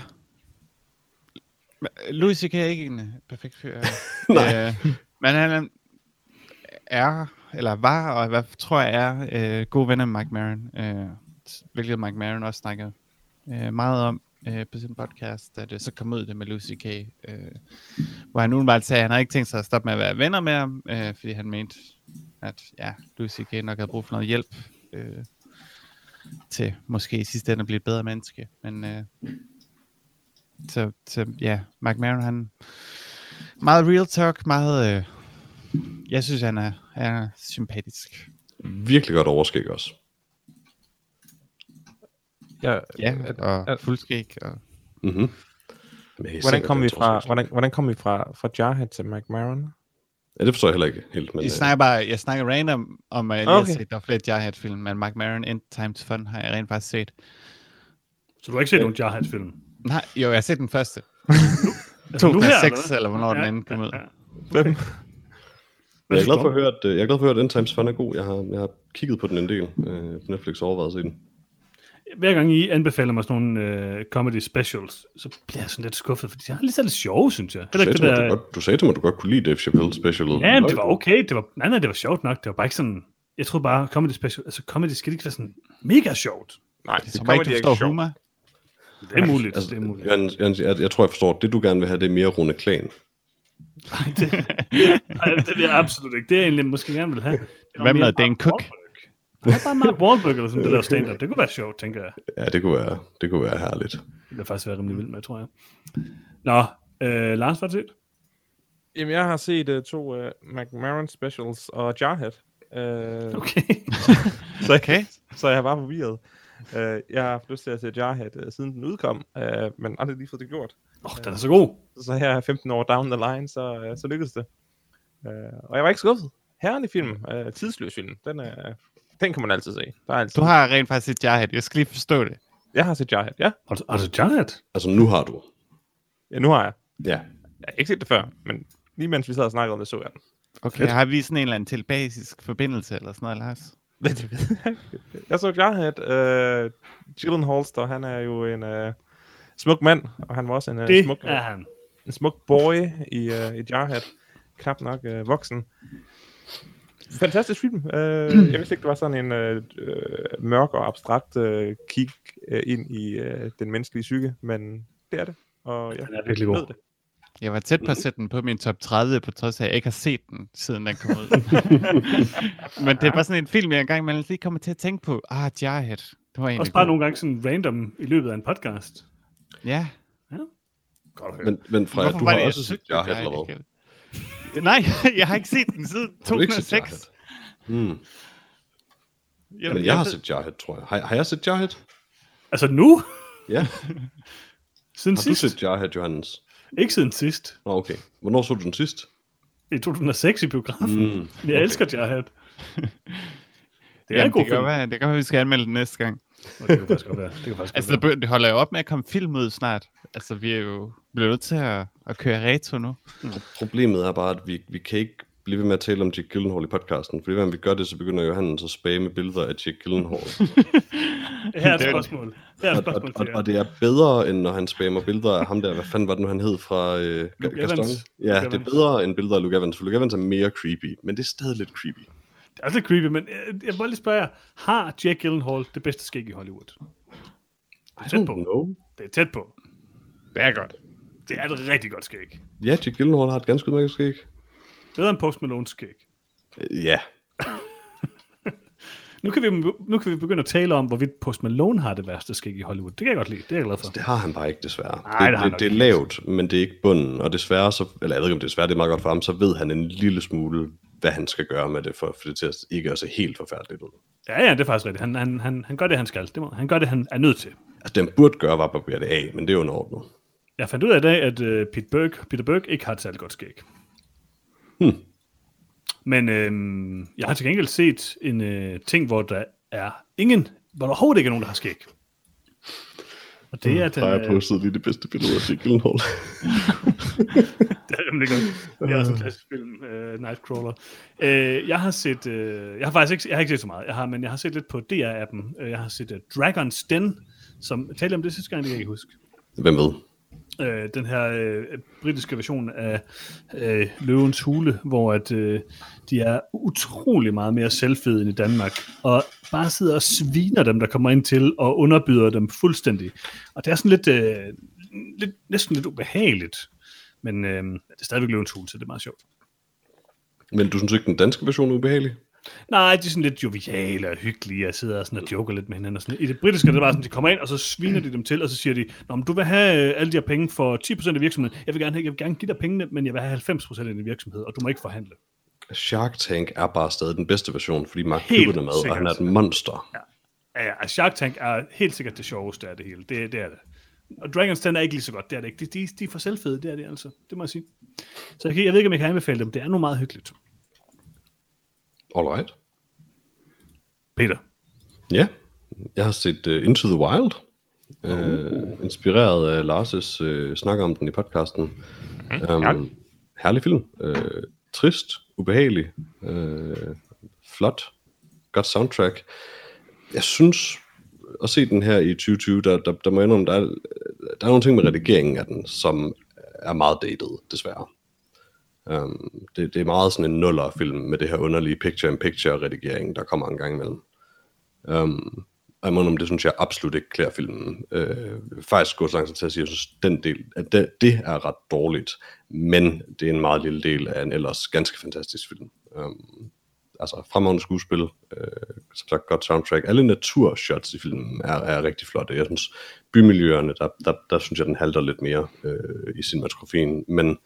Speaker 3: Men, øh, Louis C.K. er ikke en øh, perfekt fyr.
Speaker 2: Nej.
Speaker 3: Øh, men han er- er, eller var, og hvad tror jeg er, øh, god ven af Mike Maron. Øh, s- hvilket Mike Maron også snakker øh, meget om øh, på sin podcast, da det så kom ud det med Louis C.K. Øh, hvor han udenbart sagde, at han havde ikke tænkt sig at stoppe med at være venner med ham, øh, fordi han mente, at ja, Louis C.K. nok havde brug for noget hjælp. Øh, til måske i sidste ende at blive et bedre menneske. Men øh, så, så ja, Mark Maron, han meget real talk, meget, øh, jeg synes, han er, han er sympatisk.
Speaker 2: Virkelig godt overskæg også.
Speaker 4: Jeg,
Speaker 3: Ja, og fuldskæg. Og,
Speaker 2: Mm-hmm. Men jeg
Speaker 4: Hvordan kom vi fra, hvordan, hvordan kom vi fra, fra Jarhead til McMaron?
Speaker 2: Ja, det forstår jeg heller ikke helt. Men,
Speaker 3: jeg,
Speaker 2: øh,
Speaker 3: snakker bare, jeg snakker random om, at jeg lige
Speaker 4: Okay.
Speaker 3: har set, der er flere Jarhead-film, men Mark Maron, End Times Fun, har jeg rent faktisk set.
Speaker 1: Så du har ikke set nogen Jarhead-film?
Speaker 3: Nej, jo, jeg har set den første.
Speaker 1: Altså, nu her, eller
Speaker 3: 2006,
Speaker 1: hvad?
Speaker 3: eller, eller hvornår ja, den
Speaker 1: Ja,
Speaker 3: anden kom ud.
Speaker 4: Hvem?
Speaker 2: jeg, er glad for
Speaker 1: høre.
Speaker 2: at høre, at, øh, jeg er glad for at høre, at End Times Fun er god. Jeg har, jeg har kigget på den en del. Øh, på Netflix og overvejet at se den.
Speaker 1: Hver gang I anbefaler mig sådan nogle øh, comedy specials, så bliver jeg sådan lidt skuffet, fordi de har lige så lidt sjove, synes jeg.
Speaker 2: Du
Speaker 1: Heller
Speaker 2: sagde,
Speaker 1: ikke
Speaker 2: til mig,
Speaker 1: det
Speaker 2: at du,
Speaker 1: der...
Speaker 2: godt, du sagde til mig, at du godt kunne lide Dave Chappelle specialet.
Speaker 1: Ja, men det var okay. Det var, nej, nej, det var sjovt nok. Det var bare ikke sådan... Jeg troede bare, comedy special... Altså, comedy skal ikke være sådan mega sjovt.
Speaker 4: Nej,
Speaker 3: Det er bare ikke, du forstår humor.
Speaker 1: Det er muligt.
Speaker 2: Altså,
Speaker 1: det er muligt.
Speaker 2: Jørgen, Jørgen, jeg, jeg, tror, jeg forstår, det du gerne vil have, det er mere Rune Klan.
Speaker 1: Nej, det vil jeg absolut ikke. Det er jeg egentlig måske gerne vil have. Det var
Speaker 3: Hvad med
Speaker 1: mere
Speaker 3: Dan
Speaker 1: Mark
Speaker 3: Cook?
Speaker 1: Wahlberg. Nej, bare Mark Wahlberg eller sådan det der stand-up. Det kunne være sjovt, tænker jeg.
Speaker 2: Ja, det kunne være, det kunne være herligt.
Speaker 1: Det vil faktisk være rimelig vildt med, tror jeg. Nå, øh, Lars, hvad har du set?
Speaker 4: Jamen, jeg har set uh, to uh, McMaron specials og Jarhead. Uh,
Speaker 1: Okay.
Speaker 4: så,
Speaker 3: Okay.
Speaker 4: så jeg var forvirret. Uh, jeg har haft lyst til at se Jarhead, uh, siden den udkom, uh, men aldrig lige fået det gjort.
Speaker 1: Åh, oh, den er så god.
Speaker 4: Så her 15 år down the line, så, uh, så lykkedes det. Uh, og jeg var ikke skuffet. Herlig film. Uh, tidsløs film. Den, uh, den kan man altid se. Der er altid...
Speaker 3: Du har rent faktisk set Jarhead. Jeg skal lige forstå det.
Speaker 4: Jeg har set Jarhead, ja.
Speaker 1: Har du, har du Jared?
Speaker 2: Altså, nu har du.
Speaker 4: ja. Nu har jeg.
Speaker 2: Ja.
Speaker 4: Jeg har ikke set det før, men lige mens vi sad og snakkede om det, så jeg den.
Speaker 3: Okay, har vi sådan en eller anden telepasisk forbindelse, eller sådan noget, Lars?
Speaker 4: Men det ved jeg ikke. Jeg så Jarhead. Øh, Jillen Holster, han er jo en øh, smuk mand, og han var også en, øh,
Speaker 1: Det
Speaker 4: smuk,
Speaker 1: er han.
Speaker 4: en smuk boy i, øh, i Jarhead. Knap nok øh, voksen. Fantastisk film. Øh, jeg vidste ikke, det var sådan en øh, øh, mørk og abstrakt øh, kig øh, ind i øh, den menneskelige psyke, men det er det. Og jeg
Speaker 1: Den er virkelig
Speaker 4: ved
Speaker 1: god.
Speaker 4: det.
Speaker 3: Jeg var tæt på at sætte den på min top 30, på trods af, at jeg ikke har set den, siden den kom ud. Men det er bare sådan en film, jeg engang man lige kommer til at tænke på. Ah, Jarhead. Det var egentlig
Speaker 1: Også bare
Speaker 3: god.
Speaker 1: nogle gange sådan random i løbet af en podcast.
Speaker 3: Ja.
Speaker 1: Godt at høre.
Speaker 2: Men, men Freja,
Speaker 3: Hvorfor
Speaker 2: du
Speaker 3: var
Speaker 2: har
Speaker 3: det, jeg
Speaker 2: også set
Speaker 3: søgte
Speaker 2: Jarhead,
Speaker 3: Jarhead?
Speaker 2: eller hvad?
Speaker 3: Jeg kan- Nej, jeg har ikke set den siden
Speaker 2: Har du ikke set
Speaker 3: 2006.
Speaker 2: Mm.
Speaker 3: Jamen,
Speaker 2: Men jeg har
Speaker 3: ved-
Speaker 2: set Jarhead, tror jeg. Har, har jeg set Jarhead?
Speaker 1: Altså nu?
Speaker 2: Ja.
Speaker 1: Altså Siden
Speaker 2: Har du
Speaker 1: sidst?
Speaker 2: set Jarhead Johannes?
Speaker 1: Ikke siden sidst.
Speaker 2: Nå, okay. Hvornår så du den sidst?
Speaker 1: I 2006 i biografen. Mm,
Speaker 2: Mm.
Speaker 1: okay. Jeg elsker Jarhead. Det er
Speaker 3: Jamen,
Speaker 1: en god
Speaker 3: det kan
Speaker 1: film.
Speaker 3: godt være, det kan være, vi skal anmelde den næste gang.
Speaker 1: Nå, Det kan faktisk godt være. Det kan faktisk
Speaker 3: Altså,
Speaker 1: godt
Speaker 3: der be- det holder jo op med at komme film ud snart. Altså, vi er jo blevet nødt til at, at køre retro nu.
Speaker 2: Problemet er bare, at vi, vi kan ikke blive ved med at tale om Jack Gyllenhaal i podcasten, fordi hver gang vi gør det, så begynder Johannes at spamme billeder af Jack Gyllenhaal.
Speaker 1: være. Her er
Speaker 3: Det
Speaker 1: et
Speaker 3: er-
Speaker 1: spørgsmål. Her er et
Speaker 2: og, og,
Speaker 1: spørgsmål
Speaker 2: og,
Speaker 1: til
Speaker 2: og
Speaker 1: jer.
Speaker 2: det er bedre, end når han spammer billeder af ham der, hvad fanden var det nu, han hed fra øh, Ga-
Speaker 1: Luke
Speaker 2: Gaston?
Speaker 1: Evans.
Speaker 2: Ja,
Speaker 1: Luke
Speaker 2: det er
Speaker 1: Evans.
Speaker 2: bedre end billeder af Luke Evans, for Luke Evans er mere creepy, men det er stadig lidt creepy.
Speaker 1: Altså, Det er også lidt creepy, men jeg, jeg vil lige spørge jer. Har Jack Gyllenhaal det bedste skæg i Hollywood? Det er tæt på.
Speaker 2: know.
Speaker 1: Det er tæt på.
Speaker 4: Det er godt.
Speaker 1: Det er et rigtig godt skæg.
Speaker 2: Ja, Jack Gyllenhaal har et ganske udmærket skæg.
Speaker 1: Bedre end Post Malone's skæg.
Speaker 2: Øh, Ja,
Speaker 1: Nu kan, vi, nu kan vi begynde at tale om, hvorvidt Post Malone har det værste skæg i Hollywood. Det kan jeg godt lide. Det er jeg glad for.
Speaker 2: det har han bare ikke desværre.
Speaker 1: Nej, det
Speaker 2: det,
Speaker 1: har han
Speaker 2: det,
Speaker 1: nok
Speaker 2: det er lavt, men det er ikke bunden, og desværre, så, eller jeg ved ikke om det er desværre, det er meget godt for ham, så ved han en lille smule, hvad han skal gøre med det, for, for det til at ikke at se helt forfærdeligt ud.
Speaker 1: Ja, ja, det er faktisk rigtigt. Han, han, han, han gør det, han skal. Det må, han gør det, han er nødt til.
Speaker 2: Altså, den burde gøre, var at barbere det af, men det er underordnet.
Speaker 1: Jeg fandt ud af i dag, at øh, Pete Berg, Peter Berg ikke har et særligt godt skæg.
Speaker 2: Hmm.
Speaker 1: Men øh, jeg har til gengæld set en øh, ting, hvor der er ingen, hvor der overhovedet ikke er nogen, der har skæg. Og det er, den,
Speaker 2: Der
Speaker 1: øh,
Speaker 2: er postet lige det bedste billede af Jack Gyllenhaal.
Speaker 1: det er nemlig godt. Det er også en klassisk film, øh, Nightcrawler. Øh, jeg har set, øh, jeg har faktisk ikke, jeg har ikke set så meget, jeg har, men jeg har set lidt på DR-appen. Øh, Jeg har set uh, Dragon's Den, som jeg talte om det sidste gang, det kan jeg ikke huske.
Speaker 2: Hvem ved?
Speaker 1: øh, den her øh, britiske version af øh, Løvens Hule, hvor at øh, de er utrolig meget mere selvfede end i Danmark, og bare sidder og sviner dem, der kommer ind til, og underbyder dem fuldstændig. Og det er sådan lidt, øh, lidt næsten lidt ubehageligt, men øh, det er stadigvæk Løvens Hule, så det er meget sjovt.
Speaker 2: Men du synes ikke, den danske version er ubehagelig?
Speaker 1: Nej, de er sådan lidt joviale og hyggelige, og sidder sådan og joker lidt med hinanden. Og sådan. I det britiske, det var sådan, de kommer ind, og så sviner de dem til, og så siger de, Nå, men du vil have øh, alle de her penge for 10% af virksomheden. Jeg vil gerne, have- jeg vil gerne give dig pengene, men jeg vil have 90% af din virksomhed, og du må ikke forhandle.
Speaker 2: Shark Tank er bare stadig den bedste version, fordi Mark
Speaker 1: Helt
Speaker 2: Cuban er med, og han er et
Speaker 1: sikkert.
Speaker 2: monster. Ja.
Speaker 1: Ja, ja, Shark Tank er helt sikkert det sjoveste af det hele. Det, det er det. Og Dragon's Den er ikke lige så godt, det er det ikke. De, de, de er for selvfede, det er det altså. Det må jeg sige. Så jeg, kan- jeg ved ikke, om jeg kan anbefale dem. Det er nu meget hyggeligt.
Speaker 2: Alright.
Speaker 1: Peter.
Speaker 2: Ja. Jeg har set uh, Into the Wild, uh, inspireret af Lars' uh, snak om den i podcasten. Um,
Speaker 4: herlig.
Speaker 2: herlig film. Uh, trist, ubehagelig, uh, flot, godt soundtrack. Jeg synes, at se den her i 2020, der, der, der må jeg indrømme, der er, der er nogle ting med redigeringen af den, som er meget dated, desværre. Um, det, det er meget sådan en nullerfilm med det her underlige picture-in-picture-redigering, der kommer en gang imellem. Um, og jeg må om det synes jeg absolut ikke klæder filmen. Øh, faktisk gå så langt som til at sige, at jeg synes, den del, at det, det er ret dårligt, men det er en meget lille del af en ellers ganske fantastisk film. Um, altså fremragende skuespil, øh, som sagt godt soundtrack. Alle naturshots i filmen er, er rigtig flotte. Jeg synes, bymiljøerne, der, der, der synes jeg, den halter lidt mere øh, i cinematografien, men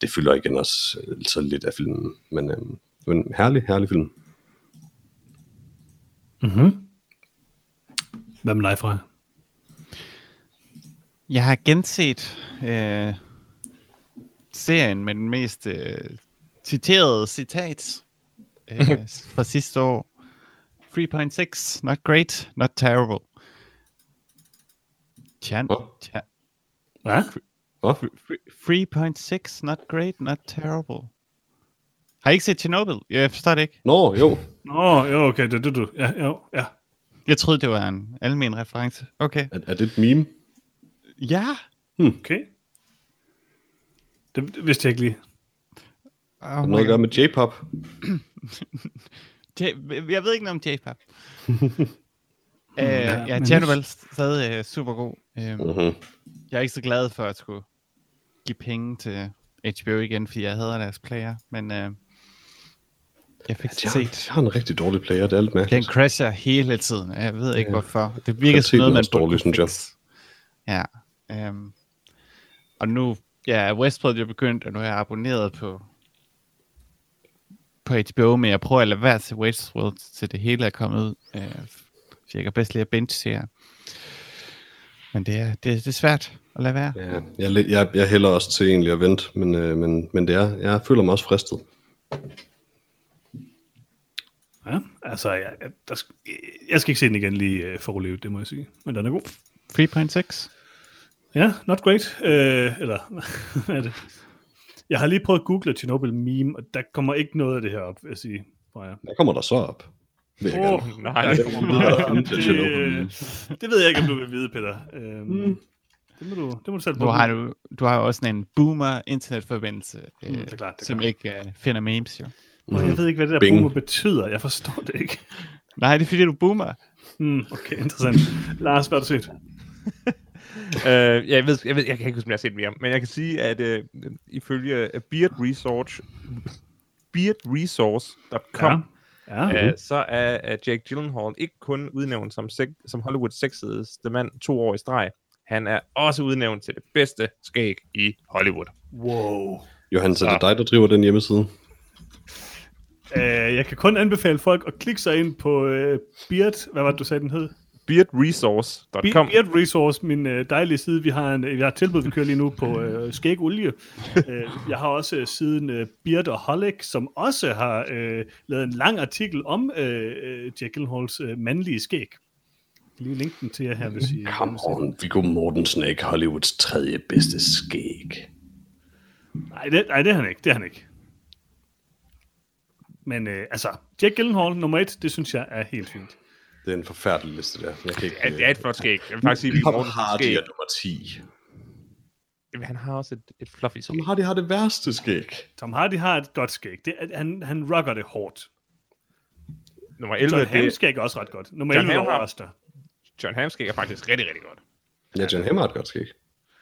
Speaker 2: det fylder igen også øh, så lidt af filmen. Men, øh, men herlig, herlig film.
Speaker 1: Hvad med dig fra?
Speaker 3: Jeg har genset øh, serien med den mest øh, citerede citat øh, fra sidste år. 3.6, not great, not terrible. Chan,
Speaker 2: Hvor?
Speaker 3: chan,
Speaker 1: Hvad?
Speaker 2: Hva?
Speaker 3: 3.6, not great, not terrible. Har I ikke set Chernobyl? Jeg forstår det ikke.
Speaker 2: Nå, jo,
Speaker 1: Nå, jo, okay, det er det, du. Ja, jo, ja.
Speaker 3: Jeg troede, det var en almen reference. Okay.
Speaker 2: Er, er det et meme?
Speaker 3: Ja,
Speaker 1: Okay. Det, det vidste jeg ikke lige.
Speaker 2: Har
Speaker 3: oh
Speaker 2: det noget at gøre med J-pop?
Speaker 3: J- jeg ved ikke noget om J-pop. øh, ja,
Speaker 1: men-
Speaker 3: Chernobyl er stadig øh, super god. Øh,
Speaker 2: Mm-hmm.
Speaker 3: jeg er ikke så glad for at skulle give penge til HBO igen, fordi jeg hader deres player, men øh, jeg fik
Speaker 2: Altså, Jeg,
Speaker 3: set.
Speaker 2: har- jeg har en rigtig dårlig player, det er alt
Speaker 3: Den
Speaker 2: mærkeligt.
Speaker 3: crasher hele tiden, og jeg ved ikke
Speaker 2: Ja.
Speaker 3: hvorfor. Det virker
Speaker 2: Kvaliteten
Speaker 3: som noget,
Speaker 2: er
Speaker 3: man
Speaker 2: også
Speaker 3: burde
Speaker 2: dårlig,
Speaker 3: kunne
Speaker 2: synes
Speaker 3: fikse. Ja. Øhm, og nu ja, Westworld jo begyndt, og nu er jeg abonneret på på HBO, men jeg prøver at lade være til Westworld, til det hele er kommet ud. Øh, for jeg kan bedst lide at binge serier. Men det er, det, er- det er svært at lade være.
Speaker 2: Ja, jeg, læ- jeg, jeg hælder også til egentlig at vente, men, øh, men, men det er, jeg føler mig også fristet.
Speaker 1: Ja, altså, jeg, jeg, der, sk- jeg skal ikke se den igen lige øh, for at overleve, det må jeg sige. Men den er god.
Speaker 3: 3.6?
Speaker 1: Ja, not great. Øh, eller, hvad er det? Jeg har lige prøvet at google Chernobyl meme, og der kommer ikke noget af det her op, vil jeg sige. Freja.
Speaker 2: Hvad kommer der så op? Vil jeg gerne.
Speaker 1: Åh,
Speaker 4: Nej,
Speaker 1: der
Speaker 4: det
Speaker 1: kommer
Speaker 2: kommer
Speaker 1: meget
Speaker 2: meget
Speaker 1: op.
Speaker 2: op.
Speaker 1: det, øh, det ved jeg ikke, om du vil vide, Peter. Øhm, det, må du, det må du selv
Speaker 3: Du har, du, du har jo også sådan en boomer internetforbindelse, øh,
Speaker 1: Mm, det er klart, det er
Speaker 3: som
Speaker 1: klart.
Speaker 3: ikke øh, finder memes jo.
Speaker 1: Mm. Jeg ved ikke, hvad det der
Speaker 2: Bing.
Speaker 1: boomer betyder. Jeg forstår det ikke.
Speaker 3: Nej, det er fordi, du boomer.
Speaker 1: Mm, okay, interessant. Lars, hvad har du set?
Speaker 4: Øh, jeg, ved, jeg, ved, jeg kan ikke huske, om jeg har set mere, men jeg kan sige, at øh, ifølge Beard Research, beardresource.com,
Speaker 1: Ja.
Speaker 4: ja. øh, så er øh, Jake Gyllenhaal ikke kun udnævnt som, sek- som Hollywood sexedeste mand to år i streg, han er også udnævnt til det bedste skæg i Hollywood.
Speaker 1: Wow.
Speaker 2: Johannes, er det dig, der driver den hjemmeside?
Speaker 1: Øh, jeg kan kun anbefale folk at klikke sig ind på øh, Beard, hvad var det, du sagde, den hed? Be-
Speaker 4: Beardresource.com.
Speaker 1: Beard Resource, min øh, dejlige side. Vi har, en, øh, vi har et tilbud, vi kører lige nu på øh, skægolie. Øh, jeg har også øh, siden øh, Beard og Hollick, som også har øh, lavet en lang artikel om øh, øh, Jack Gyllenhaals øh, mandlige skæg. Jeg kan Lige linke den til jer her, hvis I...
Speaker 2: Come on, Viggo Mortensen er ikke Hollywoods tredje bedste skæg.
Speaker 1: Nej, det, nej, det er han ikke. Det er han ikke. Men øh, altså, Jack Gyllenhaal nummer et, det synes jeg er helt fint.
Speaker 2: Det er en forfærdelig liste, der. Jeg kan ikke...
Speaker 4: Ja, det er et flot skæg. Jeg vil faktisk sige,
Speaker 2: Tom
Speaker 4: Viggo Mortensens
Speaker 2: Hardy
Speaker 4: skæg.
Speaker 2: er nummer 10.
Speaker 4: Jamen, Han har også et, et fluffy skæg.
Speaker 2: Tom Hardy har det værste skæg.
Speaker 1: Tom Hardy har et godt skæg. Det, er- han, han rocker det hårdt.
Speaker 4: Nummer
Speaker 1: John
Speaker 4: 11,
Speaker 1: det... Hamm
Speaker 4: det,
Speaker 1: skæg er også ret godt. Nummer
Speaker 4: John
Speaker 1: 11
Speaker 4: Hamm har-
Speaker 1: overrasker.
Speaker 4: John Hamm skæg er faktisk rigtig, rigtig godt.
Speaker 2: Ja, John Hamm har et godt skæg.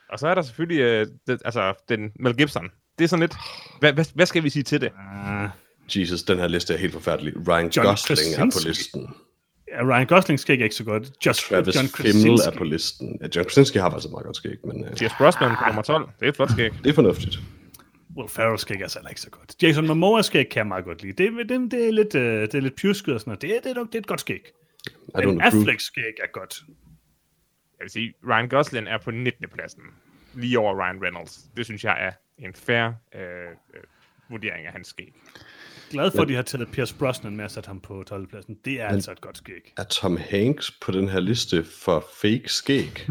Speaker 4: Og så er der selvfølgelig øh, det, altså, den Mel Gibson. Det er sådan lidt, hvad, hvad, hvad skal vi sige til det?
Speaker 1: Ah.
Speaker 2: Jesus, den her liste er helt forfærdelig. Ryan
Speaker 1: John
Speaker 2: Gosling er på
Speaker 1: Krasinski.
Speaker 2: listen.
Speaker 1: Ja, Ryan Gosling skæg er ikke så godt. Just
Speaker 2: Travis
Speaker 1: John
Speaker 2: Fimmel
Speaker 1: Krasinski.
Speaker 2: er på listen. Ja, John Krasinski har faktisk et meget godt skæg, men øh,
Speaker 4: Pierce Brosnan på nummer 12. Det er et flot skæg.
Speaker 2: det er fornuftigt.
Speaker 1: Will Ferrell skæg er altså heller ikke så godt. Jason Momoa skæg kan jeg meget godt lide. Det, det, det er lidt, øh, det er lidt pjusket og sådan noget. Det, er- det, er, nok- det er et godt skæg.
Speaker 2: I don't
Speaker 1: Men
Speaker 2: approve.
Speaker 1: Affleck skæg er godt.
Speaker 4: Jeg vil sige, Ryan Gosling er på 19. pladsen. Lige over Ryan Reynolds. Det synes jeg er en fair øh, øh, vurdering af hans skæg.
Speaker 1: Glad for, at de har taget Pierce Brosnan med at sætte ham på 12. pladsen. Det er altså et godt skæg.
Speaker 2: Er Tom Hanks på den her liste for fake skæg?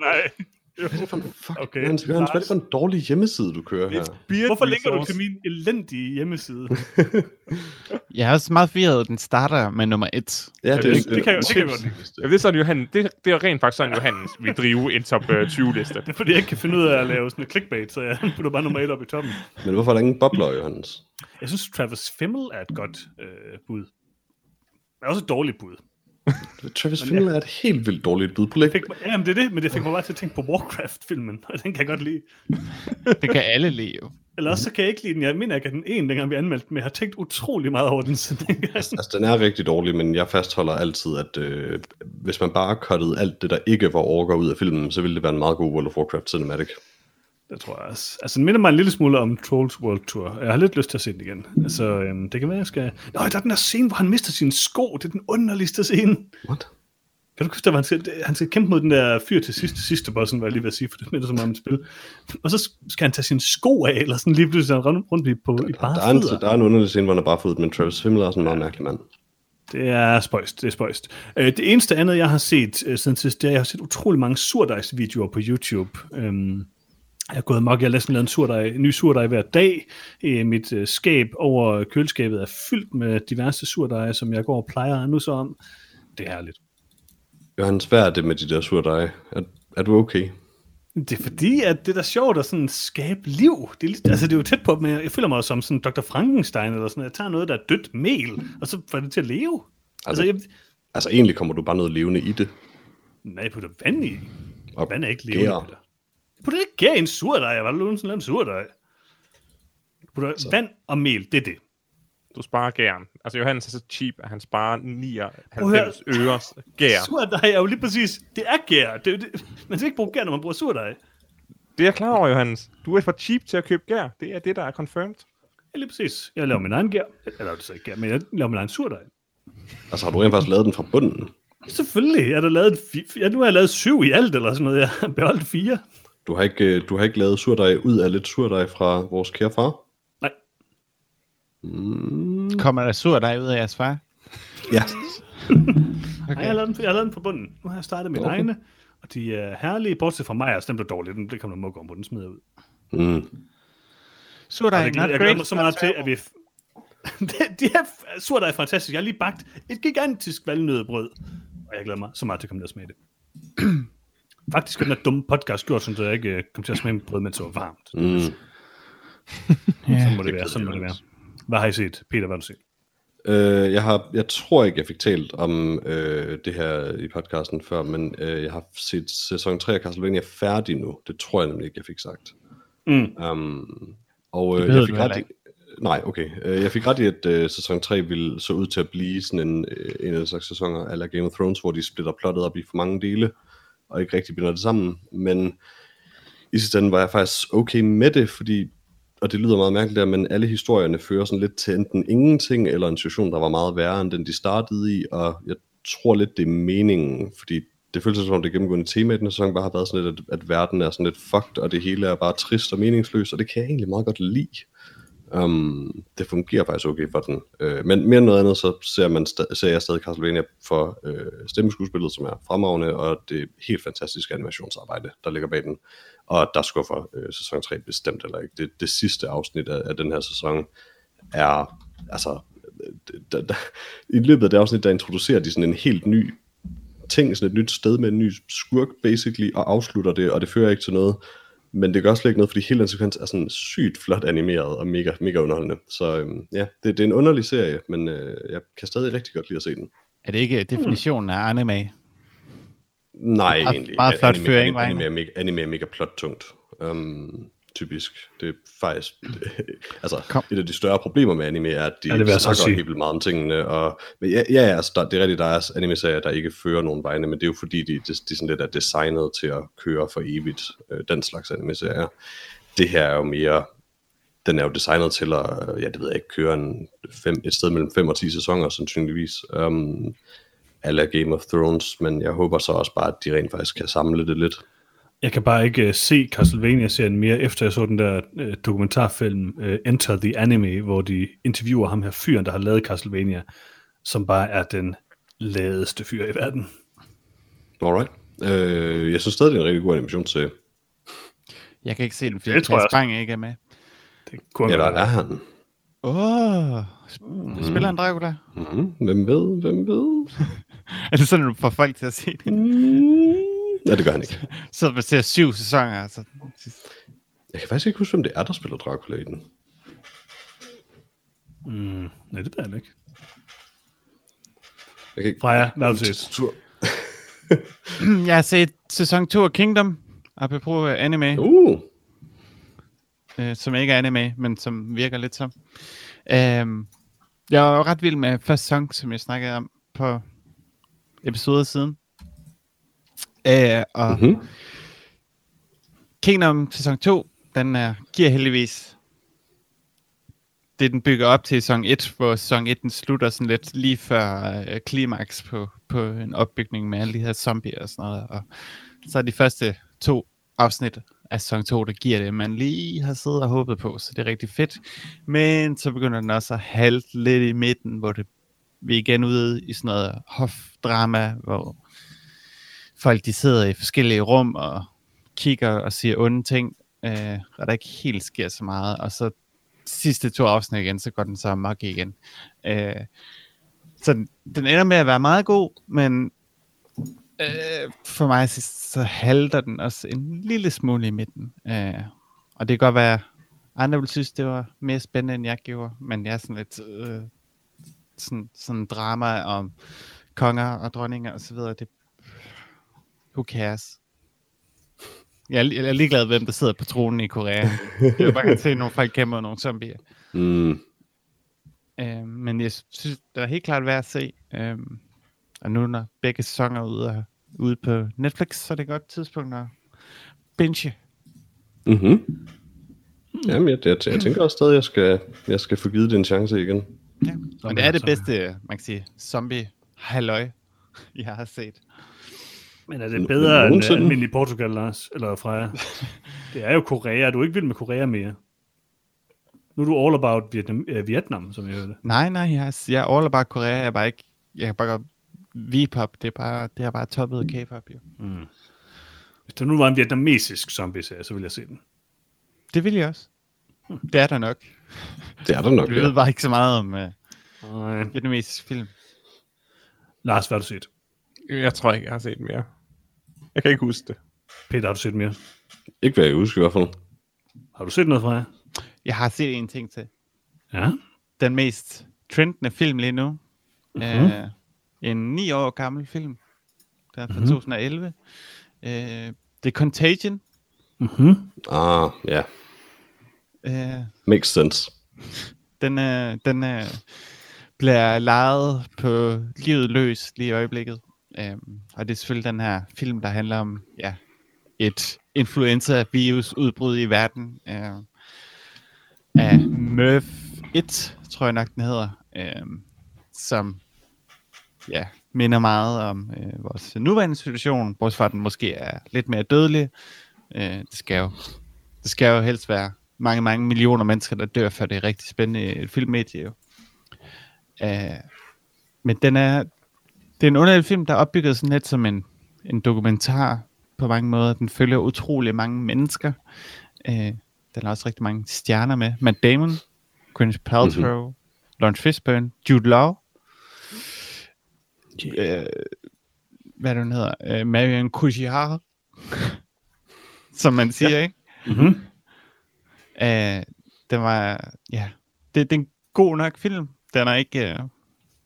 Speaker 1: Nej.
Speaker 2: Fuck,
Speaker 1: Okay,
Speaker 2: okay, Hans, Hans, hvad er det
Speaker 1: Lars.
Speaker 2: for en dårlig hjemmeside, du kører her?
Speaker 1: Hvorfor linker du til min elendige hjemmeside?
Speaker 3: Jeg er også meget forvirret, at den starter med nummer 1.
Speaker 2: Ja,
Speaker 4: det- det
Speaker 1: kan jeg- det kan jeg godt
Speaker 4: Ja,
Speaker 2: godt
Speaker 4: det, er sådan, Johan, det, det er rent faktisk sådan, Johan vil drive en top øh, 20-liste.
Speaker 1: Det er fordi, jeg ikke kan finde ud af at lave sådan et clickbait, så jeg putter bare nummer 1 op i toppen.
Speaker 2: Men hvorfor er der ingen bobler, Johannes?
Speaker 1: Jeg synes, Travis Fimmel er et godt øh, bud. Det er også et dårligt bud.
Speaker 2: Travis Fimmel er et helt vildt dårligt bud. Prøv lige at
Speaker 1: Fik mig, jamen, det er det, men det fik mig bare til at tænke på Warcraft-filmen, og den kan jeg godt lide.
Speaker 3: Det kan alle lide jo.
Speaker 1: Eller også så kan jeg ikke lide den. Jeg mener, jeg kan den en, dengang vi anmeldte den, men jeg har tænkt utrolig meget over den siden dengang.
Speaker 2: Altså, den er rigtig dårlig, men jeg fastholder altid, at øh, hvis man bare cuttede alt det, der ikke var orker ud af filmen, så ville det være en meget god World of Warcraft cinematic.
Speaker 1: Det tror jeg også. Altså, den minder mig en lille smule om Trolls World Tour. Jeg har lidt lyst til at se den igen. Altså, øhm, det kan være, jeg skal... Nå, der er den der scene, hvor han mister sine sko. Det er den underligste scene.
Speaker 2: What?
Speaker 1: Kan du huske, der, hvor han skal, det- han skal kæmpe mod den der fyr til sidste, sidste bossen, var jeg lige ved at sige, for det minder så meget om et spil. Og så skal han tage sine sko af, eller sådan lige pludselig er han rundt, rundt i, på, i bare
Speaker 2: Der er, en,
Speaker 1: fødder.
Speaker 2: der er en underlig scene, hvor han er bare fået, men Travis Fimmel er også en meget mærkelig mand.
Speaker 1: Det er spøjst, det er spøjst. Øh, det eneste andet, jeg har set øh, siden sidst, det er, at jeg har set utrolig mange surdejsvideoer på YouTube. Øhm, jeg er gået mok, jeg har næsten lavet en, surdej, en ny surdej hver dag. Øh, mit øh, skab over køleskabet er fyldt med diverse surdeje, som jeg går og plejer nu så om. Det er herligt.
Speaker 2: Johannes, hvad er det med de der surdeje? Er, er du okay?
Speaker 1: Det er fordi, at det der er sjovt at sådan skabe liv. Det er, lidt, altså, det er jo tæt på, men jeg, jeg føler mig som sådan Dr. Frankenstein eller sådan noget. Jeg tager noget, der er dødt mel, og så får det til at leve. Altså, jeg,
Speaker 2: Altså, egentlig kommer du bare noget levende i det.
Speaker 1: nej, jeg putter vand i.
Speaker 2: Og
Speaker 1: Vand er ikke levende,
Speaker 2: gærer.
Speaker 1: Peter. Put ikke gær i en surdej. Var det nogen sådan en surdej? Put vand og mel, det er det.
Speaker 4: Du sparer gæren. Altså, Johan er så cheap, at han sparer 99
Speaker 1: Prøv
Speaker 4: øres gær.
Speaker 1: Surdej er jo lige præcis, det er gær. Det, det, man skal ikke bruge gær, når man bruger surdej.
Speaker 4: Det er jeg klar over, Johannes. Du er for cheap til at købe gær. Det er det, der er confirmed.
Speaker 1: Ja, lige præcis. Jeg laver min egen gær. Jeg laver det så ikke gær, men jeg laver min egen surdej.
Speaker 2: Altså, har du rent faktisk lavet den fra bunden?
Speaker 1: Selvfølgelig. Jeg har da lavet en fi- ja, nu har jeg lavet syv i alt, eller sådan noget. Jeg har beholdt fire.
Speaker 2: Du har ikke, øh, du har ikke lavet surdej ud af lidt surdej fra vores kære far?
Speaker 1: Nej.
Speaker 2: Mm,
Speaker 3: Kommer der sur dig ud af jeres far?
Speaker 2: ja.
Speaker 1: Okay. Nej, jeg har, lavet den, jeg har lavet den på bunden. Nu har jeg startet med okay.
Speaker 2: Okay.
Speaker 1: egne, og de er herlige, bortset fra mig, og den blev dårlig. Den det kan man mukke om på, den smider jeg ud.
Speaker 2: Mm.
Speaker 3: Sur
Speaker 1: Og
Speaker 3: dig,
Speaker 1: jeg,
Speaker 4: Altså,
Speaker 3: not
Speaker 1: glæder, jeg glæder mig
Speaker 3: great,
Speaker 1: så
Speaker 3: not
Speaker 1: meget til,
Speaker 3: terrible.
Speaker 1: at vi... Det- de her f- surdej er fantastisk. Jeg har lige bagt et gigantisk valnødbrød, og jeg glæder mig så meget til at komme ned og smage det. Faktisk er den her dumme podcast gjort, sådan, så jeg ikke øh, kom til at smage mit brød, mens det var varmt.
Speaker 2: Mm.
Speaker 1: Sådan må det
Speaker 2: det
Speaker 1: være,
Speaker 2: kan
Speaker 1: sådan må
Speaker 2: jeg
Speaker 1: det være.
Speaker 2: godt.
Speaker 1: Hvad har I set? Peter, hvad har du set?
Speaker 2: Øh, jeg, har, jeg tror ikke, jeg fik talt om øh, det her i podcasten før, men øh, jeg har set sæson 3 af Castlevania færdig nu. Det tror jeg nemlig ikke, jeg fik sagt.
Speaker 1: Mm.
Speaker 2: Um, og
Speaker 3: Det
Speaker 2: øh,
Speaker 3: behøver
Speaker 2: jeg
Speaker 3: du
Speaker 2: fik
Speaker 3: heller
Speaker 2: ret i, Nej, okay. Øh, jeg fik ret i, at øh, sæson 3 ville så ud til at blive sådan en, øh, en af den slags sæsoner af Game of Thrones, hvor de splitter plottet op i for mange dele, og ikke rigtig binder det sammen. Men i sidste ende var jeg faktisk okay med det, fordi, og det lyder meget mærkeligt der, men alle historierne fører sådan lidt til enten ingenting, eller en situation, der var meget værre end den, de startede i, og jeg tror lidt, det er meningen, fordi det føles som om det gennemgående tema i den her sæson bare har været sådan lidt, at, at verden er sådan lidt fucked, og det hele er bare trist og meningsløst, og det kan jeg egentlig meget godt lide. Um, det fungerer faktisk okay for den. Uh, men mere end noget andet, så ser, man sta- ser jeg stadig Castlevania for uh, stemmeskuespillet, som er fremragende, og det helt fantastiske animationsarbejde, der ligger bag den. Og der skuffer uh, sæson 3 bestemt eller ikke. Det, det sidste afsnit af, af den her sæson er, altså, der, der, i løbet af det afsnit, der introducerer de sådan en helt ny ting, sådan et nyt sted med en ny skurk, basically, og afslutter det, og det fører ikke til noget. Men det gør slet ikke noget, fordi hele den sekvens er sådan sygt flot animeret og mega, mega underholdende. Så øhm, ja, det, det er en underlig serie, men øh, jeg kan stadig rigtig godt lide at se den.
Speaker 3: Er det ikke definitionen af anime?
Speaker 2: Nej,
Speaker 3: Meget-
Speaker 2: egentlig.
Speaker 3: meget flot
Speaker 2: anime,
Speaker 3: føring,
Speaker 2: anime,
Speaker 3: var
Speaker 2: anime, er mega, anime er mega plottungt. Um, typisk. Det er faktisk... altså, Kom.
Speaker 3: Kom.
Speaker 2: et af de større problemer med anime er, at de
Speaker 1: Ja,
Speaker 2: ja,
Speaker 1: det vil
Speaker 2: det
Speaker 1: jeg så
Speaker 2: snakker
Speaker 1: sige.
Speaker 2: helt vildt meget om tingene. Og, men ja, ja altså, der, det er rigtigt, der er anime-serier, der ikke fører nogen vegne, men det er jo fordi, de, de, de sådan lidt er designet til at køre for evigt. Øh, den slags anime-serier. Det her er jo mere den er jo designet til at, øh, ja, det ved jeg ikke, køre en fem, et sted mellem 5 og 10 sæsoner, sandsynligvis. Um, ala Game of Thrones, men jeg håber så også bare, at de rent faktisk kan samle det lidt.
Speaker 1: Jeg kan bare ikke uh, se Castlevania-serien mere, efter jeg så den der uh, dokumentarfilm uh, Enter the Anime, hvor de interviewer ham her fyren, der har lavet Castlevania, som bare er den ladeste fyr i verden.
Speaker 2: Alright. Øh, jeg synes stadig, det er en rigtig god animation til.
Speaker 3: Jeg kan ikke se den, fordi
Speaker 1: Det tror jeg
Speaker 3: Kasper
Speaker 1: også.
Speaker 3: Bang ikke er med.
Speaker 1: Det kunne
Speaker 2: Eller
Speaker 1: ja,
Speaker 2: er han?
Speaker 3: Åh, oh, spiller en Dracula?
Speaker 2: Mm, hvem ved? Hvem ved?
Speaker 3: Er det sådan, at du får folk til at se det?
Speaker 2: Mm. Nej, det gør han ikke.
Speaker 3: Så man ser syv sæsoner, altså.
Speaker 2: Jeg kan faktisk ikke huske, hvem det er, der spiller Dracula i den.
Speaker 1: mm, Nej, det ved jeg ikke.
Speaker 2: Jeg kan ikke...
Speaker 1: Freja, hvad har du set?
Speaker 3: Jeg har set sæson 2 af Kingdom, apropos øh, anime,
Speaker 2: Uh,
Speaker 3: øh, som ikke er anime, men som virker lidt som. Øhm, jeg var jo ret vild med første sæson, som jeg snakkede om på episoder siden. Øh, og
Speaker 2: mm-hmm.
Speaker 3: Kingdom sæson 2, den er, giver heldigvis det, den bygger op til sæson 1, hvor sæson 1 den slutter sådan lidt lige før øh, klimaks på, på en opbygning med alle de her zombier og sådan noget. Og så er de første to afsnit af sæson 2, der giver det, man lige har siddet og håbet på, så det er rigtig fedt. Men så begynder den også at halte lidt i midten, hvor det, vi er igen ude i sådan noget hofdrama, hvor folk de sidder i forskellige rum og kigger og siger onde ting, øh, og der ikke helt sker så meget, og så sidste to afsnit igen, så går den så amok igen. Øh, så den, den ender med at være meget god, men øh, for mig så, så halter den også en lille smule i midten. Øh, og det kan godt være, andre ville synes, det var mere spændende, end jeg gjorde, men jeg er sådan lidt øh, sådan, sådan drama om konger og dronninger og så videre. Det, who cares? Jeg er, li- jeg er ligeglad, hvem der sidder på tronen i Korea. Jeg vil bare gerne se nogle folk kæmpe mod nogle zombier.
Speaker 2: mm.
Speaker 3: Øh, men jeg synes, det er helt klart værd at se. Øh, og nu, når begge sæsoner er ude, ude på Netflix, så er det et godt tidspunkt at binge.
Speaker 2: Mm-hmm. Jamen, jeg, jeg, jeg tænker også stadig, at jeg skal, jeg skal få givet det en chance igen.
Speaker 3: Ja. Men det er det bedste, man kan sige, zombie halløj. jeg har set.
Speaker 1: Men er det bedre end
Speaker 2: nogensinde?
Speaker 1: almindelig Portugal, Lars? Eller Freja? Det er jo Korea. Du er ikke vild med Korea mere. Nu er du all about Vietnam, øh, Vietnam som jeg hørte.
Speaker 3: Nej, nej, jeg, er- jeg er all about Korea. Jeg er bare ikke... Jeg kan bare godt... V-pop, det er bare, det er bare toppet af K-pop, jo.
Speaker 1: Hvis der nu var en vietnamesisk zombie-serie, så ville jeg se den.
Speaker 3: Det vil jeg også. Det er der nok.
Speaker 2: Det er der nok,
Speaker 3: Vi ved
Speaker 2: ja.
Speaker 3: bare ikke så meget om uh,
Speaker 1: Nej.
Speaker 3: vietnamesisk film.
Speaker 1: Lars, hvad har du set?
Speaker 4: Jeg tror ikke, jeg har set mere. Jeg kan ikke huske det.
Speaker 1: Peter, har du set mere?
Speaker 2: Ikke hvad jeg husker i hvert fald.
Speaker 1: Har du set noget fra jer?
Speaker 3: Jeg har set en ting til.
Speaker 1: Ja.
Speaker 3: Den mest trendende film lige nu. Mm-hmm. Uh, en 9 år gammel film. Der er fra mm-hmm. 2011. Uh, The Contagion.
Speaker 1: Mm-hmm.
Speaker 2: Ah, ja.
Speaker 3: Uh,
Speaker 2: Makes sense.
Speaker 3: den, øh, den øh, bliver lejet på livet løs lige i øjeblikket. Øhm, og det er selvfølgelig den her film, der handler om ja, et influenza-virus-udbrud i verden. Øh, af Murph 1, tror jeg nok den hedder. Øh, som ja, minder meget om øh, vores nuværende situation, bortset fra at den måske er lidt mere dødelig. Øh, det skal jo det skal jo helst være mange, mange millioner mennesker, der dør, før det er rigtig spændende et filmmedie. Jo. Uh, men den er, det er en underlig film, der er opbygget sådan lidt som en, en dokumentar på mange måder. Den følger utrolig mange mennesker. Uh, den har også rigtig mange stjerner med. Matt Damon, Gwyneth Paltrow, mm-hmm. Lawrence Fishburne, Jude Law. Yeah. Uh, hvad er det, hun hedder? Uh, Marion Cotillard. som man siger, ja. ikke?
Speaker 1: Mm-hmm.
Speaker 3: Øh, den var, ja, det, det er en god nok film. Den er ikke, øh,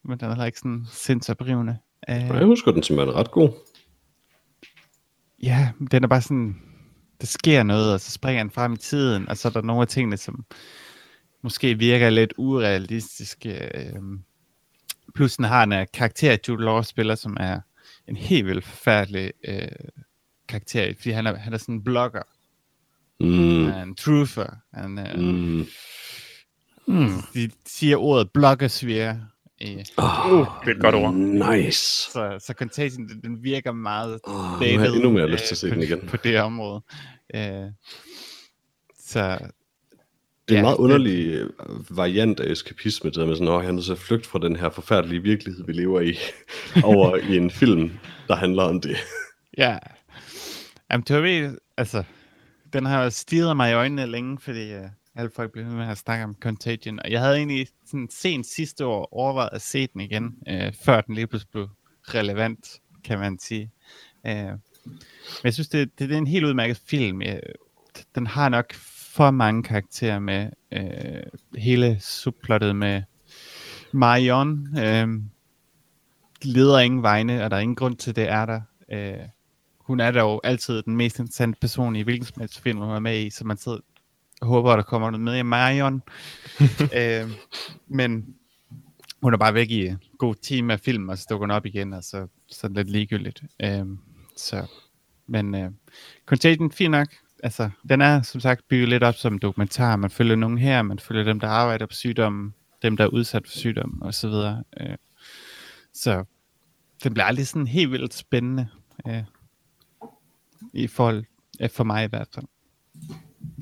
Speaker 3: men den er heller ikke sådan sindsoprivende.
Speaker 2: Og
Speaker 3: Øh,
Speaker 2: jeg husker den som en ret god.
Speaker 3: ja, den er bare sådan, der sker noget, og så springer den frem i tiden, og så er der nogle af tingene, som måske virker lidt urealistiske. Øh, plus den har en øh, karakter, Jude Law spiller, som er en helt vildt forfærdelig øh, karakter, fordi han er, han er sådan en blogger,
Speaker 2: Mm,
Speaker 3: han er en truther, han er,
Speaker 2: mm.
Speaker 3: de siger ordet bloggersvir. Øh,
Speaker 2: Oh,
Speaker 4: Uh, Det er et godt ord.
Speaker 2: nice.
Speaker 3: så, så Contagion, den, den virker meget
Speaker 2: Åh, nu har jeg endnu mere lyst til at se
Speaker 3: på,
Speaker 2: den igen.
Speaker 3: på det område. Øh, så
Speaker 2: Det er en
Speaker 3: Ja,
Speaker 2: meget
Speaker 3: det-
Speaker 2: underlig øh, variant af eskapisme, det der med sådan, at jeg er nødt til at flygte fra den her forfærdelige virkelighed, vi lever i, over i en film, der handler om det.
Speaker 3: ja, Jamen, det var ved, altså, den har jo stirret mig i øjnene længe, fordi øh, alle folk blev ved med at snakke om Contagion, og jeg havde egentlig sådan sent sidste år overvejet at se den igen, øh, før den lige pludselig blev relevant, kan man sige. Øh, Men jeg synes, det, det, det er en helt udmærket film. Øh, Den har nok for mange karakterer med øh, hele subplottet med Marion. Øh, leder ingen vegne, og der er ingen grund til, det er der. Øh, hun er dog altid den mest interessante person i hvilken som helst film, hun er med i, så man sidder og håber, at der kommer noget med i Marion. øh, men hun er bare væk i en god time af film, og så dukker hun op igen, og så, så er det lidt ligegyldigt. Øh, så, men øh, Contagion, fint nok. Altså, den er som sagt bygget lidt op som en dokumentar. Man følger nogen her, man følger dem, der arbejder på sygdommen, dem, der er udsat for sygdommen, og så videre. Øh, så den bliver aldrig sådan helt vildt spændende. Øh, I forhold, øh, for mig i hvert fald.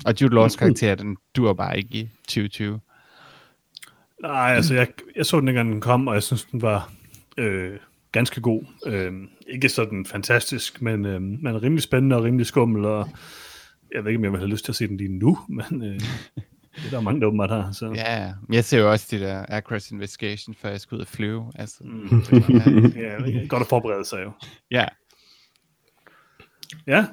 Speaker 3: Og Jude Laws karakter, den dur bare ikke i 2020.
Speaker 1: Nej, altså jeg, jeg så den ikke, den kom, og jeg synes, den var øh, ganske god. Øh, ikke sådan fantastisk, men, øh, men rimelig spændende og rimelig skummel, og jeg ved ikke, om jeg vil have lyst til at se den lige nu, men øh, det er der mange, der åbenbart har. Så.
Speaker 3: Ja, ja. Men jeg ser jo også de der Aircraft Investigation, før jeg skulle ud og flyve. Altså,
Speaker 1: Ja, det er godt at forberede sig jo.
Speaker 3: ja.
Speaker 1: Ja,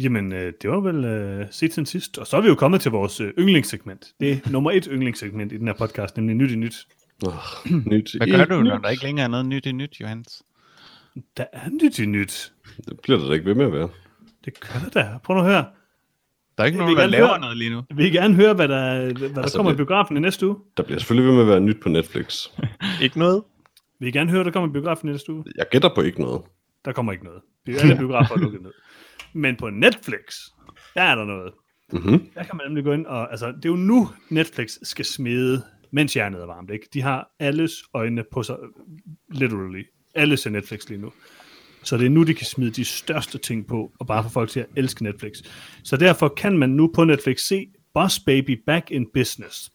Speaker 1: jamen øh, det var vel øh, set til sidst. Og så er vi jo kommet til vores øh, yndlingssegment. Det er nummer et yndlingssegment i den her podcast, nemlig Nyt i Nyt.
Speaker 2: Oh, nyt
Speaker 3: Hvad
Speaker 2: i
Speaker 3: gør du,
Speaker 2: nyt.
Speaker 3: når der ikke længere er noget nyt i nyt, Johans?
Speaker 1: Der er Nyt i Nyt.
Speaker 2: Det bliver der da ikke ved med at være.
Speaker 1: Det gør der da. Prøv nu at høre.
Speaker 3: Der er ikke
Speaker 1: Det
Speaker 3: nogen,
Speaker 1: vil
Speaker 3: der
Speaker 1: jeg gerne
Speaker 3: laver
Speaker 1: høre.
Speaker 3: noget lige nu.
Speaker 1: Vi vil gerne høre, hvad der, hvad der
Speaker 2: Altså,
Speaker 1: kommer i
Speaker 2: det-
Speaker 1: biografen i næste uge.
Speaker 2: Der bliver selvfølgelig ved med at være nyt på Netflix.
Speaker 4: Ikke noget?
Speaker 1: Vi vil gerne høre, hvad der kommer i biografen i næste uge.
Speaker 2: Jeg gætter på ikke noget.
Speaker 1: Der kommer ikke noget. Det er alle biografer er lukket ned. Men på Netflix, der er der noget.
Speaker 2: Mm-hmm.
Speaker 1: Der kan man nemlig gå ind og... Altså, det er jo nu, Netflix skal smide, mens jernet er varmt, ikke? De har alles øjne på sig, literally, Alle ser Netflix lige nu. Så det er nu, de kan smide de største ting på, og bare få folk til at elske Netflix. Så derfor kan man nu på Netflix se Boss Baby Back in Business.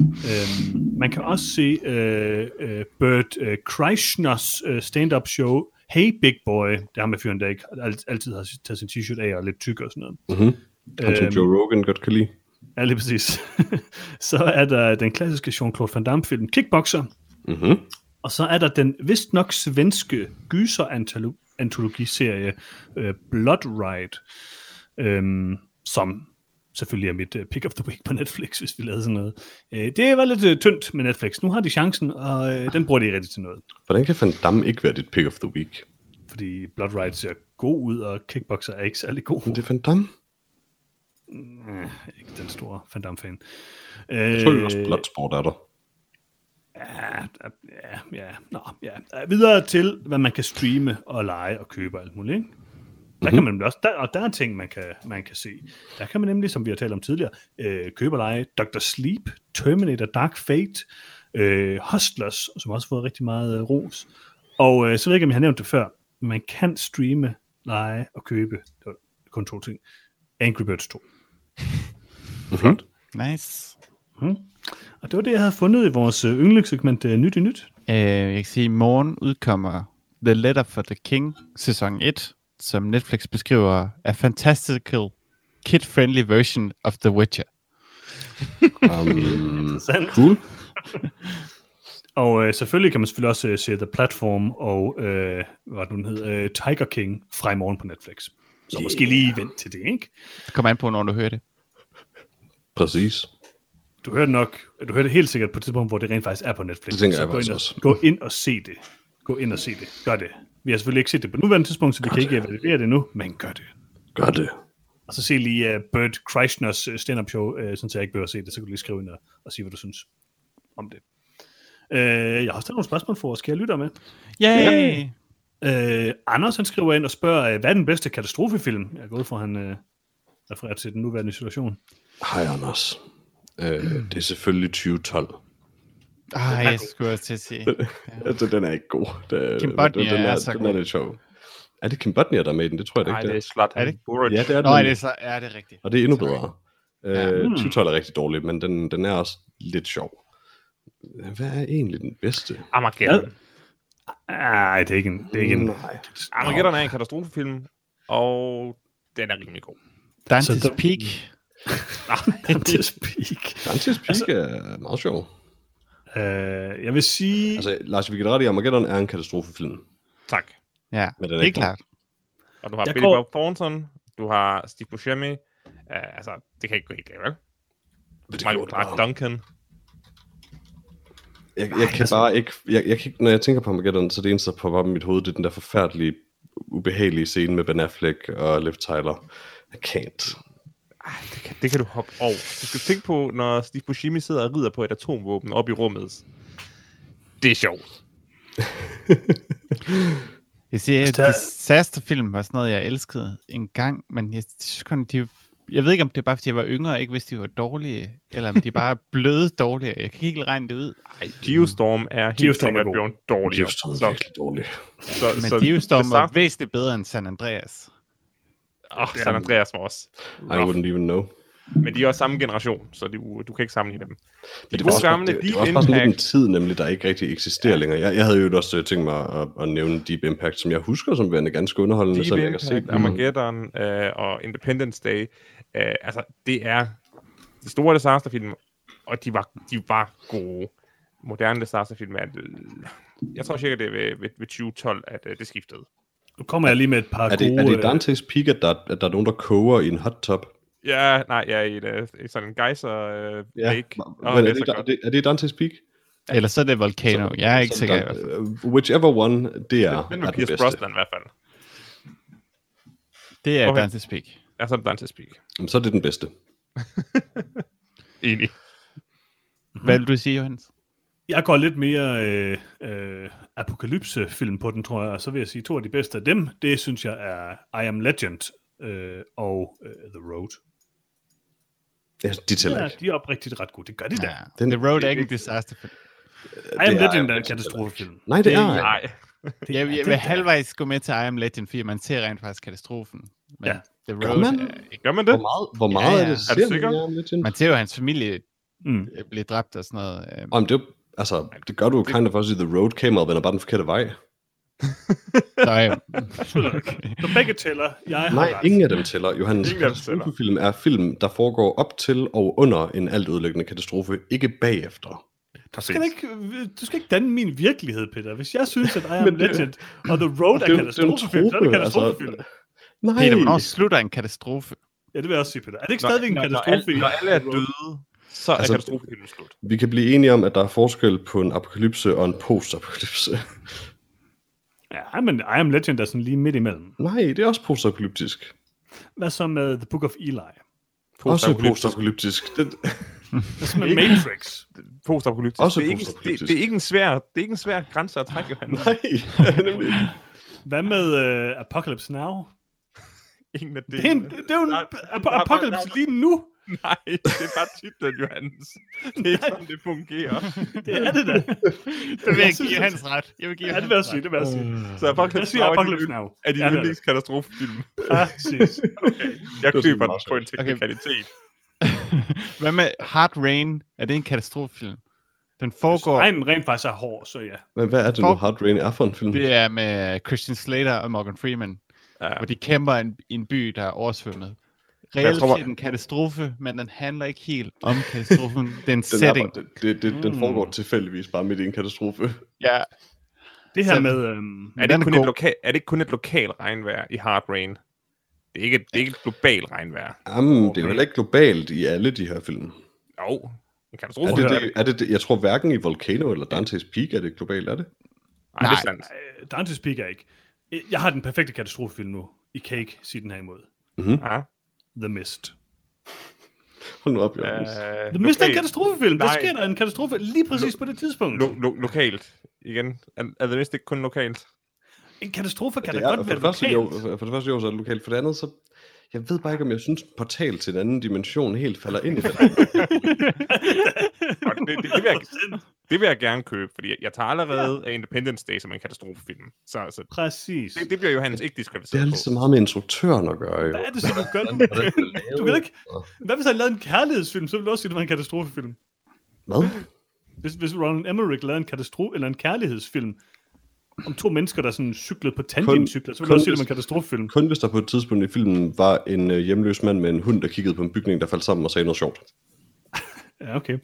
Speaker 1: øhm, man kan også se øh, øh, Bert øh, Kreischer's øh, stand-up show, Hey Big Boy. Det er ham med fyren, der ikke alt, altid har taget sin t-shirt af og er lidt tyk og sådan noget.
Speaker 2: Han
Speaker 3: Øhm.
Speaker 2: som Joe Rogan godt kan lide.
Speaker 1: Ja, lige præcis. så er der den klassiske Jean-Claude Van Damme-film Kickboxer.
Speaker 2: Mhm.
Speaker 1: Og så er der den vist nok svenske gyser-antologiserie øh, Blood Ride, øhm, som selvfølgelig er mit øh, pick of the week på Netflix, hvis vi lavede sådan noget. Øh, det var lidt øh, tyndt med Netflix. Nu har de chancen, og øh, den bruger de rigtig til noget.
Speaker 2: Hvordan kan Van Damme ikke være dit pick of the week?
Speaker 1: Fordi Blood Ride ser god ud, og Kickboxer er ikke særlig god.
Speaker 2: Men det er Van Damme.
Speaker 1: Ikke den store Van Damme-fan. Øh,
Speaker 2: Jeg tror, det
Speaker 3: Øh.
Speaker 2: er også Bloodsport er der.
Speaker 1: Ja, ja, ja, nå, ja. Øh, Videre til, hvad man kan streame og lege og købe og alt muligt. Ikke? Der mm-hmm. kan man nemlig også, der, og der er ting, man kan, man kan se. Der kan man nemlig, som vi har talt om tidligere, øh, købe og lege Dr. Sleep, Terminator Dark Fate, øh, Hustlers, som også har fået rigtig meget øh, ros. Og øh, så ved jeg ikke, om jeg har nævnt det før, men man kan streame, lege og købe, det var kun to ting, Angry Birds 2.
Speaker 2: Mm-hmm.
Speaker 3: Nice.
Speaker 1: Mhm. Og det var det, jeg havde fundet i vores øh, yndlingssegment øh, Nyt i Nyt.
Speaker 3: Øh, jeg kan sige, at i morgen udkommer The Letter for the King, sæson 1, som Netflix beskriver er fantastical kid-friendly version of The Witcher.
Speaker 2: Um,
Speaker 1: Sandt.
Speaker 2: cool.
Speaker 1: Og øh, selvfølgelig kan man selvfølgelig også øh, se The Platform og, øh, hvad var det nu den hed, øh, Tiger King fra i morgen på Netflix. Så yeah. måske lige vent til det, ikke?
Speaker 3: Det kommer an på, når du hører det.
Speaker 2: Præcis.
Speaker 1: Du hører det nok, du hører det helt sikkert på et tidspunkt, hvor det rent faktisk er på Netflix.
Speaker 2: Det tænker
Speaker 1: Så
Speaker 2: jeg
Speaker 1: gå ind,
Speaker 2: faktisk
Speaker 1: og, gå
Speaker 2: også.
Speaker 1: ind og se det. Gå ind og se det. Gør det. Vi har selvfølgelig ikke set det på nuværende tidspunkt, så vi kan ikke evaluere det nu, men gør det.
Speaker 2: Gør det.
Speaker 1: Og så se lige uh, Bert Kreischer's uh, stand-up show, uh, sådan så jeg ikke behøver at se det, så kan du lige skrive ind og, og sige, hvad du synes om det. Uh, jeg har også taget nogle spørgsmål for os, kan jeg lytte med?
Speaker 3: Yay! Yeah.
Speaker 1: Øh, Anders han skriver ind og spørger, øh, hvad er den bedste katastrofefilm? Jeg går ud fra, at han øh, refererer til den nuværende situation.
Speaker 2: Hej, Anders. Øh, det er selvfølgelig 2012.
Speaker 3: Ej, jeg skulle også til at sige.
Speaker 2: Altså, den er ikke god. Det,
Speaker 3: Kim Bodnia
Speaker 2: den, den,
Speaker 3: er
Speaker 2: er,
Speaker 3: så
Speaker 2: den er
Speaker 3: god.
Speaker 2: lidt sjov. Er det Kim Bodnia, der er med i den? Det tror jeg da
Speaker 4: Nej,
Speaker 2: ikke,
Speaker 4: det er
Speaker 2: det
Speaker 4: Slot.
Speaker 3: Er det ikke?
Speaker 4: Burridge.
Speaker 2: er. Ja, det er den.
Speaker 3: Nå, er det så? Ja, det er rigtigt.
Speaker 2: Og det er endnu
Speaker 3: Sorry.
Speaker 2: bedre.
Speaker 3: Ja.
Speaker 2: Øh, 2012 er rigtig dårlig, men den, den er også lidt sjov. Hvad er egentlig den bedste?
Speaker 4: Armageddon.
Speaker 1: Nej, det er ikke en... Det er ikke en.
Speaker 2: Nej.
Speaker 4: Armageddon er en katastrofefilm, og den er rimelig god.
Speaker 3: Dante's
Speaker 1: Så der-
Speaker 3: Peak.
Speaker 1: Dante's Peak.
Speaker 2: Dantes Peak altså, er meget sjov.
Speaker 1: Øh, jeg vil sige...
Speaker 2: Altså, Lars Vigilrati Armageddon er en katastrofefilm.
Speaker 4: Tak.
Speaker 3: Ja,
Speaker 2: Men den er
Speaker 3: det er
Speaker 2: ikke god.
Speaker 3: klart.
Speaker 4: Og du har
Speaker 1: Jeg
Speaker 4: Billy
Speaker 1: går-
Speaker 4: Bob Thornton, du har Steve Buscemi, uh, altså, det kan ikke gå helt galt, vel? Michael
Speaker 2: gjorde det
Speaker 4: Clark
Speaker 2: bare.
Speaker 4: Duncan.
Speaker 2: Jeg, jeg kan bare ikke, jeg, jeg kan ikke... Når jeg tænker på Armageddon, så det eneste, der popper op i mit hoved, det er den der forfærdelige, ubehagelige scene med Ben Affleck og Liv Tyler. I can't.
Speaker 4: Ej, det kan, det kan du hoppe over. Du skal tænke på, når Steve Buscemi sidder og rider på et atomvåben op i rummet. Det er sjovt.
Speaker 3: Jeg siger, at
Speaker 1: Altså, der-
Speaker 3: disasterfilm var sådan noget, jeg elskede en gang, men jeg synes kun, de... Jeg ved ikke, om det er bare, fordi jeg var yngre, og ikke vidste, de var dårlige, eller om de bare er bløde dårlige. Jeg kan ikke helt regne det ud.
Speaker 4: Ej, Geostorm er helt
Speaker 1: Geostorm er
Speaker 4: sikkert
Speaker 1: god.
Speaker 4: blevet dårlig.
Speaker 2: Jefferson er
Speaker 4: Så,
Speaker 2: virkelig dårlig.
Speaker 4: så,
Speaker 3: Men
Speaker 4: så,
Speaker 3: Geostorm var
Speaker 4: så,
Speaker 3: væsentligt bedre end San Andreas.
Speaker 4: oh, San Andreas var også.
Speaker 2: I wouldn't even know.
Speaker 4: Men de er også samme generation, så de, du kan ikke sammenligne dem. De
Speaker 2: Men
Speaker 4: gode gamle
Speaker 2: det, det
Speaker 4: Deep
Speaker 2: var også bare sådan lidt en
Speaker 4: Impact.
Speaker 2: tid, nemlig, der ikke rigtig eksisterer ja. længere. Jeg, jeg havde jo også øh, tænkt mig at, at, nævne Deep Impact, som jeg husker som værende ganske underholdende,
Speaker 4: Deep
Speaker 2: selvom jeg ikke har set
Speaker 4: Impact,
Speaker 2: den.
Speaker 4: Armageddon øh, og Independence Day. Øh, altså, det er de store disasterfilm, og de var, de var gode. Moderne disasterfilm er... Jeg tror cirka, det er ved, ved, ved 2012, at øh, det skiftede.
Speaker 1: Nu kommer jeg lige med et par
Speaker 2: Er det,
Speaker 1: gode...
Speaker 2: er det
Speaker 1: øh,
Speaker 2: Dante's Peak, at der, at der er nogen, der koger i en hot tub?
Speaker 4: Ja, nej, jeg er i et, øh, sådan en geyser øh,
Speaker 2: Ja.
Speaker 4: lake.
Speaker 2: Men
Speaker 4: Åh,
Speaker 2: er,
Speaker 4: det
Speaker 2: det,
Speaker 4: er så
Speaker 2: er,
Speaker 4: godt.
Speaker 2: det, er det Dante's Peak?
Speaker 3: Eller så er det Volcano. jeg er ikke
Speaker 2: Så
Speaker 3: sikker. i
Speaker 2: Dan-
Speaker 3: hvert fald.
Speaker 2: øh, whichever one, det er,
Speaker 4: Den
Speaker 2: er
Speaker 4: med
Speaker 2: den
Speaker 4: Pierce
Speaker 2: bedste.
Speaker 4: Brosnan i hvert fald.
Speaker 3: Det er
Speaker 4: Okay.
Speaker 3: Dante's Peak.
Speaker 4: Ja, så er det Dante's Peak.
Speaker 2: Jamen, så er det den bedste.
Speaker 4: Enig.
Speaker 3: Hvad vil du sige, Johannes?
Speaker 1: Jeg går lidt mere øh, øh, apokalypsefilm på den, tror jeg, og så vil jeg sige, to af de bedste af dem, det synes jeg er I Am Legend øh, og øh, The Road.
Speaker 2: Ja, de tæller
Speaker 1: Ja,
Speaker 2: ikke.
Speaker 1: de er oprigtigt ret gode, det gør de da.
Speaker 3: Ja. The Road er ikke en disasterfilm.
Speaker 1: I Am
Speaker 2: det er
Speaker 1: Legend er
Speaker 2: I Am
Speaker 1: en
Speaker 2: Legend.
Speaker 1: katastrofefilm.
Speaker 2: Nej, det er ej.
Speaker 4: Nej,
Speaker 3: Det, jeg, jeg vil halvvejs gå med til I Am Legend, fordi man ser rent faktisk katastrofen. Men
Speaker 1: Ja.
Speaker 3: The
Speaker 2: Gør
Speaker 3: Road,
Speaker 2: man?
Speaker 3: er ikke-
Speaker 4: Gør man
Speaker 2: Hvor
Speaker 4: det?
Speaker 2: meget, hvor meget
Speaker 3: Ja,
Speaker 2: er det?
Speaker 3: ja.
Speaker 4: Er du
Speaker 2: ser vi
Speaker 4: sikker?
Speaker 2: i Am Legend?
Speaker 3: man ser jo, at hans familie
Speaker 1: Mm.
Speaker 3: øh, bliver dræbt og sådan noget. øhm.
Speaker 2: Om det, er jo- altså, det gør du jo kind of også i The Road, kameraet vender bare den forkerte vej.
Speaker 3: Så, øh,
Speaker 1: Så begge tæller. Jeg har
Speaker 2: Nej,
Speaker 1: ret.
Speaker 2: ingen af dem tæller. Johannes,
Speaker 4: Ingen af dem tæller.
Speaker 2: katastrofefilm er film, der foregår op til og under en altødelæggende katastrofe, ikke bagefter.
Speaker 1: Du skal, da ikke, du skal ikke danne min virkelighed, Peter. Hvis jeg synes, at I Am
Speaker 2: Men det-
Speaker 1: Legend og The Road
Speaker 2: det er
Speaker 1: er
Speaker 2: jo- det er jo en altså.
Speaker 1: katastrofefilm, så er det
Speaker 2: trope,
Speaker 1: katastrofefilm.
Speaker 2: Nej,
Speaker 3: Peter, hvornår slutter en katastrofe?
Speaker 1: Ja, det vil jeg også sige, Peter. Er det ikke
Speaker 4: Når-
Speaker 1: stadigvæk en
Speaker 4: når- når
Speaker 1: katastrofe?
Speaker 4: al-
Speaker 1: i-
Speaker 4: Når alle er døde, så er
Speaker 2: Altså-
Speaker 4: katastrofefilmen slut.
Speaker 2: vi kan blive enige om, at der er forskel på en apokalypse og en postapokalypse.
Speaker 1: Ja, men I Am Legend er sådan lige midt imellem.
Speaker 2: Nej, det er også postapokalyptisk.
Speaker 1: Hvad så med The Book of Eli?
Speaker 2: Også
Speaker 4: Postapokalyptisk.
Speaker 2: postapokalyptisk. Det,
Speaker 1: Hvad så med Matrix?
Speaker 4: Postapokalyptisk.
Speaker 2: Også
Speaker 4: det, er ikke, det,
Speaker 2: postapokalyptisk.
Speaker 4: det, er ikke en svær, det er ikke en svær grænse at trække, Johan.
Speaker 2: nej, nemlig. ikke.
Speaker 1: Hvad med uh, Apocalypse Now?
Speaker 4: Ingen af det.
Speaker 1: Det er, en, det er jo en
Speaker 4: Nej,
Speaker 1: ap- Apocalypse lige nu.
Speaker 4: Nej, det er bare titlen, Johannes. Det er ikke sådan, det fungerer.
Speaker 1: Det er det da.
Speaker 3: Det vil jeg
Speaker 1: synes,
Speaker 3: give
Speaker 1: det-
Speaker 3: hans ret. Jeg vil give
Speaker 1: Ja,
Speaker 3: hans
Speaker 1: det vil jeg sige, det vil jeg
Speaker 2: Øh.
Speaker 1: sige.
Speaker 4: Så
Speaker 1: Jeg
Speaker 4: Apocalypse
Speaker 1: siger
Speaker 4: Now er
Speaker 1: Apocalypse
Speaker 4: din,
Speaker 1: Now.
Speaker 4: er din
Speaker 1: Ja, det er det.
Speaker 4: yndlingskatastrofefilm.
Speaker 1: Præcis.
Speaker 4: Jeg
Speaker 2: Det er
Speaker 4: køber
Speaker 2: sådan
Speaker 4: den
Speaker 2: meget
Speaker 4: på en
Speaker 3: Okay.
Speaker 4: teknikalitet.
Speaker 3: Hvad med Hard Rain? Er det en katastrofefilm? Den foregår...
Speaker 1: Ej, men rent faktisk er hård, så ja.
Speaker 2: Men hvad er det nu,
Speaker 3: For-
Speaker 2: Hard Rain er for en film?
Speaker 3: Det er med Christian Slater og Morgan Freeman,
Speaker 4: Ja.
Speaker 3: hvor de kæmper i en, i en by, der er oversvømmet.
Speaker 4: Jeg
Speaker 3: Reelt
Speaker 4: tror, man-
Speaker 3: set en katastrofe, men den handler ikke helt om katastrofen. Det er en
Speaker 2: Den, er bare,
Speaker 3: setting.
Speaker 2: det, det, det, den foregår tilfældigvis bare midt i en katastrofe.
Speaker 3: Ja,
Speaker 1: Det her
Speaker 3: Så-
Speaker 1: med... Øhm,
Speaker 4: Er det,
Speaker 3: Den
Speaker 4: ikke
Speaker 3: er
Speaker 4: kun et
Speaker 3: god.
Speaker 4: loka- er det ikke kun et lokal regnvejr i Hard Rain? Det er ikke, det er ikke et globalt regnvejr.
Speaker 2: Jamen, det er jo heller ikke globalt i alle de her film.
Speaker 4: Jo, en katastrofe.
Speaker 2: Er det, det,
Speaker 4: Nej,
Speaker 2: er det, det, jeg tror hverken i Volcano eller Dante's Peak er det globalt, er det?
Speaker 4: det er
Speaker 3: Nej.
Speaker 4: sandt.
Speaker 1: øh, Dante's Peak er ikke. Jeg har den perfekte katastrofefilm nu. I Cake, sig den her imod.
Speaker 4: Ja.
Speaker 1: The Mist.
Speaker 2: Hold nu op, Jørgens.
Speaker 4: Øh,
Speaker 1: The Mist er en
Speaker 4: lokalt.
Speaker 1: katastrofefilm. Der
Speaker 4: Nej.
Speaker 1: sker der en katastrofe lige præcis på det tidspunkt.
Speaker 4: Lo- lo- lokalt. Igen. Er, er det næsten ikke kun lokalt?
Speaker 1: En katastrofe kan da
Speaker 2: det er,
Speaker 1: godt
Speaker 2: for,
Speaker 1: være
Speaker 2: det første, jo,
Speaker 1: lokalt.
Speaker 2: for det første jo, så er det lokalt. For det andet, så... Jeg ved bare ikke, om jeg synes, en portal til en anden dimension helt falder ind i det.
Speaker 4: Og det, det, det, vil jeg, det vil jeg gerne købe, fordi jeg, jeg tager allerede ja. Independence Day som en katastrofefilm. Så, så
Speaker 1: Præcis.
Speaker 4: det, det bliver Johannes ikke
Speaker 2: Det ligesom
Speaker 4: diskvalificeret
Speaker 2: har
Speaker 4: på.
Speaker 2: lige så meget med instruktøren at gøre, jo.
Speaker 1: Hvad er det så, du gør? nu?
Speaker 2: Hvordan den er lavet.
Speaker 1: Du kan ikke... Hvad hvis han lavede en kærlighedsfilm, så ville du også sige, at det var en katastrofefilm.
Speaker 2: Hvad?
Speaker 1: Hvis, hvis Ronald Emmerich lavede en katastrofe eller en kærlighedsfilm om to mennesker, der sådan cyklede på tandemcykler, så ville du
Speaker 2: kun
Speaker 1: også sige, at det var
Speaker 2: hvis-
Speaker 1: en katastrofefilm.
Speaker 2: Kun hvis der på et tidspunkt i filmen var en øh, hjemløs mand med en hund, der kiggede på en bygning, der faldt sammen og sagde noget sjovt.
Speaker 1: Ja, okay.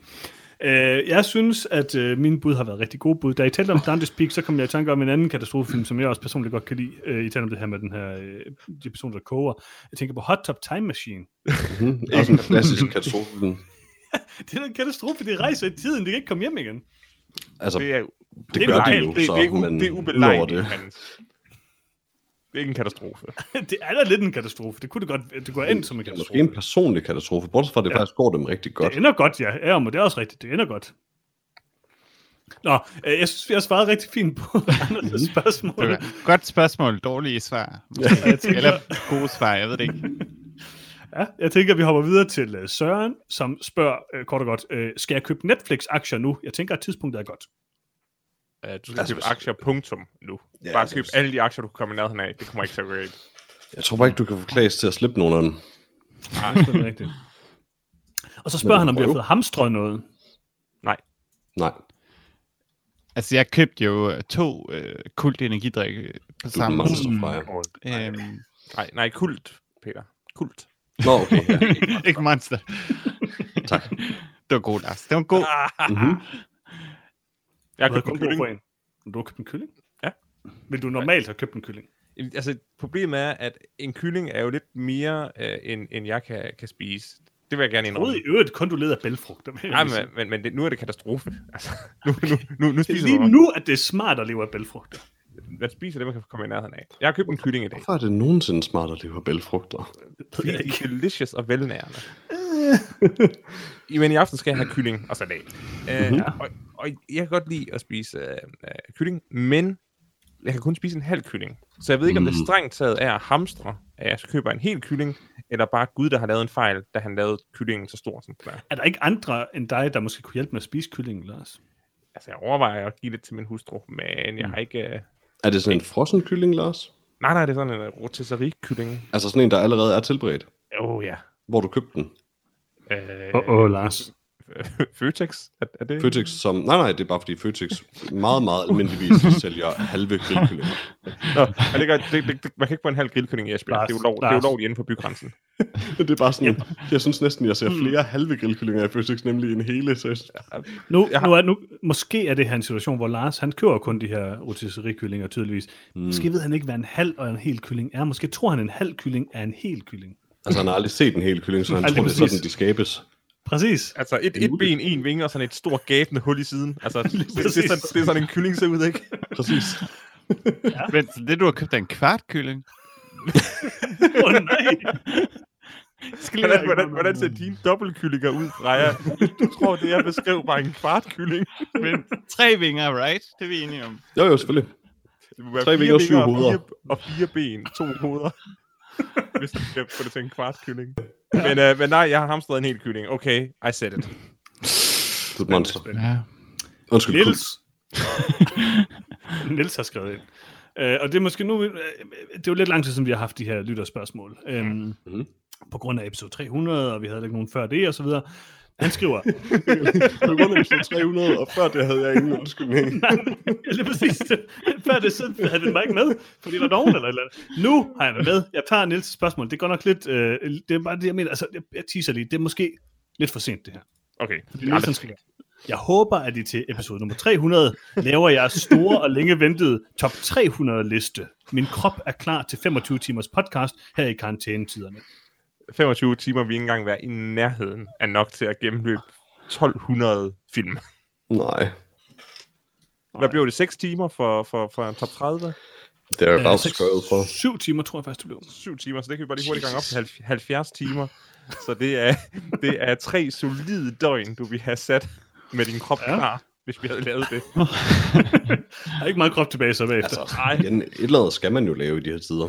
Speaker 1: Øh, jeg synes, at øh, mine bud har været rigtig gode bud. Da I talte om Dante's Peak, så kom jeg i tanke om en anden katastrofefilm, som jeg også personligt godt kan lide. Øh, I talte om det her med den her, øh, de personer, der koger. Jeg tænker på Hot Top Time Machine. Mhm.
Speaker 2: Mm-hmm. Også en klassisk katastrofe.
Speaker 1: Det er da en katastrofe, det rejser i tiden, det kan ikke komme hjem igen.
Speaker 2: Altså,
Speaker 4: Det
Speaker 2: det,
Speaker 4: er, det,
Speaker 1: det
Speaker 2: det gør de
Speaker 1: lokalt.
Speaker 2: jo,
Speaker 4: det,
Speaker 2: så,
Speaker 4: det, er, u-
Speaker 2: men
Speaker 4: det er
Speaker 2: udover
Speaker 4: ubelejligt,
Speaker 2: det.
Speaker 4: Johannes. Det er ikke en katastrofe.
Speaker 1: det er da lidt en katastrofe. Det kunne det godt, det går ind som en
Speaker 2: Det er
Speaker 1: katastrofe.
Speaker 2: måske en personlig katastrofe, bortset fra, at det ja. faktisk går dem rigtig godt.
Speaker 1: Det ender godt, ja. Ja, men det er også rigtigt. Det ender godt. Nå, øh, jeg synes, vi har svaret rigtig fint på
Speaker 2: Mhm.
Speaker 1: Anders' spørgsmål.
Speaker 3: det var godt spørgsmål, dårlige svar.
Speaker 1: jeg tænker-
Speaker 3: Eller gode svar, jeg ved det ikke.
Speaker 1: Ja, jeg tænker, at vi hopper videre til øh, Søren, som spørger øh, kort og godt, øh, skal jeg købe Netflix-aktier nu? Jeg tænker, at tidspunktet er godt.
Speaker 4: Uh, du skal
Speaker 2: Altså,
Speaker 4: altså, købe
Speaker 2: hvis-
Speaker 4: aktier, punktum, nu.
Speaker 2: Ja,
Speaker 4: Ja, Bare
Speaker 2: altså,
Speaker 4: køb
Speaker 2: hvis-
Speaker 4: alle de aktier, du kan komme i nærheden af. Det kommer ikke til at gå galt.
Speaker 2: Jeg tror bare ikke, du kan få Klaas til at slippe nogen af dem.
Speaker 1: Det er rigtigt. Og så spørger han,
Speaker 2: Men
Speaker 1: om vi har
Speaker 2: prøv.
Speaker 1: fået hamstret noget.
Speaker 2: Nej,
Speaker 3: Altså, jeg købte jo øh, to øh, kult energidrikke på
Speaker 2: du er den
Speaker 3: samme tid.
Speaker 2: monster fra jer.
Speaker 3: Øhm,
Speaker 4: Nej, nej, kult, Peter. Kult.
Speaker 2: Nå, okay. Ja.
Speaker 3: ikke monster.
Speaker 2: Tak.
Speaker 3: Det var god, Lars. Det var god.
Speaker 2: Mm-hmm.
Speaker 4: Jeg
Speaker 1: Du har
Speaker 4: har købt
Speaker 1: kun
Speaker 4: en
Speaker 1: brug
Speaker 4: kylling.
Speaker 1: for en. Men Du har købt en kylling?
Speaker 4: Ja.
Speaker 1: Vil du normalt have købt en kylling?
Speaker 4: Jamen, Altså, problemet er, at en kylling er jo lidt mere, øh, end, end jeg kan, kan spise. Det vil jeg gerne
Speaker 1: Rød i
Speaker 4: indrømme.
Speaker 1: øvrigt, kun du leder af bælfrugter. vil jeg
Speaker 4: Nej,
Speaker 1: lige sige.
Speaker 4: men, men, men det, nu er det katastrofe. Altså, nu, nu, nu, nu
Speaker 1: Det er
Speaker 4: spiser
Speaker 1: lige
Speaker 4: man,
Speaker 1: nu, at det er smart at leve af bælfrugter.
Speaker 4: man spiser det, man kan komme i nærheden af. Jeg har købt en kylling i dag,
Speaker 2: Hvorfor er det nogensinde smart at leve af bælfrugter?
Speaker 4: fordi de er delicious og velnærende. Men i aften skal jeg have kylling og salat. Øh,
Speaker 1: Mhm.
Speaker 4: og, og jeg kan godt lide at spise øh, øh, kylling, men jeg kan kun spise en halv kylling. Så jeg ved ikke, om det
Speaker 1: Mhm.
Speaker 2: Mm.
Speaker 4: strengt taget er at hamstre, at jeg køber en hel kylling, eller bare Gud, der har lavet en fejl, da han lavede kyllingen så stor, som den er.
Speaker 1: Er der ikke andre end dig, der måske kunne hjælpe med at spise kyllingen, Lars? Mm.
Speaker 4: Altså, jeg overvejer at give det til min hustru, men jeg har ikke... øh,
Speaker 2: Er det sådan en frossen kylling, Lars?
Speaker 4: Nej, nej, det er sådan en øh, rotisserie-kylling.
Speaker 2: Altså sådan en, der allerede er tilberedt,
Speaker 4: Åh, oh, ja.
Speaker 2: hvor du købte den.
Speaker 4: Øh,
Speaker 1: Åh, oh, oh, Lars.
Speaker 4: Føtex? Er, er det?
Speaker 2: Føtex som... Nej, nej, det er bare fordi Føtex meget, meget almindeligvis sælger halve grillkyllinger.
Speaker 4: Nå, er det, godt? det, det, det, man kan ikke få en halv grillkylling i Esbjerg.
Speaker 1: Lars,
Speaker 4: Det er ulovligt, det
Speaker 1: Lars.
Speaker 4: er ulovligt inden for bygrænsen.
Speaker 2: det er bare sådan... Jeg synes næsten, jeg ser flere halve grillkyllinger i Føtex, nemlig en hele. Så jeg synes,
Speaker 1: Nu,
Speaker 4: Jeg har-
Speaker 1: nu, er, nu, måske er det her en situation, hvor Lars, han køber kun de her rotisserikyllinger tydeligvis. Mm. Måske ved han ikke, hvad en halv og en hel kylling er. Måske tror han, en halv kylling er en hel kylling.
Speaker 2: altså, han har aldrig set en hel kylling, så han
Speaker 1: Aldrig
Speaker 2: tror, det er
Speaker 1: præcis.
Speaker 2: sådan, de skabes.
Speaker 1: Præcis.
Speaker 4: Altså et, et ben, en vinge og sådan et stort gabende hul i siden. Altså, det, det, er
Speaker 1: præcis.
Speaker 4: sådan, det er sådan en kylling ser ud, ikke?
Speaker 2: Præcis.
Speaker 4: Ah.
Speaker 3: Men så det, du har købt, er en kvart kylling.
Speaker 1: Åh oh, nej.
Speaker 3: Skal lige
Speaker 4: Hvordan, hvordan, hvordan ser dine dobbeltkyllinger ud, Freja? Du tror, det jeg beskrev var en kvartkylling.
Speaker 3: men tre vinger, right? Det er vi enige om.
Speaker 2: Jo, jo, selvfølgelig.
Speaker 4: Det må være
Speaker 2: Tre
Speaker 4: fire
Speaker 2: vinger og syv
Speaker 4: og
Speaker 2: hoveder.
Speaker 4: Fire, og fire ben, to hoveder. Hvis du skal få det til en kvartkylling. Men, øh, men nej, jeg har hamstret en hel kylling. Okay, I said it.
Speaker 2: Det er et monster.
Speaker 3: Ja.
Speaker 2: Undskyld, kult.
Speaker 1: Niels. Niels har skrevet ind. Øh, og det er måske nu, vi- øh, det er jo lidt lang tid, siden vi har haft de her lytterspørgsmål. Øhm, mm. På grund af episode 300, og vi havde ikke nogen før det, og så videre. Han skriver,
Speaker 2: På grund af episode 300, og før det havde jeg ingen undskyldning.
Speaker 1: eller præcis, det- før det så havde vi mig ikke med, fordi der er nogen eller et eller andet. Nu har jeg det med. Jeg tager Niels' spørgsmål. Det går nok lidt, øh, det er bare det, jeg mener. Altså, jeg, jeg teaser lige. Det er måske lidt for sent, det her.
Speaker 4: Okay.
Speaker 1: Niels, han skriver, jeg håber, at I til episode nummer 300 laver jeres store og længe ventede top 300 liste. Min krop er klar til 25 timers podcast her i karantænetiderne.
Speaker 4: 25 timer vil ikke engang være i nærheden af nok til at gennemløbe 1200 film.
Speaker 2: Nej,
Speaker 4: Hvad blev det? 6 timer for, for, for en top 30?
Speaker 2: det er jeg bare
Speaker 1: seks-
Speaker 2: skrevet for.
Speaker 1: Syv timer, tror jeg faktisk, det blev.
Speaker 4: 7 timer, så det kan vi bare lige hurtigt gange op til halv- 70 timer. Så det er, det er tre solide døgn, du vil have sat med din krop
Speaker 1: Ja.
Speaker 4: ja. klar, hvis vi havde lavet det.
Speaker 1: Der er ikke meget krop tilbage så bagefter.
Speaker 2: Altså, igen, et eller andet skal man jo lave i de her tider.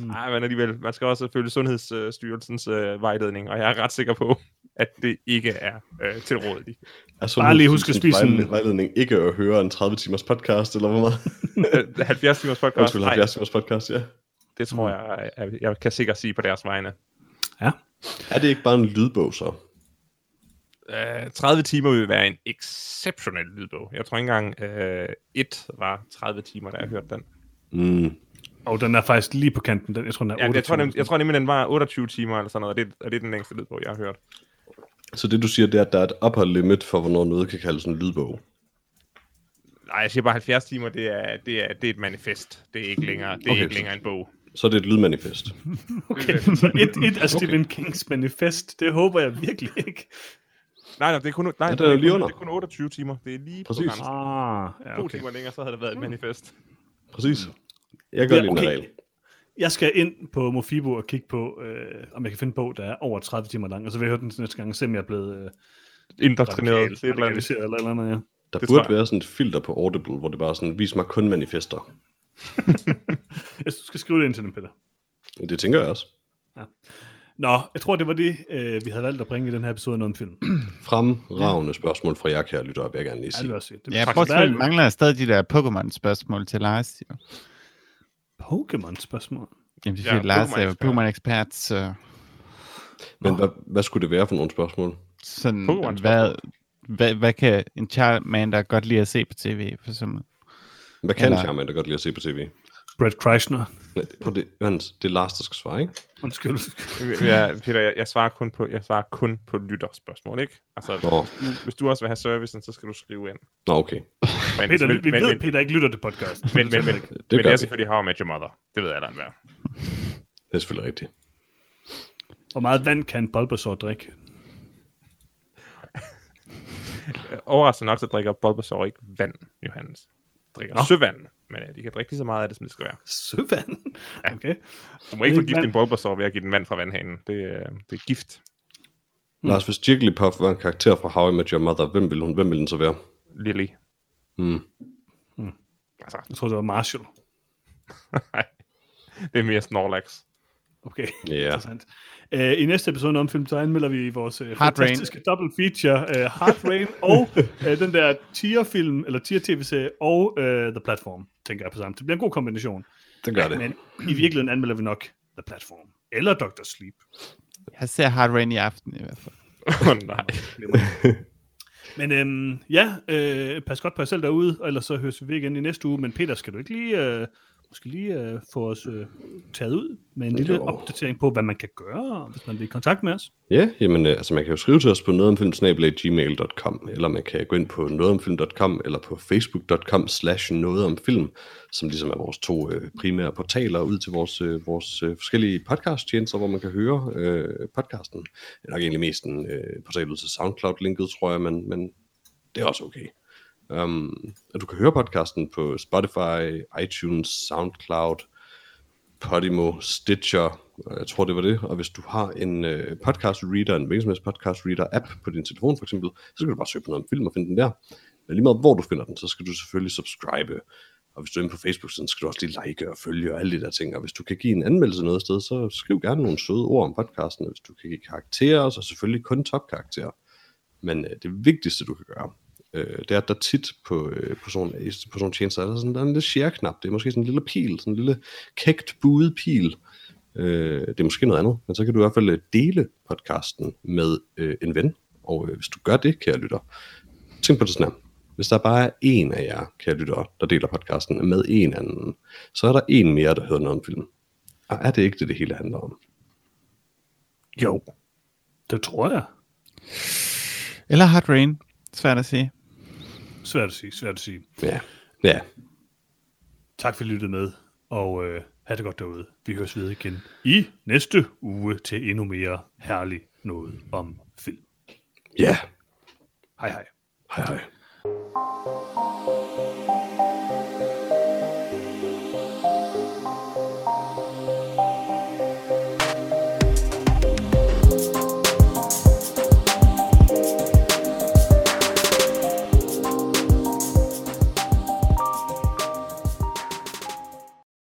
Speaker 4: Nej, men alligevel, man skal også følge Sundhedsstyrelsens øh, vejledning, og jeg er ret sikker på, at det ikke er øh, tilrådeligt.
Speaker 2: Altså,
Speaker 1: Bare lige husk at spise en-
Speaker 2: en... Vejledning ikke at høre en 30-timers podcast, eller hvor meget?
Speaker 4: Øh, 70 timers podcast,
Speaker 2: Undskyld,
Speaker 4: nej,
Speaker 2: 70-timers podcast, ja.
Speaker 4: det tror jeg, jeg, jeg kan sikkert sige på deres vegne.
Speaker 1: Ja.
Speaker 2: Er det ikke bare en lydbog, så?
Speaker 4: Øh, 30 timer vil være en exceptionel lydbog. Jeg tror ikke engang, øh, et var 30 timer, da jeg hørte den.
Speaker 2: Mm.
Speaker 1: Og den er faktisk lige på kanten. Den, jeg tror, den er
Speaker 4: Ja,
Speaker 1: 8
Speaker 4: jeg, tror, nem, jeg tror nemlig, den var 28 timer eller sådan noget, og det, og det er den længste lydbog, jeg har hørt.
Speaker 2: Så det, du siger, det er, at der er et upper limit for, hvornår noget kan kaldes en lydbog.
Speaker 4: Nej, jeg siger bare 70 timer, det er, det er, det er et manifest. Det er ikke længere, det
Speaker 2: Okay,
Speaker 4: er okay, ikke
Speaker 2: så-
Speaker 4: længere en bog.
Speaker 2: Så er det et lydmanifest.
Speaker 1: Okay, så et, et af Stephen Kings manifest, det håber jeg virkelig ikke.
Speaker 4: Nej, nej, det er kun, nej,
Speaker 2: Ja, det er
Speaker 4: det,
Speaker 2: jo
Speaker 4: er
Speaker 2: lige
Speaker 4: kun,
Speaker 2: under.
Speaker 4: det er kun 28 timer. Det er lige
Speaker 2: Præcis.
Speaker 4: på grænsen.
Speaker 1: Ah, ja,
Speaker 4: To
Speaker 1: okay.
Speaker 4: timer længere, så havde det været et manifest.
Speaker 2: Præcis. Jeg gør
Speaker 1: Ja,
Speaker 2: ja, lige
Speaker 1: okay.
Speaker 2: en regel.
Speaker 1: Jeg skal ind på Mofibo og kigge på, øh, om jeg kan finde en bog, der er over 30 timer lang, og så vil jeg høre den næste gang, og se om jeg er blevet øh,
Speaker 4: Indoktrineret til et eller andet.
Speaker 1: radikaliseret eller et eller andet, ja.
Speaker 2: Der
Speaker 4: Det
Speaker 2: det
Speaker 4: tror
Speaker 2: burde
Speaker 4: jeg.
Speaker 2: være sådan et filter på Audible, hvor det bare er sådan, vis mig kun manifester.
Speaker 1: Jeg synes, du skal skrive det ind til dem, Peter.
Speaker 2: Det tænker jeg også.
Speaker 1: Nå, jeg tror, det var det, øh, vi havde valgt at bringe i den her episode af noget om film. Ja,
Speaker 2: Fremragende spørgsmål fra jer, kære lyttere, vil jeg gerne lige
Speaker 1: det vil
Speaker 2: sige.
Speaker 1: jeg også sige. Det
Speaker 3: Ja,
Speaker 1: tak.
Speaker 3: prøv at
Speaker 1: Der er
Speaker 3: spørge, mangler stadig de der Pokémon-spørgsmål til Lars. Jo.
Speaker 1: Pokémon-spørgsmål.
Speaker 3: Jamen, det er
Speaker 4: Ja,
Speaker 3: ja, Lars er
Speaker 4: Pokémon-ekspert.
Speaker 3: Pokémon-ekspert, så
Speaker 2: Men hvad, hvad skulle det være for nogle spørgsmål?
Speaker 3: sådan,
Speaker 4: Pokémon-spørgsmål.
Speaker 3: hvad, hvad, hvad, kan en Charmander godt lide at se på tv? For eksempel?
Speaker 2: Hvad kan
Speaker 3: Eller-
Speaker 2: Charmander godt lide at se på tv?
Speaker 1: Brad Kreisner.
Speaker 2: Nej, Prøv det, Hans, det er Lars, der skal svare, ikke?
Speaker 1: Undskyld.
Speaker 4: Ja, Peter, jeg, jeg, svarer kun på, jeg svarer kun på lytterspørgsmål, ikke? Altså,
Speaker 2: Nå,
Speaker 4: hvis du også vil have servicen, så skal du skrive ind.
Speaker 2: Nå okay.
Speaker 4: Men,
Speaker 1: Peter, vi, vi
Speaker 4: men,
Speaker 1: ved,
Speaker 4: men,
Speaker 1: Peter ikke lytter til podcasten.
Speaker 4: men, men, men,
Speaker 2: Det
Speaker 4: men
Speaker 2: gør
Speaker 4: det er
Speaker 2: vi.
Speaker 4: selvfølgelig How I Met Your Mother. Det ved jeg da enhver.
Speaker 2: Det er selvfølgelig rigtigt.
Speaker 1: Hvor meget vand kan Bulbasaur drikke?
Speaker 4: Overraskende nok, så drikker Bulbasaur ikke vand, Johannes. Drikker Nå. søvand, men øh, de kan drikke lige så meget af det, som det skal være.
Speaker 1: Søvand. Okay.
Speaker 4: Du må ikke
Speaker 1: Det er
Speaker 4: forgifte
Speaker 1: vand.
Speaker 4: din Bulbasaur ved at give den vand fra vandhanen. Det, øh, det er gift.
Speaker 2: Mm. Lars, hvis Jigglypuff var en karakter fra How I Met Your Mother, hvem ville, hun, hvem ville den så være?
Speaker 4: Lily.
Speaker 2: Mm.
Speaker 4: Altså,
Speaker 1: Jeg tror, det var Marshall.
Speaker 4: nej. Det er mere Snorlax.
Speaker 1: Okay,
Speaker 2: Ja.
Speaker 1: interessant. Øh, I næste episode om film, så anmelder vi vores øh,
Speaker 3: Hard Rain.
Speaker 1: fantastiske double feature, øh, Hard Rain og øh, den der tier-film, eller tier-tv-serie, og øh, The Platform, tænker jeg på sammen. Det bliver en god kombination.
Speaker 2: Det gør det.
Speaker 1: Men i virkeligheden anmelder vi nok The Platform. Eller Dr. Sleep.
Speaker 3: Jeg ser Hard Rain i aften i hvert fald.
Speaker 4: Åh oh, nej.
Speaker 1: Men øhm, ja, øh, pas godt på jer selv derude, og ellers så høres vi ved igen i næste uge. Men Peter, skal du ikke lige, øh, måske lige øh, få os øh, taget ud med en lille
Speaker 2: Jo.
Speaker 1: opdatering på, hvad man kan gøre, hvis man vil i kontakt med os?
Speaker 2: Ja, jamen, øh, altså man kan jo skrive til os på nogetomfilm.gmail.com, eller man kan gå ind på nogetomfilm.com, eller på facebook.com slash nogetomfilm, som ligesom er vores to øh, primære portaler ud til vores, øh, vores øh, forskellige podcast-tjenester, hvor man kan høre øh, podcasten. Det er nok egentlig mest en øh, portal ud til SoundCloud-linket, tror jeg, men, men det er også okay. Um, og du kan høre podcasten på Spotify, iTunes, SoundCloud, Podimo, Stitcher, og jeg tror det var det. Og hvis du har en øh, podcast reader, en hvilken som helst podcast reader app på din telefon for eksempel, så skal du bare søge på noget om film og finde den der. Men lige meget hvor du finder den, så skal du selvfølgelig subscribe. Og hvis du er inde på Facebook, så skal du også lige like og følge og alle de der ting. Og hvis du kan give en anmeldelse noget sted, så skriv gerne nogle søde ord om podcasten. Og hvis du kan give karakterer, så selvfølgelig kun topkarakterer. Men øh, det vigtigste, du kan gøre, øh, det er, at der tit på, øh, på, sådan, i- på sådan tjenester, er der, sådan, der er en lille share-knap. Det er måske sådan en lille pil, sådan en lille kægt buet pil. Øh, det er måske noget andet, men så kan du i hvert fald øh, dele podcasten med øh, en ven. Og øh, hvis du gør det, kære lytter, tænk på det sådan her. Hvis der bare er en af jer, kære lytter, der deler podcasten med en anden, så er der en mere, der hører noget om filmen. Og er det ikke det, det hele handler om?
Speaker 1: Jo, det tror jeg.
Speaker 3: Eller Hard Rain. Svært at sige.
Speaker 1: Svært at sige, svært at sige.
Speaker 2: Ja, ja.
Speaker 1: Tak for at lytte med, og øh, have det godt derude. Vi høres ved igen i næste uge til endnu mere herlig noget om film.
Speaker 2: Ja.
Speaker 1: Hej hej.
Speaker 2: Hej hej.